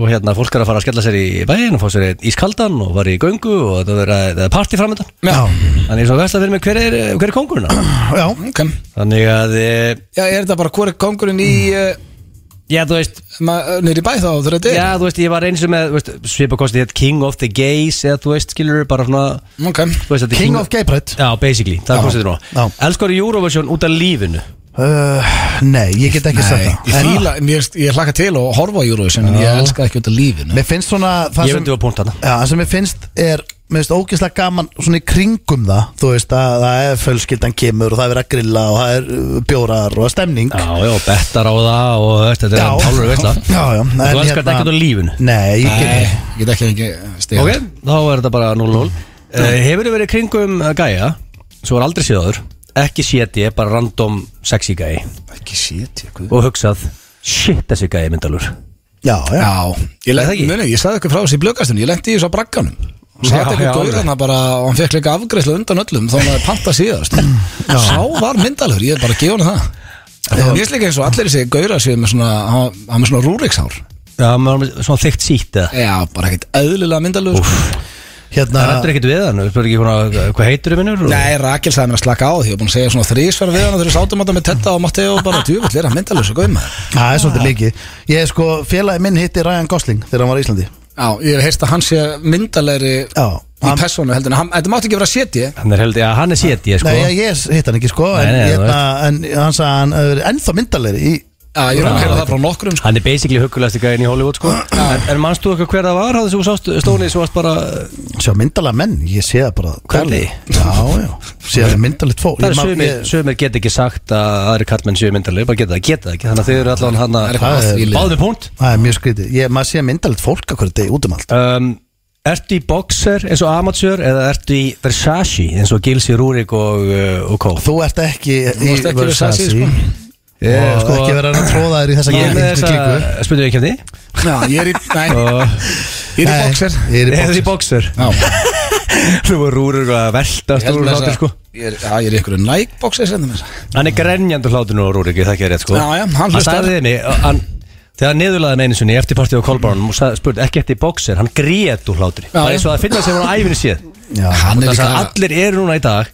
Speaker 2: og hérna, fólk er að fara að skella sér í bæin og fá sér einn ískaldan og var í göngu og það er, það er party framöndan
Speaker 1: Já,
Speaker 2: Þannig svo veist að vera með hver er, hver er kongurinn á?
Speaker 3: Já,
Speaker 1: ok
Speaker 2: Þannig að, e,
Speaker 1: Já, er þetta bara hvori kongurinn í
Speaker 2: Mm.
Speaker 1: uh,
Speaker 2: já þú veist
Speaker 1: nýri bæ þá þú þetta er?
Speaker 2: Já, þú veist, ég var eins og með, þú veist, svipakosti hétt King of the Gays, eða þú veist, skilur bara svona,
Speaker 1: Ok,
Speaker 2: þú veist, þetta er
Speaker 3: King of Gay Pride
Speaker 2: Já, basically, það er
Speaker 3: Já,
Speaker 2: konstigt nú
Speaker 3: já.
Speaker 2: Elskar Eurovision út af lífinu
Speaker 3: uh, Nei, ég get ekki sagt
Speaker 1: Nei,
Speaker 3: það
Speaker 1: ég fíla, ég, ég hlaka til og horfa á Eurovision en ég elska ekki út af lífinu
Speaker 3: Mér finnst svona það
Speaker 2: Ég
Speaker 3: sem,
Speaker 2: veit þú að punta hana
Speaker 3: já, það sem mér finnst er Mér finnst ógeðslega gaman svona í kringum það Þú veist að það er fölskildan kemur og það er verið að grilla og það er uh, bjórar og það er stemning
Speaker 2: Já, já, bettar á það og þú veist, þetta er hálfur veitla
Speaker 3: já, já en hérna-
Speaker 2: Þú elskar
Speaker 1: hérna-
Speaker 2: þetta ekkert á lífinu
Speaker 3: Nei, ég
Speaker 1: Nei,
Speaker 3: get
Speaker 1: ég get ekki ekki stiga
Speaker 2: Ok, þá er þetta bara 0-0 uh, Hefur þið verið kringum eh, gæja Svo er aldrei séð áður Ekki séð ég, bara random sexy gæi
Speaker 1: Ekki shit, ég guð
Speaker 2: Og hugsað, shit þessi gæi myndalur
Speaker 3: Já, já, já.
Speaker 1: Já, ég
Speaker 2: Er það
Speaker 1: lendi,
Speaker 2: ekki?
Speaker 1: muni, ég sagði ykkur frá þessu í blökastunni, ég lendi í þessu á bragganum
Speaker 2: Já,
Speaker 1: Satt
Speaker 2: já,
Speaker 1: eitthvað góðana bara og hann fekk líka afgreyslu undan öllum þá hann hafði panta síðast Sá var myndalur, ég er bara að gefa hann það Mér finnst líka eins og allir þessi gauðra séu með svona, hann hann með svona rúriksár
Speaker 2: Já, maður er með svona þykkt sýtt eða
Speaker 1: Já, bara ekkert eðlilega myndalur sko.
Speaker 3: Hérna,
Speaker 2: Það rættur ekkert við hann, við spyrir ekki svona, eh, hvað heitir þið minnur?
Speaker 1: Nei, Rakel sagði mér að slaka á því og búin að segja svona þrísverð við hann þegar við sátum að með Tetta og Matteo og bara djúvill er hann myndalur svo góð maður
Speaker 3: það er svolítið mikið Ég sko, félagi minn hitti Ryan Gosling þegar hann var í Íslandi
Speaker 1: Já, ég hef heyrst að hann sé myndalegri
Speaker 3: Já,
Speaker 1: í
Speaker 3: hann-
Speaker 1: persónu heldur en hann- Þetta mátti ekki vera setji
Speaker 2: Hann er heldur, já, hann er séti, sko
Speaker 3: Nei, ég, ég hitt hann ekki sko
Speaker 2: Nei,
Speaker 3: en,
Speaker 2: nei,
Speaker 3: hérna, en hann sagði að hann hefur verið ennþá myndalegri í
Speaker 1: Já, ég er að heyra það frá nokkrum sko.
Speaker 2: Hann er basically huggulegasti gæðin í Hollywood sko En, en manst þú eitthvað hver það var, hafði þú sást stónið svo varst bara eh,
Speaker 3: Sjá myndalega menn, ég sé það bara
Speaker 2: Hvernig?
Speaker 3: Já, já, sé það myndalegt fólk
Speaker 2: Það
Speaker 3: Ég
Speaker 2: er
Speaker 3: man-
Speaker 2: sömur,
Speaker 3: ég-
Speaker 2: sömur get ekki sagt að aðri kallmenn séu myndarlega, bara geta það, geta það ekki Þannig að þið eru allan
Speaker 1: Það
Speaker 2: hann
Speaker 1: er
Speaker 2: að
Speaker 1: eitthvað
Speaker 3: Það
Speaker 1: að
Speaker 3: er-
Speaker 1: því lið.
Speaker 2: Báðum punkt
Speaker 3: Það er mjög skrítið, ég, maður sé myndalegt fólk akkur degi út um allt
Speaker 2: um, Ertu í boxer eins og amatör eða ertu í Versace eins og Gilsi Rúrik og, uh, og Kó
Speaker 3: Þú ert ekki
Speaker 1: Þú varst ekki Versace, sko.
Speaker 2: Ég-
Speaker 3: Og sko ekki verið að tróða þér í þessa
Speaker 2: Ég er með
Speaker 3: gildi- klíku.
Speaker 2: þessa, spytum við ekki um henni
Speaker 1: Já, ég er í, nei, ég er í
Speaker 3: Nei,
Speaker 1: boxer
Speaker 3: Ég er í
Speaker 2: Ég er í
Speaker 3: boxer
Speaker 2: boxer
Speaker 1: Já,
Speaker 2: Þú var Rúrik að velta
Speaker 1: ég held
Speaker 2: stóru
Speaker 1: með
Speaker 2: hlátur
Speaker 1: þess
Speaker 2: sko
Speaker 1: að Ég er- já, ég er í ykkur Nike boxer hérna sendum þess
Speaker 2: Hann er grenjandur hlátur nú Rúrik, ég þekki það rétt sko
Speaker 1: Já, já, hann hlustar.
Speaker 2: sagði henni, uh, hann Þegar hann niðurlaði hann einu sinni eftir partíð á Kolbárnum og sagði- spurði ekki eftir boxer, hann grét úr
Speaker 1: Já,
Speaker 2: hlátri Það er
Speaker 1: já.
Speaker 2: eins og að finna sem hann á æfinni séð
Speaker 3: Já,
Speaker 1: Hann er
Speaker 2: Það
Speaker 1: líka,
Speaker 2: sagði allir eru núna í dag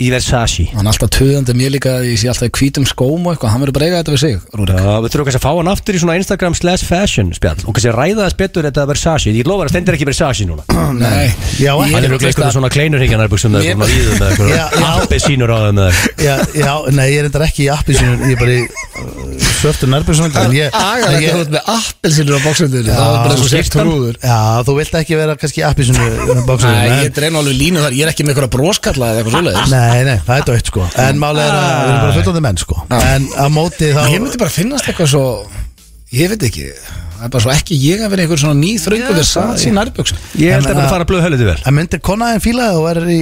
Speaker 2: í Versace
Speaker 1: hann er alltaf töðandi mér líka að Ég sé alltaf í hvítum skóm og eitthvað Hann verður bara að eiga þetta við sig, Rúrik
Speaker 2: Já, við þurfum kannski að fá hann aftur í svona Instagram slash fashion spjall og kannski að ræða þess betur þetta Versace Ég lofa að stendur ekki Versace núna
Speaker 1: Nei,
Speaker 3: Já,
Speaker 2: Hann er
Speaker 3: ekki.
Speaker 1: veist
Speaker 2: auðvitað eitthvað
Speaker 1: að-
Speaker 2: svona kleinur higgjanarbuxum með
Speaker 1: Ég-
Speaker 2: eitthvað íðum með
Speaker 3: Já,
Speaker 2: eitthvað
Speaker 3: já.
Speaker 2: Albi sínur á þeim með eitthvað
Speaker 3: Já, já, nei, ég er endar ekki í appi ég er bara í uh, svörtu nærbjörnsvöndu
Speaker 1: Það
Speaker 3: en
Speaker 1: er
Speaker 3: ég,
Speaker 1: agar
Speaker 3: en
Speaker 1: þetta
Speaker 3: ég
Speaker 1: út með appelsinur á boxendunni Það er bara svo sért
Speaker 2: skiptan.
Speaker 1: trúður
Speaker 3: um- Já, þú vilt ekki vera kannski í appi uh, sinu
Speaker 1: Nei, ég dreina alveg línu þar Ég er ekki með einhverja broskalla eða eitthvað svoleiðis
Speaker 3: Nei, nei, það er dött sko En málega er að við erum bara fullandi menn sko En á móti þá
Speaker 1: Ég myndi bara finnast eitthvað svo Ég veit ekki Það er bara svo ekki ég að vera einhver svona ný þröngu Við satt sín nærbjöksum
Speaker 2: Ég held
Speaker 3: En,
Speaker 2: að það
Speaker 3: uh,
Speaker 2: fara að blöð höllu til vel
Speaker 3: En myndi konaðin fílaði og verður í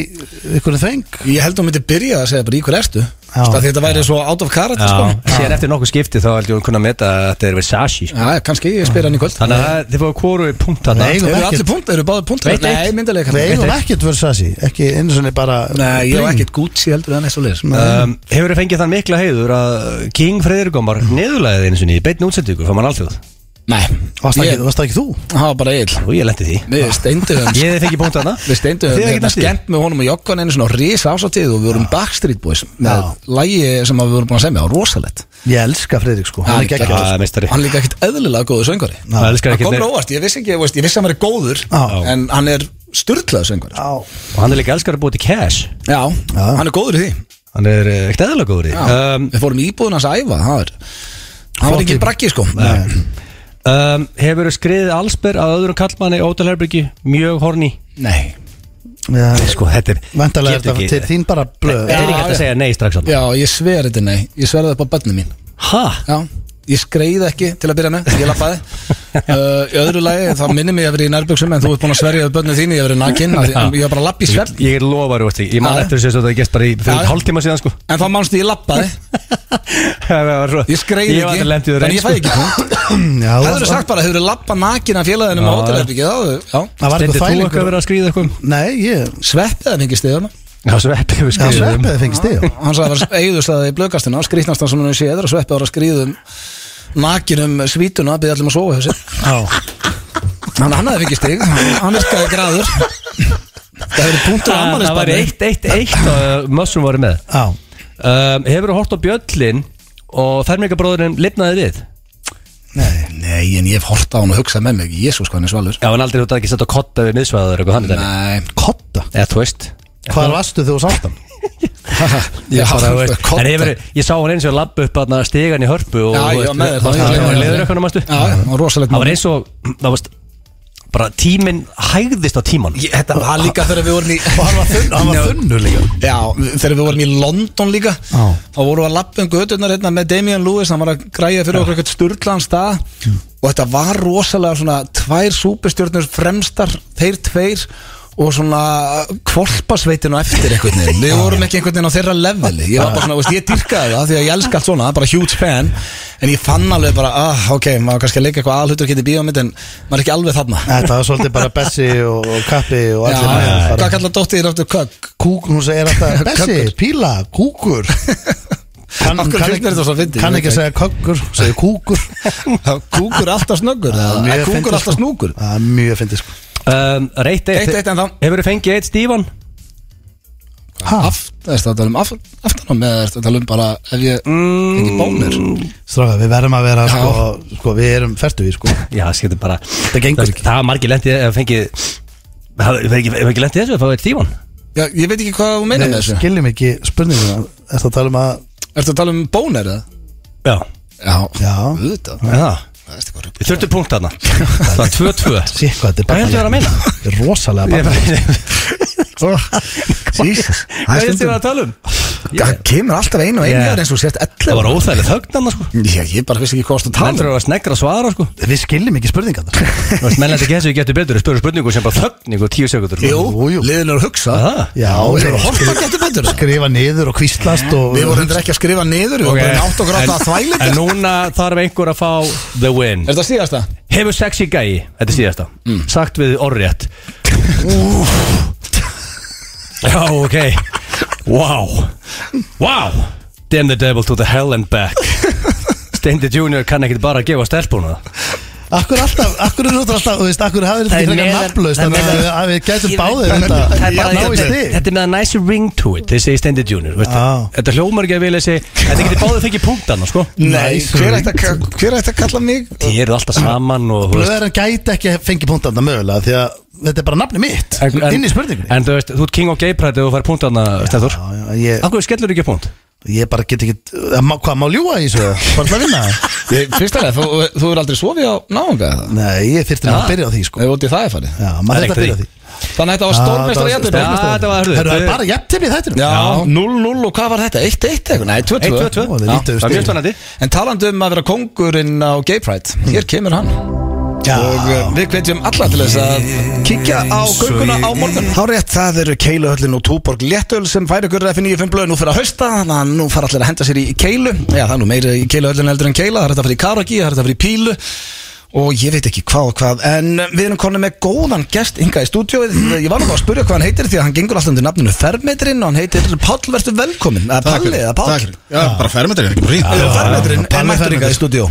Speaker 3: ykkur þeng
Speaker 1: Ég held að hún myndi byrja að segja bara í hver ertu
Speaker 3: Já.
Speaker 1: Þetta þetta væri svo out of character
Speaker 2: Já,
Speaker 1: sko
Speaker 2: síðan eftir nokkuð skipti þá held ég að hún kunna að meta að þetta er Versace sko.
Speaker 1: Já, kannski ég spyr hann í kvöld
Speaker 2: Þannig að þið fóðu kóru í punkt þarna
Speaker 3: Nei,
Speaker 1: Eru
Speaker 3: Eigum
Speaker 1: allir
Speaker 3: ekkert.
Speaker 1: punkt, eru báðir punkt
Speaker 2: Veit eitt.
Speaker 1: Nei, myndilega
Speaker 3: Við eigum ekkert verður sassi Ekki einu sinni bara
Speaker 1: Nei, ég á
Speaker 3: bling.
Speaker 1: ekkert Gucci heldur en eitthvað leis
Speaker 2: um, Hefur þið fengið þann mikla heiður að King Freyðurgómar niðurlæðið einu sinni í beinni útsendingu frá mann alþjóð
Speaker 1: Nei,
Speaker 3: Varst það
Speaker 1: ég-
Speaker 3: ekki- varst það ekki þú? Ah.
Speaker 1: það var bara eil
Speaker 2: og ég lendi því
Speaker 1: Við steindum þeim
Speaker 2: Ég fengi punkt þarna
Speaker 1: Við steindum
Speaker 2: Þið
Speaker 1: við
Speaker 2: ekki
Speaker 1: hérna
Speaker 2: næstu
Speaker 1: skemmt með honum og Jokkan einu svona ris ásatíð og við
Speaker 3: Ah.
Speaker 1: vorum Backstreet Boys með lægi sem að við vorum búin að segja og rosalett
Speaker 3: Ég elska Friðrik sko Hann er
Speaker 1: líka
Speaker 3: ekki
Speaker 2: geggjaður. Já, meistari.
Speaker 1: hann er líka ekkert eðlilega góður söngari
Speaker 2: Það elskar
Speaker 1: það
Speaker 2: ekki
Speaker 1: kom mér
Speaker 2: neitt.
Speaker 1: óvart, ég vissi ekki, ég veist, ég vissi að hann er góður
Speaker 3: Já.
Speaker 1: en hann er styrlaður söngari
Speaker 3: Já
Speaker 2: Og hann er líka elskar að búa til cash
Speaker 1: já, hann er góður í því
Speaker 2: Hann er eh, ekkert eðalega góður í
Speaker 1: já,
Speaker 2: um,
Speaker 1: við fórum í íbúðun hans að æfa það var, hann var ekki brakki sko nei,
Speaker 2: um, Hefur skriðið allsber að öðrum kallmanni Ótalherbyggi, mjög horni
Speaker 1: nei.
Speaker 2: Sko, þetta er
Speaker 3: Væntalega er
Speaker 2: getur
Speaker 3: þetta
Speaker 2: ekki-
Speaker 3: til þín bara blöð
Speaker 2: Þetta er ekki
Speaker 1: Já,
Speaker 2: hægt að
Speaker 1: já.
Speaker 2: segja nei strax hann
Speaker 1: já, ég sver þetta nei ég sver þetta upp á börnum mín
Speaker 2: Hæ?
Speaker 1: Já, ég skreið ekki til að byrja með, ég lappaði uh, Í öðru lagi, þá minnir mig að vera í nærbjöksum En þú ert búin að sverja við börnu þín, ég hef verið nakin af því- en Ég var bara að lappa í sverð
Speaker 2: Ég er lofaður, veist ekki, ég man
Speaker 1: Já.
Speaker 2: eftir þessu að þetta gæst bara í
Speaker 1: Já.
Speaker 2: fyrir hálftíma síðan sko
Speaker 1: En þá mannstu ég lappaði,
Speaker 2: Það var svo-
Speaker 1: ég skreið
Speaker 2: Ég var
Speaker 1: ekki
Speaker 2: alltaf lendið
Speaker 1: Þannig ég fæ ekki punkt
Speaker 3: Já,
Speaker 1: Það
Speaker 3: var-
Speaker 1: hefur sagt bara, hefur lappað nakin af félaginu
Speaker 2: Já,
Speaker 1: með
Speaker 2: já.
Speaker 1: hótelherbyggið þá- Já,
Speaker 3: Það var
Speaker 2: Stendur þú
Speaker 3: eitthvað
Speaker 2: eitthvað að
Speaker 3: þælingur
Speaker 2: vera að skriða eitthvað?
Speaker 3: Nei, ég
Speaker 1: sveppið það fengið stiðurna
Speaker 2: Já, sveppi hefur
Speaker 3: Já,
Speaker 2: skriðið um.
Speaker 3: sveppið fengist þig já.
Speaker 1: Hann sagði að það var eigðuslaði í blöðkastina Skrýtnast hann sem hann séður og sveppið var að skriðum Nakinum svítuna, byrði allir um að sofa hjá sér Þannig að hann hefði fengið stig, hann virkaði gráður Það hefur punktur á
Speaker 2: Það var
Speaker 1: afmælisbarni.
Speaker 2: eitt, eitt, eitt og Mössum voru með
Speaker 3: Já
Speaker 2: um, Hefur þú hort á Bjöllin og fermingabróðurinn lifnaði við?
Speaker 1: Nei, nei, en ég hef hort á hann og hugsað með mig Jésús, hvað hann er svalur
Speaker 2: Já, en aldrei þú þetta ekki sett að kotta við miðsvæðar eitthvað hann er dæmi
Speaker 1: Nei,
Speaker 3: Kotta
Speaker 2: Eða þú veist
Speaker 3: Hvar varstu þegar þú sátt hann?
Speaker 1: ég
Speaker 2: Bara, þú veist,
Speaker 1: kotta.
Speaker 2: En ég, veri, ég sá hann eins og lappa upp að stegan í hörpu og,
Speaker 1: Já,
Speaker 2: þú
Speaker 1: ég var
Speaker 2: veist,
Speaker 1: með þér þá,
Speaker 2: hvort
Speaker 1: ég
Speaker 2: hann
Speaker 1: var
Speaker 2: var
Speaker 1: með
Speaker 2: leiður
Speaker 1: þér.
Speaker 2: eitthvað mástu
Speaker 1: Já, já, það var rosalegt
Speaker 2: Það var
Speaker 1: moment.
Speaker 2: eins og, það varst bara tíminn hægðist á tíman
Speaker 1: Ég- Þetta var líka þegar við vorum í
Speaker 3: Hann var þunn- hann var þunnur líka
Speaker 1: Já, þegar við vorum í London líka
Speaker 3: Já.
Speaker 1: Þá vorum við að lappa um gödurnar hérna með Damian Lewis Hann var að græja fyrir okkur eitthvað sturglan stað Og þetta var rosalega svona Tvær súpistjörnur fremstar Þeir tveir og svona kvolpasveitin og eftir einhvern veginn við vorum ekki einhvern veginn á þeirra leveli ég var bara svona, veist, ég dyrkaði það því að ég elska allt svona bara huge fan en ég fann alveg bara, ah, ok, maður var kannski að leika eitthvað alhutur getið bíómynd en maður er ekki alveg þarna
Speaker 3: Þetta var svolítið bara Bessi og og Kappi og
Speaker 1: Já,
Speaker 3: allir með
Speaker 1: já, hvað
Speaker 3: bara-
Speaker 1: kallar dóttið þér aftur kökk?
Speaker 3: Kúkur, hún segir alltaf Bessi,
Speaker 1: Köggur.
Speaker 3: píla, kúkur kann,
Speaker 1: Af hverju
Speaker 3: kann
Speaker 1: finnst mér þetta svo fyndið?
Speaker 3: Kann
Speaker 1: Ég
Speaker 3: ekki
Speaker 1: veit
Speaker 3: að segja kökkur, segir kúkur
Speaker 1: Kúkur alltaf snöggur
Speaker 3: Það er
Speaker 1: eða
Speaker 3: mjög fyndið,
Speaker 1: Kúkur alltaf
Speaker 3: sko.
Speaker 1: snúkur
Speaker 3: Það er mjög fyndið sko
Speaker 2: um, Reitt eitt,
Speaker 1: Eitt, eitt ennþá.
Speaker 2: Hefur þú fengið eitt stífan?
Speaker 3: Ha,
Speaker 1: Aft, er þetta að tala um aft- aftanám eða er þetta að tala um bara ef ég ekki bónir
Speaker 3: stráka, við verðum að vera sko, sko, við erum ferdu í sko
Speaker 2: Já, það skiptir bara
Speaker 3: Það gengur
Speaker 2: Það-
Speaker 3: ekki.
Speaker 2: Það var margir lendið að fengið Það hefur ekki, hefur ekki lendið þessu að fá eitt stífan
Speaker 1: Já, ég veit ekki hvað þú meina með
Speaker 3: Við
Speaker 1: þessu
Speaker 3: skiljum ekki spurninguna Þetta talum um að
Speaker 1: Er þetta að tala um bónir eða?
Speaker 2: Já
Speaker 7: Já,
Speaker 1: Já.
Speaker 7: auðvitað
Speaker 2: Já,
Speaker 7: Það er eitthvað rugl.
Speaker 2: við þurftum punkt þarna Það var 2-2
Speaker 3: Sér hvað þetta
Speaker 2: Hvað heldur þú að meina?
Speaker 3: Þetta er rosalega
Speaker 2: Ég
Speaker 3: bara
Speaker 2: bara-
Speaker 1: Jesus,
Speaker 2: Hvað heldur þú að tala um?
Speaker 1: Það kemur alltaf einu og einu
Speaker 2: Yeah.
Speaker 1: yeah. eins og sért 11
Speaker 2: Það var óþægileg þögn annars sko
Speaker 7: Já, Ég bara vissi ekki hvað varst
Speaker 2: Heldur
Speaker 7: að tala um.
Speaker 2: þú að snegra að svara sko
Speaker 3: Við skiljum ekki spurningarna
Speaker 2: Þú veist, menn þetta getur getur betur að spura spurningu sem bara þögn ykkur tíu sko. sekundur
Speaker 3: Jú, jú.
Speaker 1: Jú, liðin eru að hugsa
Speaker 2: Aha.
Speaker 3: Já,
Speaker 1: Þeir
Speaker 3: þeir
Speaker 1: eru að horfa getur betur
Speaker 3: Skrifa niður og kvistlast og
Speaker 1: Við vorum reyndar ekki að skrifa niður Við
Speaker 2: Ok,
Speaker 1: vorum bara nátt okkur á það að
Speaker 2: en,
Speaker 1: þvælinga
Speaker 2: en núna þarf einhver að fá the win
Speaker 1: Er þetta síðasta?
Speaker 2: Hefur sexy gæi, þetta er síðasta Sagt við orðrétt Já, ok Wow Wow Damn the devil to the hell and back Steindi Junior kann ekkit bara að gefa stelpuna það
Speaker 3: Akkur alltaf, akkur eru þetta alltaf, þú veist, akkur hafið þetta
Speaker 2: Það er
Speaker 3: ekki
Speaker 2: neðar-
Speaker 3: frekar nafnlaust
Speaker 2: það er
Speaker 3: Þannig að
Speaker 2: neðar-
Speaker 3: við- að við gætum báðir þetta Ná í stig
Speaker 2: Þetta er með að nice ring to it Þið segir Steindi Junior veistu.
Speaker 3: Já.
Speaker 2: Þetta hljómar ekki að vilja segja Þetta getur báðið fengið punktana sko
Speaker 1: Nei, hver ætti að ka- hver ætti að kalla mig?
Speaker 2: Þið eru alltaf saman og þú veist,
Speaker 3: Blöðarinn gæti ekki að fengi punktanda mögulega Því að þetta er bara nafni mitt
Speaker 2: en- en-
Speaker 3: Inn í spurningunni
Speaker 2: En þú veist, þú ert king of gay pride Þegar þú fær punktana, Steindur
Speaker 3: Já, já, ég,
Speaker 2: Akkur skellur ekki punkt
Speaker 3: ég bara get ekki að má- Hvað má ljúa í þessu? Bara ætla að vinna
Speaker 1: Ég- Fyrst að það, þú, þú er aldrei sofið á náunga eða?
Speaker 3: Nei, ég þyrfti nú að byrja á því sko
Speaker 1: Ef út í það er farið
Speaker 3: Já, maður
Speaker 2: Það er
Speaker 3: þyrfti að byrja á
Speaker 2: ekki
Speaker 3: því
Speaker 1: Þannig að þetta var
Speaker 3: Já,
Speaker 1: stórmestari
Speaker 3: þetta var
Speaker 1: jættur
Speaker 2: Já, þetta var
Speaker 3: Hörru, það er
Speaker 2: hörðu
Speaker 3: bara jæftim í þættinum
Speaker 1: Já, 0-0 og hvað var þetta? 1-1 eitthvað? Nei, 2-2
Speaker 2: 1-2-2.
Speaker 3: Ó, það er
Speaker 1: Já.
Speaker 3: lítið
Speaker 2: Það er
Speaker 3: stig.
Speaker 2: mjög spennandi
Speaker 1: En talandi um að vera kongurinn á Gay Pride Hér kemur hann
Speaker 3: Já.
Speaker 1: Og uh, við hvetjum alla til þess að kíkja á gönguna á morgun Há rétt, það eru Keiluhöllin og Túborg Léttöl sem færi ykkur FN95 blöð nú fyrir að hausta Þannig að nú fara allir að henda sér í Keilu Já, það er nú meira í Keiluhöllin heldur en Keila Það er þetta að fara í Karagi, það er þetta að fara í Pílu og ég veit ekki hvað og hvað en við erum konum með góðan gest hinga í stúdíóið ég var nú bara að spyrja hvað hann heitir því að hann gengur alltaf undir nafninu Fermetrinn og hann heitir Páll verður velkomin eða
Speaker 7: Takk
Speaker 1: Palli
Speaker 7: fyrir,
Speaker 1: eða Páll
Speaker 7: takk fyrir. Já, bara fermetri, ekki bara
Speaker 1: Já,
Speaker 7: rýnt
Speaker 1: Fermetrinn er
Speaker 3: Palli
Speaker 1: mættur ykkar
Speaker 3: Fermetur.
Speaker 1: í stúdíó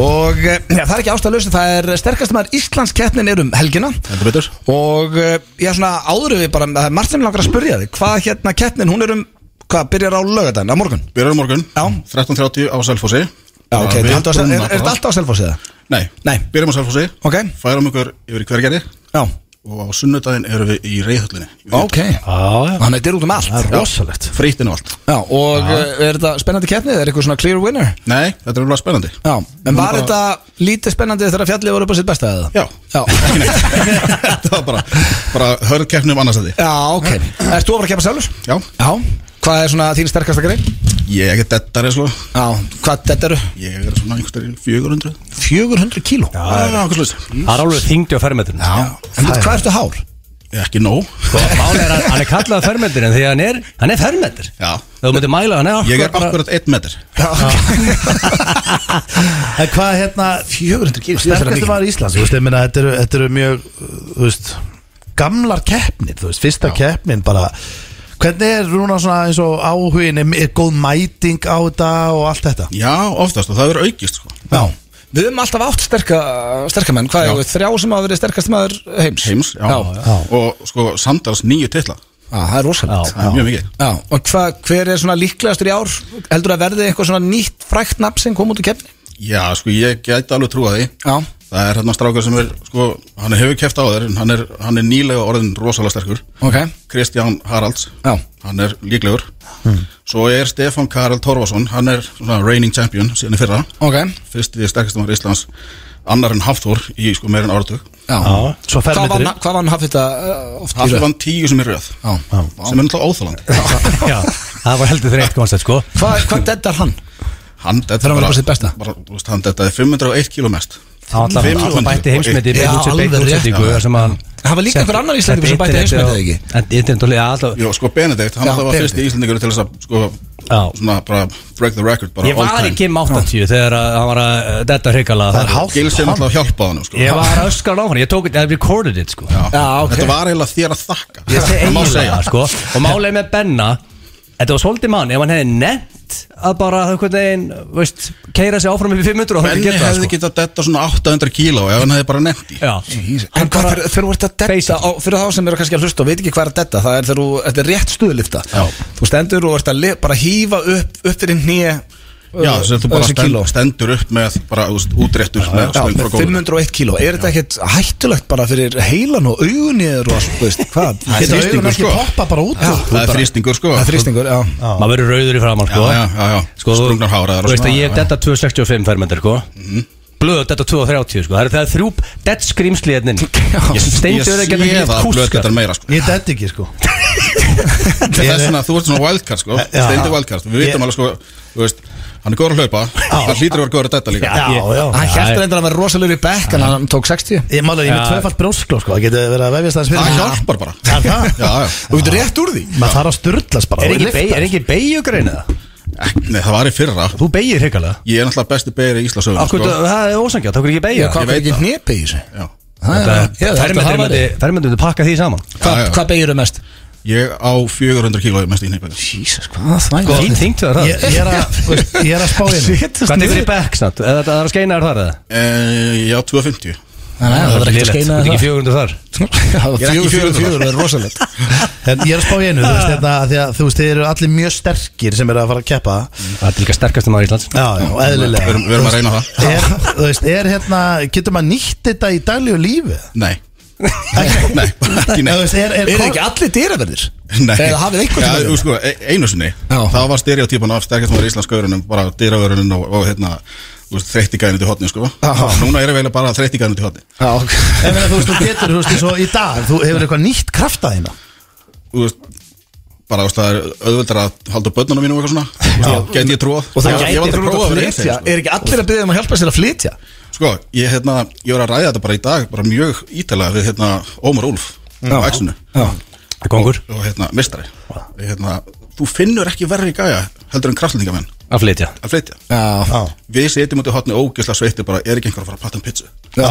Speaker 1: Og eh, já, það er ekki ástæðalösi Það er sterkast maður Íslands keppnin er um helgina
Speaker 7: Heldur betur.
Speaker 1: Og eh, já, svona áður en við bara Það er margt sem mig langar að spyrja þig Hvað hérna keppnin, hún er um Hvað, byrjar á lögadaginn, á morgun?
Speaker 7: Byrjar á morgun,
Speaker 1: Já.
Speaker 7: 13.30 á Selfossi
Speaker 1: Já, ok,
Speaker 7: Við
Speaker 1: er þetta
Speaker 7: brúna
Speaker 1: er, er þetta
Speaker 7: bara.
Speaker 1: alltaf á Selfossi eða?
Speaker 7: Nei,
Speaker 1: Nei.
Speaker 7: byrjum á Selfossi
Speaker 1: Ok.
Speaker 7: Færum ykkur yfir í hvergerði
Speaker 1: Já,
Speaker 7: Og á sunnudaginn erum við í reyðhullinni
Speaker 1: ok
Speaker 2: Já,
Speaker 1: Þannig að þetta er út um allt Já,
Speaker 3: Rosalegt
Speaker 7: Frýtt inn á allt
Speaker 1: já og já. er þetta spennandi keppni? Er eitthvað svona clear winner?
Speaker 7: Nei, þetta er alveg spennandi
Speaker 1: Já, en var þetta lítið spennandi þegar fjallið voru upp á sitt besta eða?
Speaker 7: Já,
Speaker 1: Já,
Speaker 7: ekki neitt Þetta var bara, bara hörð keppnum annarstæði
Speaker 1: já ok Erst þú að fara að keppa sjálfur?
Speaker 7: Já,
Speaker 1: Já, hvað er svona þín sterkasta grein?
Speaker 7: ég er ekki dettari sko
Speaker 1: Já, hvað þetta eru?
Speaker 7: Ég er svona einhverjum 400
Speaker 1: 400 kíló
Speaker 7: Já, eitthvað slúst
Speaker 2: það er alveg þingdi á fermetrinu
Speaker 1: En veit, hvað ertu hár?
Speaker 7: Ekki nóg
Speaker 2: Sko, Mál er að hann er kallað fermetrin Því að hann er, hann er fermetr
Speaker 7: Já
Speaker 2: Þú myndir mæla hann
Speaker 7: Ég er akkurat 1 metr
Speaker 3: En hvað hérna
Speaker 1: 400 kíló
Speaker 3: Sterkastu var í Íslands Þú veist, ég meina Þetta eru, þetta eru mjög uh, Þú veist Gamlar keppnir Þú veist, fyrsta keppnin bara Hvernig er Rúna svona eins og áhugin Er, er góð mæting á þetta og allt þetta
Speaker 7: Já, oftast og það er aukist sko
Speaker 1: Já Við höfum alltaf átt sterka, sterka menn Hvað
Speaker 7: Já.
Speaker 1: er þrjá sem hafa verið sterkast maður heims?
Speaker 7: Heims, já,
Speaker 1: Já,
Speaker 7: Og sko samtals nýju titla
Speaker 1: Já, það er rosalegt
Speaker 7: Það er mjög mikið
Speaker 1: Já, og hva, hver er svona líklegastur í ár? Heldur að verði eitthvað svona nýtt frækt nafn sem kom út í keppni?
Speaker 7: Já, sko ég gæti alveg trúa því
Speaker 1: Já,
Speaker 7: Það er hérna strákar sem er, sko, hann hefur keft á þér en hann er, hann er nýlega orðin rosalega sterkur
Speaker 1: ok
Speaker 7: Kristján Haralds
Speaker 1: Já. Hmm.
Speaker 7: Hann er líklegur Svo er Stefán Karel Torfason Hann er svona reigning champion síðan í fyrra
Speaker 1: Ok,
Speaker 7: Fyrsti sterkastumar Íslands Annar en Hafþór í sko meir en áratug
Speaker 1: já Hvað
Speaker 3: Svo
Speaker 1: var,
Speaker 3: fermetri
Speaker 1: hann- hvað var hann haft þetta uh, oft
Speaker 7: Hafþór vann tíu sem er röð
Speaker 1: Já.
Speaker 7: Sem er náttúrulega óþálandi
Speaker 2: Já, það var heldur þreitt koncept sko
Speaker 1: Hvað hva dettar hann?
Speaker 7: Hann þetta
Speaker 1: Þegar hann var upp á sitt besta?
Speaker 7: bara, þú veist, Hann þetta er 501 kg mest
Speaker 2: Það var alltaf- alltaf bætti heimsmeti í
Speaker 1: Já,
Speaker 2: beint útse- beint
Speaker 1: alveg rétt.
Speaker 2: útsendingu, þar sem hann-
Speaker 1: Það var líka einhver annar Íslendingur sem bætti
Speaker 2: Þetta
Speaker 1: heimsmetið,
Speaker 2: internetið
Speaker 1: ekki?
Speaker 2: og- En internet og liða alltaf
Speaker 7: Jó, sko Benedikt, hann
Speaker 1: Já,
Speaker 7: alltaf var
Speaker 1: Benedikt.
Speaker 7: fyrsti íslendingur til þess að sko,
Speaker 2: Já.
Speaker 7: svona bara break the record bara
Speaker 2: Ég
Speaker 7: all
Speaker 2: var
Speaker 7: time.
Speaker 2: í Kim 80 þegar að hann var að uh, detta hrikala
Speaker 3: Það er hátt
Speaker 7: Gils er náttúrulega að hjálpa hann sko.
Speaker 2: Ég var að öskara á hann, ég tók þetta, I recorded it sko
Speaker 1: Já, ok.
Speaker 7: Þetta var eiginlega þér að þakka
Speaker 2: Ég segi
Speaker 7: Það má
Speaker 2: eiginlega
Speaker 7: segja.
Speaker 2: sko Og málið með Benna Þetta var svolítið mann Ef hann hefði nett að bara einhvern veginn veist, Keira sig áfram upp í 500 og hann
Speaker 7: Benni
Speaker 2: hefði getað
Speaker 7: hefði
Speaker 2: það, sko.
Speaker 7: getað detta svona 800 kíló ef hann hefði bara nefnt í
Speaker 2: Já,
Speaker 1: En hvað fyrir, fyrir þú ert að detta
Speaker 2: Basic.
Speaker 1: á, Fyrir þá sem eru kannski að hlusta og veit ekki hvað er að detta Það er þegar þú, þetta er rétt stuðlifta
Speaker 7: Já.
Speaker 1: Þú stendur og ert að le, bara hýfa upp Upp fyrir hnýja
Speaker 7: Já, þess að þú bara
Speaker 1: þessi
Speaker 7: stend,
Speaker 1: kíló.
Speaker 7: stendur upp með bara þú veist, útréttur með
Speaker 1: Já,
Speaker 7: stöng
Speaker 1: með
Speaker 7: frá góðinu
Speaker 1: 501 kíló Er þetta ekkert hættulegt bara fyrir heilan og augunniður og allt, þú veist, hvað?
Speaker 7: Það er
Speaker 3: Geta
Speaker 7: þrýstingur,
Speaker 3: augun ekki
Speaker 7: sko.
Speaker 3: poppa bara út
Speaker 1: Já.
Speaker 3: úr?
Speaker 7: Það er þrýstingur sko
Speaker 1: Það er þrýstingur, já
Speaker 2: Maður verður rauður í framann sko
Speaker 7: Já, já, já, já.
Speaker 2: Sko, þú-
Speaker 7: Sprungnar háræðar og
Speaker 2: Þú veist að
Speaker 7: svona,
Speaker 2: ég
Speaker 7: já, Mhm. já.
Speaker 2: detta 265 fermendur sko Blöð detta 230 sko Það er það er þrjú dett skrýmsli hérna inn. Ég steindu
Speaker 7: Ég
Speaker 2: það ekki
Speaker 7: sé
Speaker 2: neitt
Speaker 7: það blöð
Speaker 2: kúskar
Speaker 7: þetta meira sko
Speaker 3: Ég detti ekki sko
Speaker 7: Þetta er svona, þú ert svona wildcard sko Steindi wildcard, við
Speaker 3: Ég-
Speaker 7: vitum alveg sko Þú veist, hann er góður að hlaupa Hann hlýtur að vera góður að detta líka
Speaker 3: Já, já
Speaker 1: Hann
Speaker 2: Já,
Speaker 1: hérta
Speaker 2: ég-
Speaker 1: reyndar að vera rosalegur í bekk en hann tók 60
Speaker 3: Ég mála, ég er með tvöfalt brjóskló sko Það getur verið að vefjast aðeins fyrir
Speaker 7: Það
Speaker 3: mig.
Speaker 7: hjálpar bara
Speaker 3: Er það?
Speaker 7: Já, já
Speaker 1: Þú getur rétt úr því
Speaker 3: Maður þarf að styrlast bara
Speaker 2: Er
Speaker 3: og
Speaker 2: ekki
Speaker 3: lyfta.
Speaker 2: beig- er ekki beigjugrein eða?
Speaker 7: Nei, það var í fyrra
Speaker 2: Þú beigir hrikalega
Speaker 7: Ég er náttúrulega besti beigir í sko. Íslasögun
Speaker 2: Akkur, það er ósangjátt, þá er ekki beigja
Speaker 1: Hvað
Speaker 7: veit
Speaker 1: er ekki
Speaker 7: það.
Speaker 1: hnepi í þessu?
Speaker 7: Já
Speaker 2: Fermendur myndi, fermendur myndi pakka því saman
Speaker 7: Já, já.
Speaker 1: Hvað beigir þau mest?
Speaker 7: Ég á 400 kílói mest í neipinu
Speaker 1: Jesus, hvað það
Speaker 2: Þín þingtu það
Speaker 3: Ég ég er að, þú veist, ég er að spá einu
Speaker 2: Hvað er fyrir bekk snart? Eða það er að skeina þér þar eða?
Speaker 7: Eh, Ég á 250
Speaker 1: Það er ekki að
Speaker 2: lélegt.
Speaker 1: skeina
Speaker 2: Þú ert ekki
Speaker 1: það
Speaker 2: 400 þar
Speaker 7: Ég er ekki
Speaker 1: Fjögur, fjögur,
Speaker 7: 400.
Speaker 1: fjögur er rosalegt
Speaker 3: En ég er að spá í einu, þú veist, þetta, því að þú veist, þið eru allir mjög sterkir sem eru að fara að keppa
Speaker 2: Það er líka sterkastum maður Íslands
Speaker 3: Já, já, og eðlilega
Speaker 7: Við erum- við erum að reyna það.
Speaker 3: Er, þú veist, er hérna, getur maður nýtt þetta í daglíu lífi?
Speaker 7: Nei Nei, ekki
Speaker 3: Þú
Speaker 7: nei
Speaker 3: veist, er, er,
Speaker 1: Er
Speaker 3: er
Speaker 1: ekki allir dýraverðir?
Speaker 7: Nei
Speaker 1: Eða hafið einhvern
Speaker 7: Já,
Speaker 1: tímann
Speaker 7: þú sko, e- einu sinni
Speaker 1: Já.
Speaker 7: Það var stereotypan af sterkast maður í Íslandsgaurunum Bara dýravörunum og, og hérna Þreyttigæðinu til hotni, sko Núna erum við eiginlega bara þreyttigæðinu til hotni
Speaker 1: Já, ok
Speaker 3: En meina, þú veist, þú getur, þú veist, eins og í dag Þú hefur eitthvað nýtt krafta þína
Speaker 7: Þú veist, Bara, þú veist, það er auðveldar að halda bönnunum mínum og eitthvað svona Þú veist, Gæti ég trúað
Speaker 1: Og það
Speaker 7: Ég- ég hef
Speaker 1: gæti
Speaker 7: aldrei
Speaker 1: að
Speaker 7: prófað að
Speaker 1: flytja
Speaker 7: vera hinsegin, sko.
Speaker 1: Er ekki allir að byrja um að hjálpa sér að flytja?
Speaker 7: Sko, ég, hérna, ég var að ræða þetta bara í dag Bara mjög ítalega við, hérna, Ómar Úlf Á Exinu
Speaker 2: Kongur
Speaker 7: og hérna, mistari hérna, Þú finnur ekki verri gæja heldur en kraftlendingamenn
Speaker 2: Að flytja
Speaker 7: að flytja
Speaker 1: Já
Speaker 7: Við setjum út í hotni ógisla sveittir bara er ekki einhver að fara að platta um pizzu
Speaker 1: Já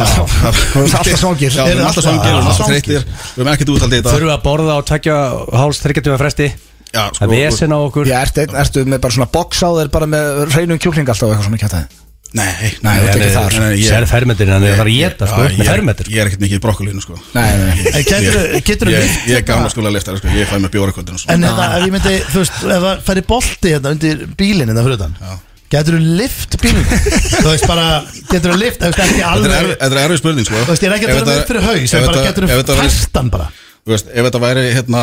Speaker 1: Alltaf svangir
Speaker 7: Já, við erum alltaf svangir, við erum alltaf sveittir Við erum ekkert útaldið í dag
Speaker 2: Þurfa að borða og takja háls 30 fresti
Speaker 7: Já, sko,
Speaker 2: Það vesen á okkur
Speaker 1: Já, ertu, ertu með bara svona box á þér bara með reynum kjúkling alltaf og eitthvað svona kjátaði
Speaker 7: Nei,
Speaker 1: Nei, þú ert
Speaker 2: eh,
Speaker 1: ekki þar.
Speaker 2: Sér fermendirinn, hann er að fara að éta, sko, með fermetur.
Speaker 7: Ég er ekkert mikið í brokkolínu sko
Speaker 1: Nei, nei, nei.
Speaker 3: En geturðu-
Speaker 7: Ég-
Speaker 3: geturðu
Speaker 7: ég-
Speaker 3: nýtt
Speaker 7: Ég er gamla skóla leftari sko, ég fæ með bjórakvöldin og
Speaker 3: En
Speaker 7: svona
Speaker 3: þetta, ef ég myndi, þú veist, ef það færi bolti hérna undir bílinn hérna fyrir utan Getur þú lift bílinn? þú veist bara, getur þú lift, þú veist, ekki
Speaker 7: Þetta
Speaker 3: alveg
Speaker 7: er erfi- þetta er erfið spurning sko
Speaker 3: Þú veist, ég er ekki að
Speaker 7: Ef
Speaker 3: tala með
Speaker 7: þetta-
Speaker 3: fyrir haus
Speaker 7: ef
Speaker 3: En bara
Speaker 7: þetta-
Speaker 3: getur
Speaker 7: ef þetta
Speaker 3: þú
Speaker 7: væri-
Speaker 3: færstan bara
Speaker 7: þú veist, ef þetta væri hérna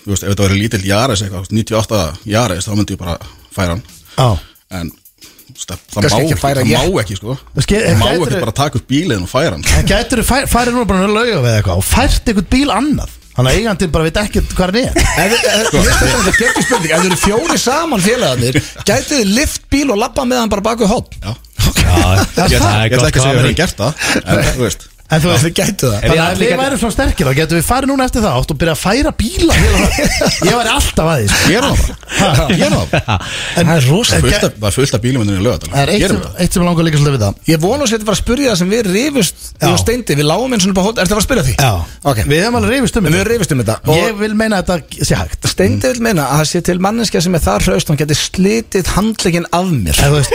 Speaker 7: þú veist, ef þetta væri lítill Jares eitthvað, þú veist, 98 Jares þá myndi ég bara færa hann
Speaker 3: Já
Speaker 7: en þú veist, það, það,
Speaker 1: Kannski
Speaker 7: má,
Speaker 1: ekki
Speaker 7: ekki,
Speaker 1: færa
Speaker 7: það
Speaker 1: ég.
Speaker 7: má ekki sko
Speaker 3: Þú ske-
Speaker 7: það má
Speaker 3: gætirðu-
Speaker 7: ekki bara taka upp bílinn og færa hann
Speaker 3: En getur þú farið núna bara að lauga við eitthvað Og fært eitthvað bíl annað Þannig að eigandinn bara veit ekkert hvað hann er
Speaker 1: Ef þið- ef- Ég stöðum þetta getur spurning Ef þið eru fjóri saman félagarnir Gætið þið lift bíl og labba með hann bara baku hótt
Speaker 7: Já.
Speaker 2: Já, það
Speaker 7: ég ætla
Speaker 2: er
Speaker 7: ég ætla
Speaker 2: gott
Speaker 7: ekki að segja að
Speaker 2: comedy.
Speaker 7: vera gert það en þú veist
Speaker 3: En þú veist,
Speaker 1: Þið gætu það
Speaker 3: Þannig
Speaker 2: ég
Speaker 3: að
Speaker 2: allir
Speaker 3: við
Speaker 2: gæti-
Speaker 3: værum svona sterkir þá getum við farið núna eftir það átt og byrja að færa bíla hérna. Ég væri alltaf að því sko.
Speaker 7: gerum það bara gerum það bara
Speaker 1: Það er rosa
Speaker 7: Fullt af- það er fullt af bílumöndinu
Speaker 3: Það er
Speaker 7: í lögadal
Speaker 3: eitt
Speaker 7: gerum
Speaker 3: sem,
Speaker 7: það
Speaker 3: eitt sem langar líka svolítið við það
Speaker 1: Ég vonu að þetta var að spyrja það sem við rifust Við
Speaker 3: Já.
Speaker 1: og steindi, við lágum eins og bara hótt Ertu að fara að spyrja því? Ok.
Speaker 3: Við hefum alveg reyfist um
Speaker 1: En við
Speaker 3: þetta
Speaker 1: rifust um þetta og
Speaker 3: Ég vil meina að þetta sé hægt
Speaker 1: Steindi vil meina að það sé til manneskja sem er það hraust Hún geti slitið handlegin af mér
Speaker 3: En þú veist,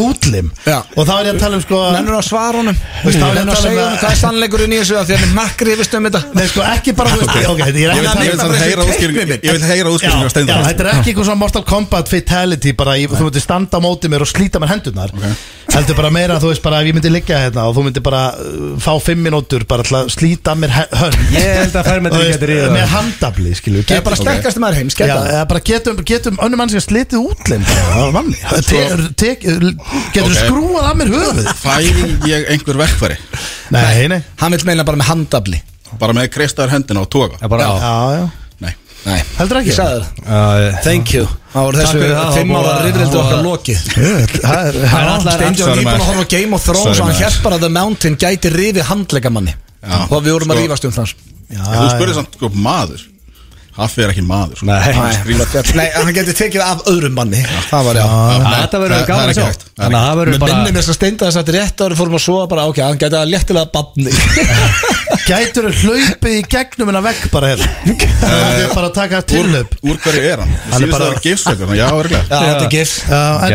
Speaker 3: útlim
Speaker 1: Já.
Speaker 3: Og þá er ég að tala um sko
Speaker 1: Nennur að svara honum
Speaker 3: Veist, þá er ég að
Speaker 1: Nennur að
Speaker 3: tala um
Speaker 1: segja
Speaker 3: að-
Speaker 1: honum hvað er sannleikurinn í þessu af Því að mér nakk rifust um þetta
Speaker 3: Nei sko, ekki bara, þú veist Ok, þetta er ekki
Speaker 7: ég vil-
Speaker 3: að tala
Speaker 7: ég vil
Speaker 3: um
Speaker 7: samt heyra útskýringu ég vil heyra
Speaker 3: Já,
Speaker 7: útskýringu á
Speaker 3: já,
Speaker 7: steindar
Speaker 3: þetta er ekki eitthvað svona Mortal Kombat fatality bara í, þú myndir standa á móti mér og slíta mér hendurnar heldur bara meira þú veist bara ef ég myndi liggja hérna og þú myndir bara uh, fá fimm minútur bara til að slíta mér he- hönd
Speaker 2: Ég held að
Speaker 3: Þú
Speaker 2: fermendirinn
Speaker 3: veist,
Speaker 2: getur ríða
Speaker 3: með handabli skilju
Speaker 1: Ég er bara sterkast maður heims,
Speaker 3: Já,
Speaker 1: geta það
Speaker 3: eða bara getum, getum önnum mann sem slitið útlind Getur þú
Speaker 7: Ok.
Speaker 3: skrúað af mér höfuð
Speaker 7: fæ ég einhver verkfæri
Speaker 3: Nei, nei
Speaker 1: Hann vil meina bara með handabli
Speaker 7: bara með kreistar hendina og toga
Speaker 2: Það er bara á
Speaker 3: Já, já
Speaker 7: nei
Speaker 1: Nei,
Speaker 3: Heldur ekki?
Speaker 1: ég sagði það
Speaker 2: Já,
Speaker 1: Thank you Það voru
Speaker 2: Takk
Speaker 1: þessu
Speaker 2: fyrir það, það
Speaker 1: fimm
Speaker 2: var
Speaker 1: ára
Speaker 2: búið að-
Speaker 1: rifrildu
Speaker 2: það var-
Speaker 1: okkar lokið
Speaker 3: Það er
Speaker 2: Það er
Speaker 3: já.
Speaker 2: allar
Speaker 1: Steindi var
Speaker 7: Sorry,
Speaker 1: nýbúin að
Speaker 7: maður.
Speaker 1: horfa á Game of Thrones
Speaker 7: Sorry,
Speaker 1: og hann
Speaker 7: maður.
Speaker 1: hélt bara að The Mountain gæti rifi handlega manni
Speaker 7: Já.
Speaker 1: og við vorum að
Speaker 7: Sko-
Speaker 1: rífast um það
Speaker 7: En þú spurði samt sko maður Haffi er ekki maður sko.
Speaker 2: Nei.
Speaker 7: Skrýmsli.
Speaker 1: Nei, hann gæti tekið af öðrum manni Það var já
Speaker 7: Nei,
Speaker 2: Þetta verður
Speaker 7: það-
Speaker 2: gaman
Speaker 7: það er
Speaker 2: að sjá.
Speaker 7: ekki hægt.
Speaker 2: Þannig að það verður
Speaker 1: Mér
Speaker 2: bara
Speaker 1: minnir mér þess að steinda þess að þetta er rétt ári fórum að sofa bara ok, hann gæti að léttilega banni
Speaker 3: Gætur þú hlaupið í gegnum en að vegg bara hér Það er bara að taka tilöp
Speaker 7: Úr hverju er hann?
Speaker 3: Hann er
Speaker 7: Sýnist
Speaker 3: bara-
Speaker 7: það að gifs eitthvað? Já,
Speaker 1: Já,
Speaker 7: örgulega
Speaker 1: þetta er gif
Speaker 3: En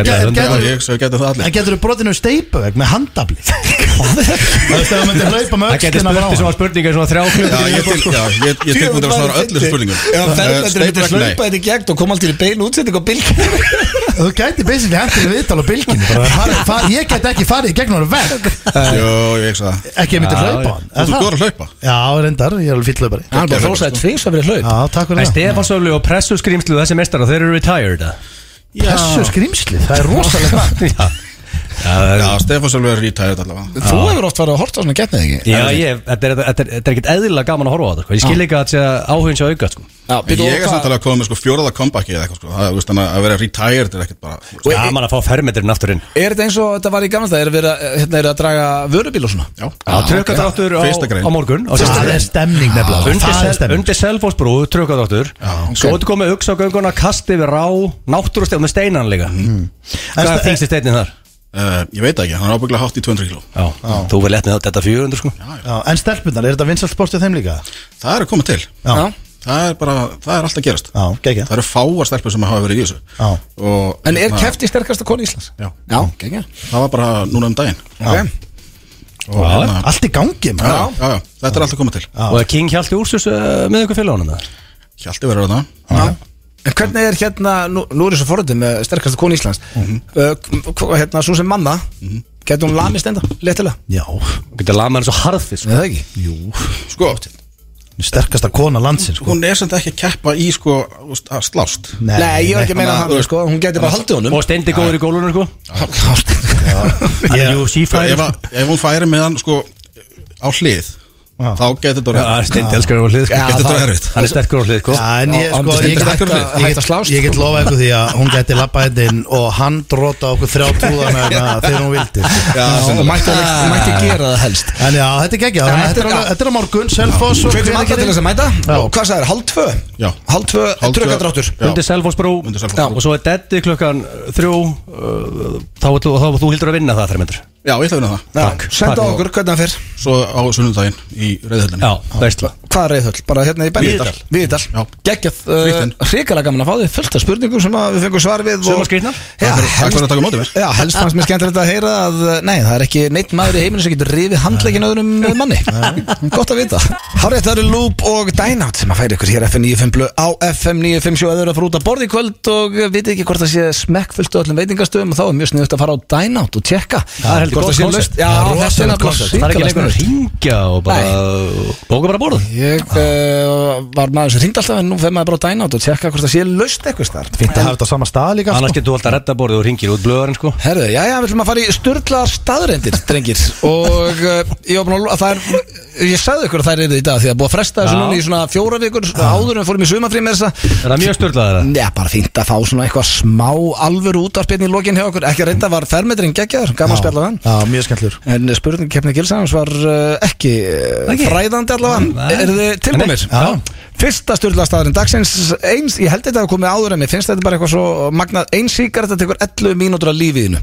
Speaker 2: Gæti það
Speaker 7: Já,
Speaker 3: gætur
Speaker 7: ég hugsa að geta
Speaker 3: En
Speaker 7: það allir
Speaker 3: getur þú brotinu steipavegg með handafli? Hvað er það? Það veist, ef þú myndir hlaupa með
Speaker 2: Það getur
Speaker 3: öxlina frá
Speaker 2: spurt í svona spurningar
Speaker 3: hann
Speaker 2: svona þrjá
Speaker 7: Já,
Speaker 2: klukkur
Speaker 7: ég til, já, ég, ég tek myndir að svara öllu spurningum
Speaker 1: Já,
Speaker 7: Eh,
Speaker 1: ferðandur
Speaker 7: Steinberg,
Speaker 1: myndir að
Speaker 7: nei.
Speaker 1: slaupa þetta í gegn og koma alltaf í bein útsending og bylgjum
Speaker 3: Þú gæti basically hendur í viðtal á bylginu bara, fari- fari- Ég get ekki farið í gegnum hann vegg
Speaker 7: Jó, ég hugsa það
Speaker 3: Ekki ef myndir
Speaker 2: Já,
Speaker 3: hlaupa á
Speaker 2: já.
Speaker 3: hann
Speaker 7: Þú
Speaker 3: Er
Speaker 7: ert
Speaker 3: það?
Speaker 7: góður að hlaupa
Speaker 3: Já, reyndar, ég er alveg fýll hlaupari
Speaker 1: Hann bara hrósaði tvís að vera
Speaker 3: Já,
Speaker 1: hlaup
Speaker 3: takk
Speaker 2: Það
Speaker 3: fyrir
Speaker 2: er
Speaker 3: það
Speaker 2: Stefansöflu og pressusgrímslu þessi mestar og þeir eru retired eða?
Speaker 3: Þessu skrýmsli, það er rosalega
Speaker 2: Já,
Speaker 7: Já, Stefán Sölvi er rítæðið allavega
Speaker 1: Þú hefur oft farið að horta svona getnið ekki?
Speaker 2: Já, ég, þetta er, þetta er, þetta er ekkert eðlilega gaman að horfa á þetta sko. Ég skil ekki að þetta sé áhugin sé að auka sko.
Speaker 1: Já, býtu
Speaker 7: Ég er
Speaker 1: og hvað
Speaker 7: samtalið að koma með sko fjóraða comebacki eða eitthvað sko Það er þannig að vera retired er ekkert bara
Speaker 1: Og er-
Speaker 2: Gaman að fá fermetirinn aftur inn
Speaker 1: Er þetta eins og þetta var í gamla það? Er verið að, hérna, er að draga vörubíl og svona?
Speaker 7: Já,
Speaker 2: Já, trökkadráttur á,
Speaker 7: Fyrsta grein.
Speaker 2: á morgun á fyrsta
Speaker 3: Það
Speaker 2: grein.
Speaker 3: er stemning nefnilega
Speaker 2: Undir,
Speaker 3: Það er
Speaker 2: sel,
Speaker 3: stemning
Speaker 2: undir Selfossbrú, trökkadráttur
Speaker 7: ok.
Speaker 2: Svo ertu komið hugsa á gönguna, kasti við rá Náttúrustef með steinan líka Hvað er þingst í steinin þar?
Speaker 7: Eh, Ég veit það ekki, hann er ábygglega hátt í 200 kíló
Speaker 2: Já, þú verður lett með þetta 400 sko
Speaker 3: Já, En stelpunar, er þetta vinsalt sportið þeim líka?
Speaker 7: Það er að koma til
Speaker 3: Já,
Speaker 7: Það er bara, það er alltaf gerast
Speaker 3: já, gegja
Speaker 7: Það eru fáar stelpur sem hafa verið í þessu
Speaker 3: Já.
Speaker 7: Og,
Speaker 1: En er
Speaker 7: hérna,
Speaker 1: kefti sterkasta konu Íslands?
Speaker 7: Já.
Speaker 1: Já, gengja
Speaker 7: Það var bara núna um daginn
Speaker 1: okay.
Speaker 7: Og, hérna,
Speaker 3: Allt í gangi,
Speaker 7: já,
Speaker 3: maður
Speaker 7: já, já, Þetta er alltaf að koma til
Speaker 2: Og er King Hjalti Úrsus uh, með ykkur félagunum það?
Speaker 7: Hjalti verður þarna
Speaker 1: En hvernig er hérna, nú, nú er þessu forröndið með sterkasta konu Íslands mm Hérna, svo sem manna mm -hmm. Getur hún lamið stenda, letilega?
Speaker 3: Já,
Speaker 2: Getur að laga með hann svo harðfis sko.
Speaker 1: Nei, það ekki
Speaker 3: jú
Speaker 7: Sko,
Speaker 3: Sterkasta kona landsins sko.
Speaker 7: hún er sem þetta ekki að keppa í sko þú veist, að slást
Speaker 1: Nei, ég var ekki að meina
Speaker 7: Nei,
Speaker 1: hann, sko Hún getur bara haldið honum
Speaker 2: Og steindi góður í gólunum sko Hann er UFC færi
Speaker 7: ef, að- ef hún færi með hann sko á hlið
Speaker 3: Já.
Speaker 7: Þá getur þetta orðið
Speaker 2: Steindi elskar á hlið sko.
Speaker 1: Já,
Speaker 7: Getur þetta
Speaker 1: það-
Speaker 7: erfitt
Speaker 2: Hann er sterkur á hlið sko.
Speaker 3: Já, en ég,
Speaker 1: Á-
Speaker 3: sko,
Speaker 1: án- hætta-
Speaker 3: ég, get, ég,
Speaker 1: hætta- hætta að
Speaker 3: get,
Speaker 1: slást.
Speaker 3: ég get lofa ykkur því að hún geti lappa hérna inn og hann dróta okkur þrjá trúðana hérna þegar hún vildi sko.
Speaker 7: Já,
Speaker 1: Já, og mætti, mætti gera það helst
Speaker 3: En já, þetta er geggja,
Speaker 1: Já,
Speaker 3: þetta,
Speaker 1: þetta er-
Speaker 3: er alveg- þetta er á morgun, Selfoss og
Speaker 1: Hvetjum alla til þess að mæta
Speaker 3: Já.
Speaker 1: Og hvað sagðir, halv tvö?
Speaker 7: Já.
Speaker 1: Halv tvö,
Speaker 7: Hálf tvö-
Speaker 1: trökkadráttur
Speaker 7: Já.
Speaker 2: Undir Selfossbrú
Speaker 7: Undir Selfossbrú.
Speaker 2: Já, Og svo er Deddi klukkan uh, þrjú uh, Þá er þú, þá- þú hildur að vinna það þar myndur
Speaker 7: Já, ég ætla að vinna það
Speaker 2: Takk.
Speaker 1: Senda
Speaker 2: Takk.
Speaker 1: okkur hvernig það fyrr
Speaker 7: Svo á sunnudaginn í reyðhöllinni
Speaker 2: Já, veistla
Speaker 1: Hvað er reyðhöll? Bara hérna í Benny
Speaker 7: Víðidal. Já.
Speaker 1: Viðdal Geggjað uh,
Speaker 7: Frítt inn.
Speaker 1: Hrikalega gaman að fá þig Fullt af spurningum sem að við fengum svar við og-
Speaker 2: Sumar skrýtnar.
Speaker 1: Já,
Speaker 7: Takk fyrir- takk fyrir að taka á móti mér.
Speaker 1: Já, helst fannst mér skemmtilegt að heyra að uh, Nei, það er ekki neitt maður í heiminu sem getur rifið handlegin öðrum uh, manni Gott að vita Hárið, það eru Loop og Dynout sem að færa ykkur hér FM 95 blöð á FM 957 að þau eru að fara út að borða í kvöld og uh, vitið ekki hvort það sé smekkfullt á öllum veitingastöðum og þá er mjög sniðut að fara á Dynout og tjekka
Speaker 2: Það er heldur
Speaker 1: Hvort
Speaker 2: gott
Speaker 1: sé laust-
Speaker 2: koncept.
Speaker 1: Já,
Speaker 3: Það
Speaker 1: þetta
Speaker 3: er
Speaker 1: er
Speaker 3: rosalegt
Speaker 1: nefnilega
Speaker 3: koncept.
Speaker 2: Það er ekki
Speaker 1: hrikalega
Speaker 2: lengur að
Speaker 1: sniðugt.
Speaker 2: ringja og bara Bóka bara borð
Speaker 1: Ég uh, var maður sem hringd alltaf en nú fer maður bara á Dynout og tjekka hvort það sé laust eitthvað starf
Speaker 3: Fint að hafa þetta á sama stað líka
Speaker 2: Annars
Speaker 3: sko.
Speaker 2: getur þú alltaf að redda borðið og ringir út blöðarinn sko
Speaker 1: Herðu, já, já, við ætlum að fara í störtlaðar staðrendir, drengir Og uh, ég var búin að lo- að það er Ég sagði ykkur að það er yfir í dag Því að búið að fresta þessu
Speaker 2: Já.
Speaker 1: núna í svona fjóra vikur Áður en við fórum í sumafrí með þessa
Speaker 2: Er það mjög störlað það?
Speaker 1: Já, bara fínt að fá svona eitthvað smá alvöru útarpinn í lokin hjá okkur Ekki að reynda var fermetrin geggjaður, gaman að spjalla við hann
Speaker 3: Já, mjög skemmtlur
Speaker 1: En spurningkeppni Gilsæðans var uh, ekki uh,
Speaker 2: Ekki?
Speaker 1: fræðandi allavega
Speaker 2: Nei.
Speaker 1: Er þið tilbúinir?
Speaker 2: Nei, já.
Speaker 1: Fyrsta styrlastaðurinn dagsins eins, Ég held þetta að komið áður en mér finnst þetta bara eitthvað svo magnað Einn síkart, þetta tekur 11 mínútur af lífiðinu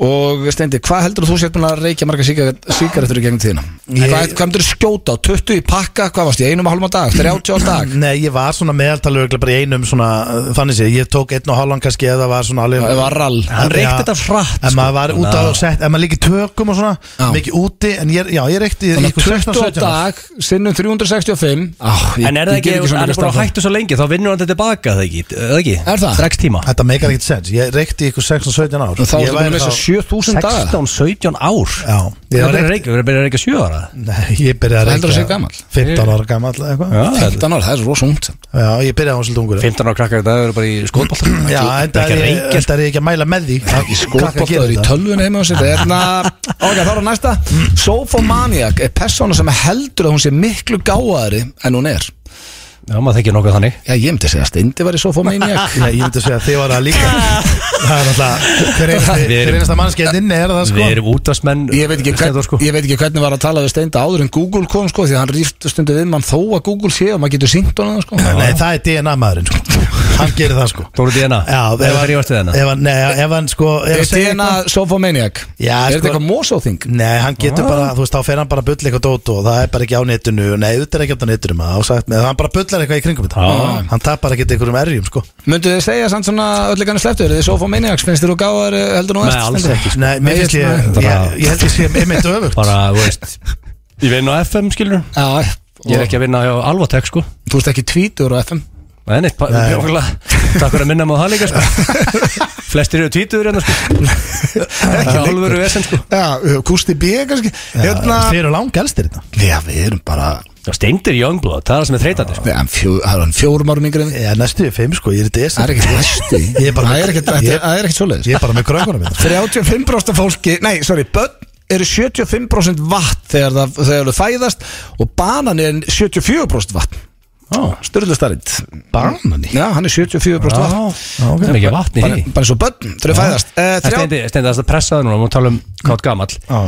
Speaker 1: Og Steindi, hvað heldur þú sér búin að reykja marga síkartur í gegnum tíðina?
Speaker 3: Ég-
Speaker 1: Hvað, hvað heldur þú skjóta á? 20 í pakka, hvað varst ég? Einum og halvum á dag? 30 á dag?
Speaker 3: Nei, ég var svona meðaltalur bara í einum svona, uh, þannig sé, ég tók einn og halvan kannski eða var svona alveg
Speaker 1: Það var rall
Speaker 2: Hann reykti
Speaker 3: Já,
Speaker 2: þetta hratt,
Speaker 3: En
Speaker 2: sko.
Speaker 3: maður var út á
Speaker 2: Já.
Speaker 3: og sett, en maður líki tökum og
Speaker 1: Já.
Speaker 3: svona Mikið úti, en ég, já, ég reykti í
Speaker 1: Þannig
Speaker 3: ykkur
Speaker 1: að
Speaker 3: 16,
Speaker 1: 20 á
Speaker 3: 17 ára.
Speaker 1: dag, sinnum 365 ah, ég-
Speaker 2: En er það
Speaker 1: ég
Speaker 2: ekki,
Speaker 1: get svona
Speaker 2: hann
Speaker 1: mikið
Speaker 2: er búin að
Speaker 1: stærðfræði.
Speaker 2: hættu svo lengi Þá vinnur hann þetta tilbaka, það ekki, er það ekki?
Speaker 1: Er það?
Speaker 2: Strax tíma
Speaker 3: Þetta meikar ekkert sens, ég reykti í ykkur 16, 17 ár
Speaker 1: Og þá
Speaker 3: Ég
Speaker 1: ertu búin að
Speaker 3: væri
Speaker 1: missa
Speaker 3: þá-
Speaker 1: 7000 dagar
Speaker 2: 16, 17 ár
Speaker 3: Já,
Speaker 2: Ég
Speaker 3: ég
Speaker 2: er
Speaker 3: var
Speaker 2: að
Speaker 3: reykti
Speaker 2: reykja, við erum að byrja að reykja 7 ára
Speaker 3: Nei, ég byrjaði að
Speaker 1: Það heldur að sé
Speaker 3: reykja
Speaker 1: gamall.
Speaker 3: 15 ára gammal eitthvað
Speaker 2: Já, þetta-
Speaker 1: 15 ára, það er svo rosa ungt samt.
Speaker 3: Já, ég byrjaði á hans lungur
Speaker 2: 15 ára krakkar þetta eru bara í skóðbólta
Speaker 3: Já, en það
Speaker 2: ekki að
Speaker 3: er ég-
Speaker 2: reykja
Speaker 3: enda er ég ekki að mæla með því
Speaker 1: Í skóðbóttaður í
Speaker 3: Krakkar gera þetta.
Speaker 1: tölvun heima á sér Erna, ok, þá er næsta Sofomaniak er persóna sem heldur að hún sé miklu gáðari en hún er
Speaker 2: Já, maður þekkir nokkuð þannig
Speaker 1: Já, ég myndi að segja að Steindi var í sofamaniac
Speaker 3: Já, ég myndi að segja að þið var það líka Það er náttúrulega Hver einasti-
Speaker 2: Við erum-
Speaker 3: hver einasta mannskeitt inni er það sko
Speaker 2: Við erum útvarsmenn
Speaker 1: Ég veit, ekki, hvern,
Speaker 2: Steindór, sko.
Speaker 1: ég veit ekki hvernig var að tala við Steinda áður en Google kom sko því að hann rýft stundu við mann þó að Google sé og maður getur syngt honum það, sko
Speaker 3: Nei, það er DNA maðurinn sko Hann gerir það sko
Speaker 2: Dóru Díana
Speaker 3: Já,
Speaker 2: Ef að rífast við hennar
Speaker 3: ef hann- Nei, ef hann sko ef
Speaker 1: Er
Speaker 3: hann segir
Speaker 1: DNA
Speaker 3: eitthvað-
Speaker 1: sofamaniac? Er
Speaker 3: Já, sko-
Speaker 1: þetta eitthvað Ah. mosóþing?
Speaker 3: Nei, hann getur bara, þú veist, þá fer hann bara að bulla eitthvað dót og það er bara ekki á netinu, nei, þetta er ekki á netinu maður, þá sagt, með, hann bara bullar eitthvað í kringum þetta
Speaker 2: Já.
Speaker 3: Hann tapar ekki einhverjum erjum, sko
Speaker 1: Myndu þið segja samt svona öllegarnir slepptu? Er þið sofamaniacs? Finnst þið þú gáðar heldur nú
Speaker 2: Nei,
Speaker 1: eftir?
Speaker 2: alls
Speaker 1: Steindi?
Speaker 2: ekki sko.
Speaker 3: Nei,
Speaker 1: Nei,
Speaker 3: mér finnst
Speaker 1: ég-
Speaker 3: ég,
Speaker 2: bara-
Speaker 3: ég, ég held ég sé einmitt öfugt
Speaker 2: Bara, þú veist Ég vinn á FM, skilur
Speaker 1: Já,
Speaker 2: Ég er ekki að vinna á Alvatek, sko
Speaker 1: Þú veist ekki tvítur á FM
Speaker 2: Nei, neitt, bara-
Speaker 3: Nei.
Speaker 2: nákvæmlega. Takk fyrir að minna maður það líka, sko Flestir eru tvítuður hérna, sko Ekki alvöru vesen, sko
Speaker 1: Já, Kusti B kannski Hérna
Speaker 3: Þið eru langt elstir þetta
Speaker 1: Já, við erum bara
Speaker 2: Já, Steindir Youngblood, það er það sem er þreytandi, sko
Speaker 1: Nei, hann fjó- hann er hann fjórum árum yngri en við.
Speaker 3: Já, næstu við fimm, sko, ég er í DS
Speaker 1: Það er ekkert læsti
Speaker 3: Ég er bara-
Speaker 1: Það er ekkert-
Speaker 3: ég-
Speaker 1: það er ekkert svoleiðis
Speaker 3: Ég er bara með krökkunum hérna. minn
Speaker 1: 35% fólki, nei, sorry, börn eru 75% vatn þegar það, þegar það fæðast og banan er 74% vatn
Speaker 2: Ó,
Speaker 1: Sturlu starrið
Speaker 3: Banani
Speaker 1: Já, hann er 74% vatn
Speaker 2: Það er mikið vatn í
Speaker 1: bara,
Speaker 2: því
Speaker 1: bara eins og börn, þegar þau fæðast Eh,
Speaker 2: Það
Speaker 1: þrjá-
Speaker 2: steindi, steindi, það er pressaði núna, maður tala um kátt gamall
Speaker 3: Já.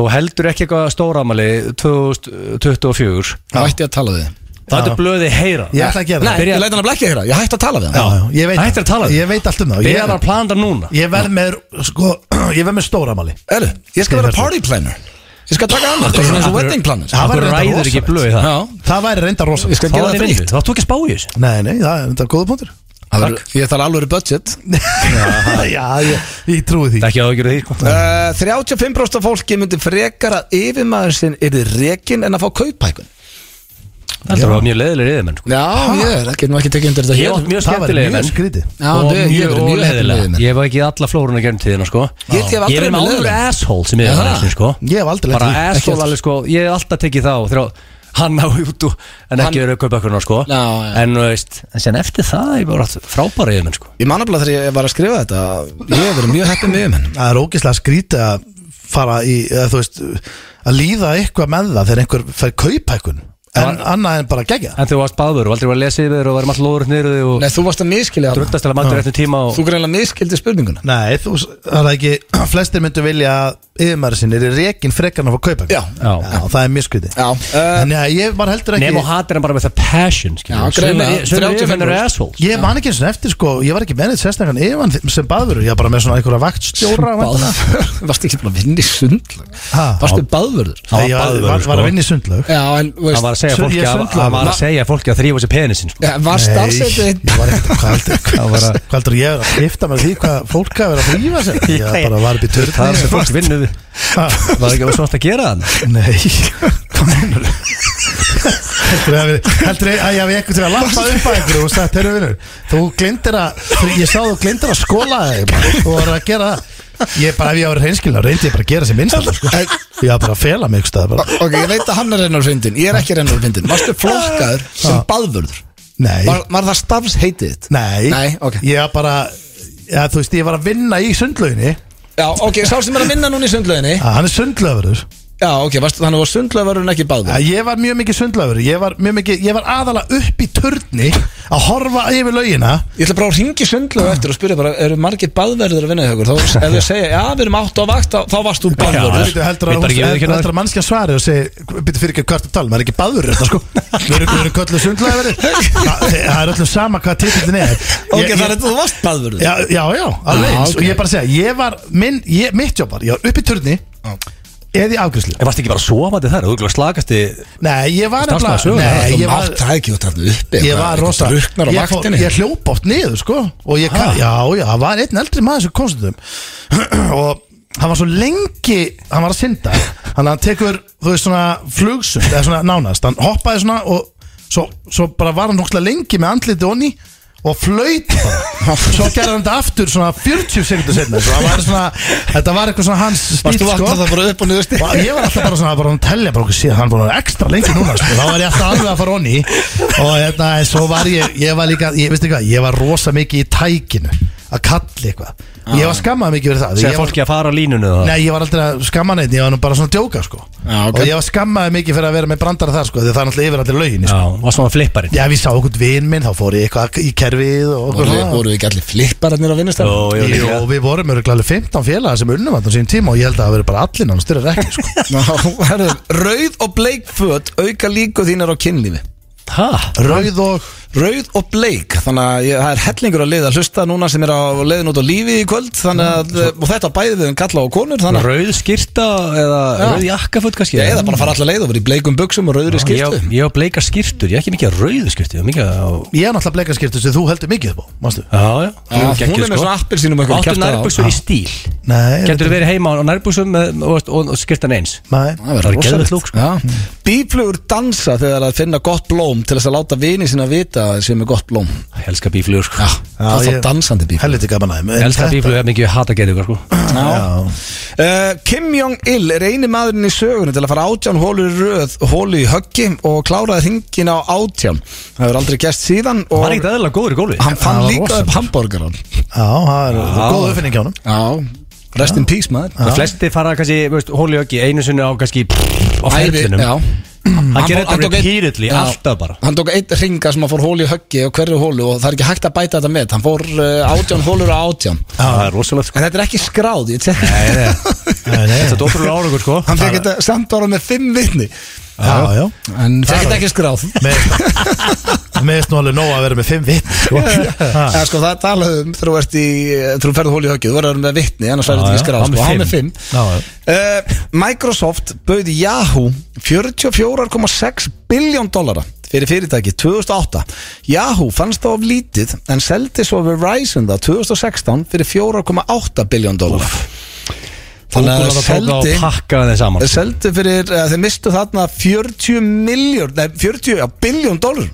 Speaker 2: og heldur ekki eitthvað stóramali 2024
Speaker 1: Það ætti að tala við þig.
Speaker 2: Það er blöði heyra
Speaker 3: Ég ætla að gera það.
Speaker 1: Nei, ég læt hann að blekja þér Ég hætti að tala við hann
Speaker 3: Já, ég veit
Speaker 2: Hættir að tala um
Speaker 3: Ég veit allt um það
Speaker 2: Byrjar að
Speaker 3: Ég,
Speaker 2: plana þetta núna
Speaker 3: ég verð með, sko, ég verð með stóramali
Speaker 1: Eru, ég skal
Speaker 3: Ég
Speaker 1: vera
Speaker 3: verð-
Speaker 1: party planner Ég skal taka annað, það er svona eins og wedding planner
Speaker 3: Það
Speaker 2: Það
Speaker 3: væri reyndar
Speaker 2: ræður ekki
Speaker 3: rosalegt.
Speaker 2: blöði það
Speaker 1: Já,
Speaker 3: Það væri reyndar rosa
Speaker 1: ég skal
Speaker 2: Þá
Speaker 1: gera
Speaker 2: er
Speaker 1: það
Speaker 2: þið
Speaker 1: frítt
Speaker 2: vindu, þá áttu ekki að spá í þessu
Speaker 3: Nei, nei, það er reyndar góða punktur
Speaker 1: Það verður- Ég þarf alveg budget
Speaker 3: Já, ég, ég trúi því
Speaker 2: Það er ekki að það gera því sko
Speaker 1: Uh, 35% af fólki myndi frekar að yfirmaður sinn yrði rekin en að fá kaupækun
Speaker 2: Það er bara mjög leðilegir yfir menn sko
Speaker 1: Já, ég er, það getum ekki tekið undir þetta
Speaker 2: Ég var mjög
Speaker 3: Það væri
Speaker 2: skemmtilegir
Speaker 3: mjög
Speaker 2: menn
Speaker 3: skrítið.
Speaker 1: Já,
Speaker 2: Og
Speaker 1: við- ég hef verið mjög
Speaker 2: mjög
Speaker 1: heppin leiðir menn.
Speaker 2: óleðilega Ég var ekki í alla flóruna gerðum tíðina sko
Speaker 1: Ég held ég hef aldrei
Speaker 2: er
Speaker 1: verið
Speaker 2: með
Speaker 1: leiðilegur.
Speaker 2: alveg asshole sem
Speaker 1: Já.
Speaker 2: ég er sko
Speaker 3: Ég hef aldrei
Speaker 2: Bara
Speaker 3: lent í- ekki
Speaker 2: asshole
Speaker 3: heldur.
Speaker 2: alveg sko Ég hef alltaf tekið þá þegar hann á út og en ekki verið kaupakuna sko
Speaker 1: Já, já.
Speaker 2: En þú veist, en sen eftir það ég var frábæra yfir menn sko
Speaker 1: Ég manna bara þegar ég var að skrifa þetta Ég hef verið mjög heppin með yfirmenn
Speaker 3: Það er ógislega skrítið að fara í, eða, þú veist, að líða eitthvað með það þegar einhver fer kaupækun en annað en bara gegja
Speaker 2: En þú varst báður og aldrei var að lesa yfir þér og varum alltaf lóður upp niður þig og
Speaker 1: Nei, þú varst að miskilja það
Speaker 2: druttast til að mæta réttum tíma og
Speaker 1: Þú greinlega miskildi spurninguna
Speaker 3: Nei, þú, það er ekki, flestir myndu vilja að yfirmaður sinni er rekin frekarn að fá kaupækun
Speaker 1: Já.
Speaker 2: Já.
Speaker 3: það er mjög skrítið
Speaker 1: Já, uh,
Speaker 3: Þannig að ég var heldur ekki
Speaker 2: Nefn og hatir hann bara með það passion
Speaker 1: Já, greinilega.
Speaker 2: Sveinu yfirmenn eru
Speaker 1: 35%.
Speaker 2: assholes
Speaker 3: Ég man ekki eins og eftir sko, ég var ekki með neitt sérstakann yfan sem baðvörur, ég var bara með svona einhverja vaktstjóra væntanlega.
Speaker 1: Varst ekki búin að vinna í sundlag
Speaker 3: Ha?
Speaker 1: Varstu baðvörður
Speaker 2: Hann var
Speaker 3: Ég
Speaker 2: baðvörður,
Speaker 3: var, var, var
Speaker 2: sko.
Speaker 3: að vinna í sundlaug
Speaker 1: Já, en þú
Speaker 2: Hann var að segja
Speaker 3: Svo-
Speaker 2: fólki
Speaker 3: ég
Speaker 2: að,
Speaker 3: sundlaði.
Speaker 2: hann var að, segja fólki að þrífa sér penisin sko.
Speaker 1: Já, Var starfsetið
Speaker 3: ég var ekkert, hvað heldur
Speaker 2: Það var að-
Speaker 3: Hvað heldur ég er að skipta með því hvað fólk að vera að frífa sér Ég
Speaker 2: Ég-
Speaker 3: bara var upp í törni
Speaker 2: Það er sem fólk vinnu við Var ekki ósvart að gera hann
Speaker 3: Nei Heldur að við- heldur að að ég hafi eitthvað til að lappa upp að einhverju og sagt, heyrðu vinnur, þú glindir að þú- ég sá þú glindir að skóla þig maður, og voru að gera það Ég bara, ef ég var reynskilna, reyndi ég bara að gera sem minnstæðan sko. Ég var bara að fela mig ykkur stað bara.
Speaker 1: Ok, ég veit að hann er reynar fyndin Ég er ekki reynar fyndin Varstu flokkaður sem baðvörður
Speaker 3: Nei,
Speaker 1: Var, var það starfsheitið þitt?
Speaker 3: nei,
Speaker 1: Nei, ok.
Speaker 3: ég var bara ja, þú veist, ég var að vinna í sundlauginni
Speaker 1: Já, ok, sá sem er að vinna núna í sundlauginni
Speaker 3: að hann er sundlaugurður
Speaker 1: Já, ok, varstu, þannig var sundlaugarinn ekki báður
Speaker 3: að ég var mjög mikið sundlaugur ég var, mjög mikið, ég var aðala upp í turni að horfa yfir laugina
Speaker 1: Ég ætla bara að ringi sundlaugu eftir og spyrja bara Eru margir baðverður að vinna hjá ykkur? Þá, ef þau segja, já, við erum átt á vakt Þá, þá varst þú
Speaker 2: Já,
Speaker 1: baðverður
Speaker 3: Þú veitur, heldur
Speaker 2: Við
Speaker 3: að
Speaker 2: bara ekki viðurkenna
Speaker 3: heldur að mannskja svari og segi, byrju fyrir ekki hvað ertu að tala, maður er ekki baður þetta sko, við erum, við erum kölluð sundlæðveri það það er öllum sama hvað titillin er
Speaker 1: Ok,
Speaker 3: Ég-
Speaker 1: það er
Speaker 3: ég-
Speaker 1: þú varst baðverður
Speaker 3: Já, já, já, alveg
Speaker 1: Já,
Speaker 3: eins
Speaker 1: ok.
Speaker 3: og ég bara segja, ég var, minn, ég, mitt jobb var ég var upp í turni, eða í afgriðslu
Speaker 2: En varst ekki bara sofandi þar, þú glöð slagast í
Speaker 3: Nei, ég var
Speaker 2: Starfsmaður
Speaker 3: nefnilega-
Speaker 2: sögunnar,
Speaker 3: Nei,
Speaker 1: Þú
Speaker 3: ég var
Speaker 1: mátt það ekki út þarna uppi
Speaker 3: Ég var rosa
Speaker 1: Ruknar á
Speaker 3: ég, fór-
Speaker 1: vaktinni
Speaker 3: ég hljóp oft niður sko Og ég, ka- já, já, það var einn eldri maður sem kostum Og hann var svo lengi Hann var að synda Þannig að hann tekur, þú veist, svona flugsund Eða svona nánast, hann hoppaði svona Og svo, svo bara var hann hókla lengi Með andliti onni og flaut bara. Svo gerði hann þetta aftur svona 40 sekundur setna svona, Þetta var eitthvað svona hans stíl
Speaker 1: Varst þú
Speaker 3: sko.
Speaker 1: vakt að það bara upp og niður stík
Speaker 3: Og ég var alltaf bara svona bara að tellja bara okkur síðan hann búin að vera ekstra lengi núna sko. þá var ég alltaf alveg að fara onni og hérna en svo var ég ég var líka ég veist ekki hvað ég var rosa mikið í tækinu að kalli eitthvað Ég var skammað mikið fyrir það
Speaker 2: Segja
Speaker 3: Ég var-
Speaker 2: fólki að fara á línunu það
Speaker 3: Nei, ég var aldrei að skamma neitt, ég var nú bara svona að djóka sko.
Speaker 7: Já, ok.
Speaker 3: Og ég var skammaði mikið fyrir að vera með brandara þar sko, því það er náttúrulega yfir allir lögin
Speaker 2: Já,
Speaker 3: sko.
Speaker 2: var svona flipparinn
Speaker 3: Já, við sá okkur vin minn, þá fór ég eitthvað í kerfið og okkur
Speaker 8: Voru, voru ekki allir flippararnir á vinnustæð
Speaker 2: Jó, jó,
Speaker 3: Jó,
Speaker 2: líka.
Speaker 3: við vorum öruglega alveg 15 félaga sem unnum þarna á sínum tíma og ég held að það hafi verið bara allir náttúrulega styrir ekki sko.
Speaker 1: Herðu, Rauð og bleik föt auka líku þínar á kynlífi
Speaker 2: Ha?
Speaker 3: Rauð og
Speaker 1: Rauð og bleik, þannig að ég, það er hellingur að liða að hlusta núna sem er á leiðin út á lífi í kvöld þannig að,
Speaker 2: Mm,
Speaker 1: og þetta á bæði við um kalla og konur þannig að,
Speaker 2: Rauð skýrta eða rauð jakkaföt kannski Mm.
Speaker 1: ég eða bara að fara allar leið og vera í bleikum buksum og rauðri skýrtu
Speaker 2: Ég á bleika skýrtur, ég er ekki mikið að rauðu skýrtu Ég er mikið að
Speaker 3: Ég er náttúrulega bleikaskiptu sem þú heldur mikið upp á, mástu?
Speaker 2: Já, já,
Speaker 1: Já, hún er með svona appelsínum og eitthvað
Speaker 2: Áttu
Speaker 1: kjaftaði á.
Speaker 2: nærbuksur í stíl
Speaker 3: Nei,
Speaker 2: Getur þú verið heima á nærbuksum með- og, og, og skýrtan eins
Speaker 3: nei
Speaker 2: Það er geðvett lúk sko.
Speaker 1: Býflugur dansa þegar að finna gott blóm til þess að láta vini sína vita að þeir séu með gott blóm
Speaker 2: Ég Elskar bíflugur sko.
Speaker 1: Það er þá
Speaker 3: ég-
Speaker 1: dansandi býflugur
Speaker 3: Helviti gaman aðeim
Speaker 2: Ég Elskar bíflugur, ég er mikið að hata geðugar sko.
Speaker 1: uh, Kim Jong-il er eini maðurinn í sögunni til að fara átján hólu í röð hólu í höggi og kláraði hringin á átján Það hefur aldrei gerst síðan og
Speaker 2: Var ekkert eðla góður í gólfi
Speaker 1: hann fann
Speaker 3: Það var
Speaker 1: líka upp
Speaker 3: rosalegt.
Speaker 1: hambúrgaran
Speaker 3: Já, það er góð uppfinning hjá honum
Speaker 1: Já, rest in peace maður
Speaker 2: Það flesti fara kannski, veist, hóli og ekki einu sinni á kannski á ferlinum
Speaker 1: já
Speaker 2: Hann gerir
Speaker 1: tók-
Speaker 2: þetta
Speaker 1: tók einn-
Speaker 2: repeatedly,
Speaker 1: Já.
Speaker 2: alltaf bara
Speaker 1: Hann tók eitt ringa sem að fór hólu í höggi og hverju hólu og það er ekki hægt að bæta þetta með Hann fór uh, átján hólur á átján
Speaker 2: Það er rosalegt sko.
Speaker 1: En þetta er ekki skráð, ég tek
Speaker 3: Nei, nei.
Speaker 2: Þetta er ótrúlega árangur sko.
Speaker 1: Hann fekk þetta samt ára með fimm vitni
Speaker 3: Já, já
Speaker 1: En fekk þetta ekki skráð
Speaker 3: Með nú alveg nóg að vera með fimm vitt sko. Ha.
Speaker 1: Eða, sko, Það er talað um þegar þú ert í þegar þú ferðu hóli í höggið, þú verður með vitni annars er
Speaker 2: Já,
Speaker 1: þetta ekki
Speaker 2: já,
Speaker 1: skráð,
Speaker 2: hann
Speaker 1: sko,
Speaker 2: með
Speaker 1: hann með
Speaker 2: fimm.
Speaker 1: fimm
Speaker 3: Já, já.
Speaker 1: uh, Microsoft bauði Yahoo 44,6 biljón dollara fyrir fyrirtæki 2008 Yahoo fannst þá of lítið en seldi svo Verizon það 2016 fyrir 4,8 biljón dollara Þannig að
Speaker 2: Google var að
Speaker 1: seldi
Speaker 2: tóka og pakka þeim saman sko.
Speaker 1: seldu fyrir, uh, þeir mistu þarna 40 miljón, nei 40 já, biljón dólar,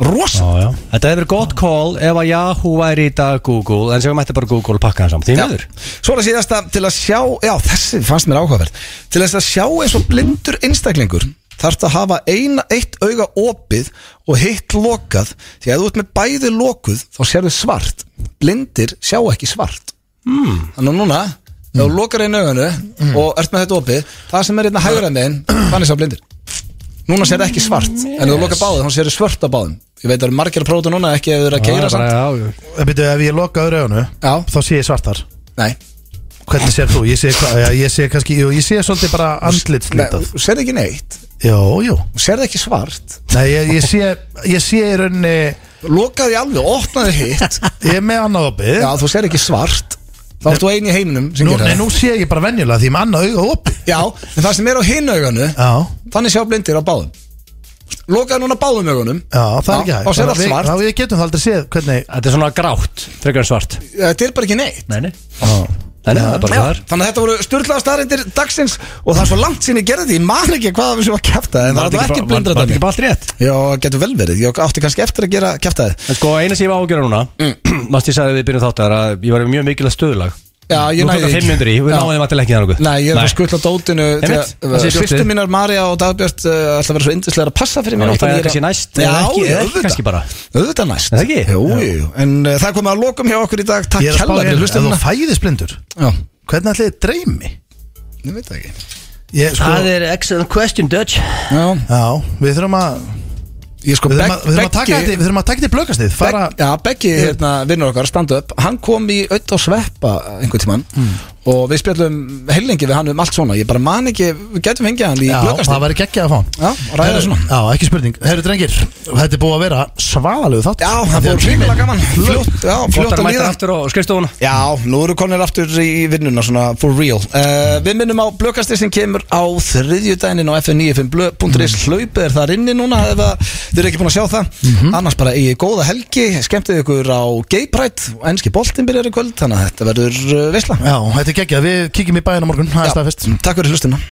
Speaker 1: rosa
Speaker 2: Já, já. Þetta hefur verið gott call ef að Yahoo væri í dag Google en sem mætti bara Google og pakka hann saman því miður
Speaker 1: Svo er það síðasta til að sjá Já, þessi fannst mér áhugaverð Til þess að sjá eins og blindur einstaklingur þarfst að hafa eina, eitt auga opið og hitt lokað því að þú ert með bæði lokuð þá sérðu svart blindir sjá ekki svart
Speaker 2: Hmm.
Speaker 1: mm. þannig að núna ef þú lokar einu auganu og ert með þetta opið það sem er hérna hægra megin þannig sjá blindir núna sérðu ekki svart
Speaker 2: Hmm.
Speaker 1: en ef þú lokar báðið þá sérðu svört á báðum ég veit að það eru margir að prófa þetta núna ekki ef þú eru að
Speaker 2: Já,
Speaker 1: keira
Speaker 2: bara,
Speaker 1: samt
Speaker 2: já, já.
Speaker 3: En byrju, ef ég loka öðru ögunu
Speaker 1: Já.
Speaker 3: Þá sé ég svartar
Speaker 1: nei,
Speaker 3: Hvernig sér þú? Ég sé, hva- já, ég sé kannski jú, Ég sé svolítið bara andlitslitað
Speaker 1: þú sérðu ekki neitt
Speaker 3: Jó, jú
Speaker 1: þú sérðu ekki svart
Speaker 3: Nei, ég, ég sé Ég sé í rauninni
Speaker 1: lokaði alveg, opnaði hitt
Speaker 3: Ég er með annað opið
Speaker 1: já, þú sér ekki svart þá ertu einu í heiminum sem
Speaker 3: nú,
Speaker 1: gerir
Speaker 3: Nei,
Speaker 1: það
Speaker 3: nú sé ég bara venjulega því ég er með annað auga opið
Speaker 1: já, en það sem er á hinu auganu
Speaker 3: Já
Speaker 1: þannig sjá blindir á báðum lokaði núna báðum augunum
Speaker 3: Já, það er ekki hægt
Speaker 1: og sér allt
Speaker 3: Þannig að við-
Speaker 1: svart,
Speaker 3: Já, við getum það aldrei séð hvernig
Speaker 2: Þetta er svona grátt, frekar en svart
Speaker 1: þetta er bara ekki neitt
Speaker 2: Nei, nei, nei, nei það er bara
Speaker 1: Já,
Speaker 2: það er
Speaker 1: þannig að þetta voru styrlaða staðrindir dagsins og það er svo langt sinni gerði því, ég man ekki hvað við sem var kæftað en það var
Speaker 2: bara-
Speaker 1: allavega ekki
Speaker 2: var-
Speaker 1: blindra
Speaker 2: Var þetta
Speaker 1: dæmi
Speaker 2: ekki bara allt rétt?
Speaker 1: Já, getur vel verið, ég átti kannski eftir að gera kæftað
Speaker 2: En sko, eina sem ég var ágjörða núna Mást ég sagði við byrjum þáttar að ég var með mjög mikilvægt stöðulag
Speaker 1: Já, ég
Speaker 2: Nú
Speaker 1: næði
Speaker 2: tókar
Speaker 1: ekki.
Speaker 2: 500 í, við
Speaker 1: Já.
Speaker 2: náðum alltaf ekki þar okkur
Speaker 1: Nei, ég er bara að skuttla dótinu
Speaker 2: Einmitt, það sé fljótt
Speaker 1: Sýstu
Speaker 2: við.
Speaker 1: mínar Marja og Dagbjörn uh, ætla að vera svo yndislega að passa fyrir mér
Speaker 2: Þannig að það
Speaker 1: Ég
Speaker 2: er kannski næst
Speaker 1: Já,
Speaker 2: eða ekki,
Speaker 1: já,
Speaker 2: eða ekki
Speaker 1: auðvitað.
Speaker 2: kannski bara
Speaker 1: Auðvitað næst
Speaker 2: Er það ekki?
Speaker 1: Jú, jú, jú. En uh, það er komið að lokum hjá okkur í dag Takk
Speaker 3: Ég er að spá
Speaker 1: hella
Speaker 3: hérna,
Speaker 1: fyrir hlustununa
Speaker 3: Ef þú fæðist blindur
Speaker 1: Já,
Speaker 3: Hvernig ætli þið dreymi?
Speaker 1: ég veit það ekki
Speaker 3: Ég, sko,
Speaker 2: er excellent question, Dutch
Speaker 1: Já,
Speaker 3: Já, við þurfum að
Speaker 1: ég sko
Speaker 3: Við þurfum að, við þurfum að taka þetta
Speaker 1: Beggi
Speaker 3: í- Við þurfum að taka þetta í blökastið Fara
Speaker 1: Begg- Já, Beggi, hérna, vinnur okkar, stand up Hann kom í auðvitað og sveppa einhvern tímann
Speaker 3: Hmm.
Speaker 1: Og við spjallum heilengi við hann um allt svona Ég bara man ekki, við getum fengið hann í
Speaker 3: Já,
Speaker 1: blökkast
Speaker 3: það væri geggjað að fá hann
Speaker 1: Já, ræða
Speaker 3: Herru,
Speaker 1: svona
Speaker 3: Já, ekki spurning Herru drengir, þetta er búið að vera svaðalegu þátt
Speaker 1: Já, það fór hrikalega gaman Fljótt, já, fljótt
Speaker 2: Flottar
Speaker 1: að
Speaker 2: mættir
Speaker 1: líða
Speaker 2: aftur og skrifstofuna
Speaker 1: Já, nú eru konir aftur í vinnuna svona for real uh, Við minnum á blökastir sem kemur á þriðjudaginn á fn95.is
Speaker 3: Mhm.
Speaker 1: Hlaupið er þar inni núna ef að þið eru ekki búin að sjá það Annars bara í góða helgi, skemmtið ykkur á Gay Pride og Enski boltinn byrjar í kvöld Þannig að þetta verður uh, veisla
Speaker 3: Já, þetta er geggjað Við kíkjum í bæðina morgun, það er staðfest
Speaker 1: Takk fyrir hlustuna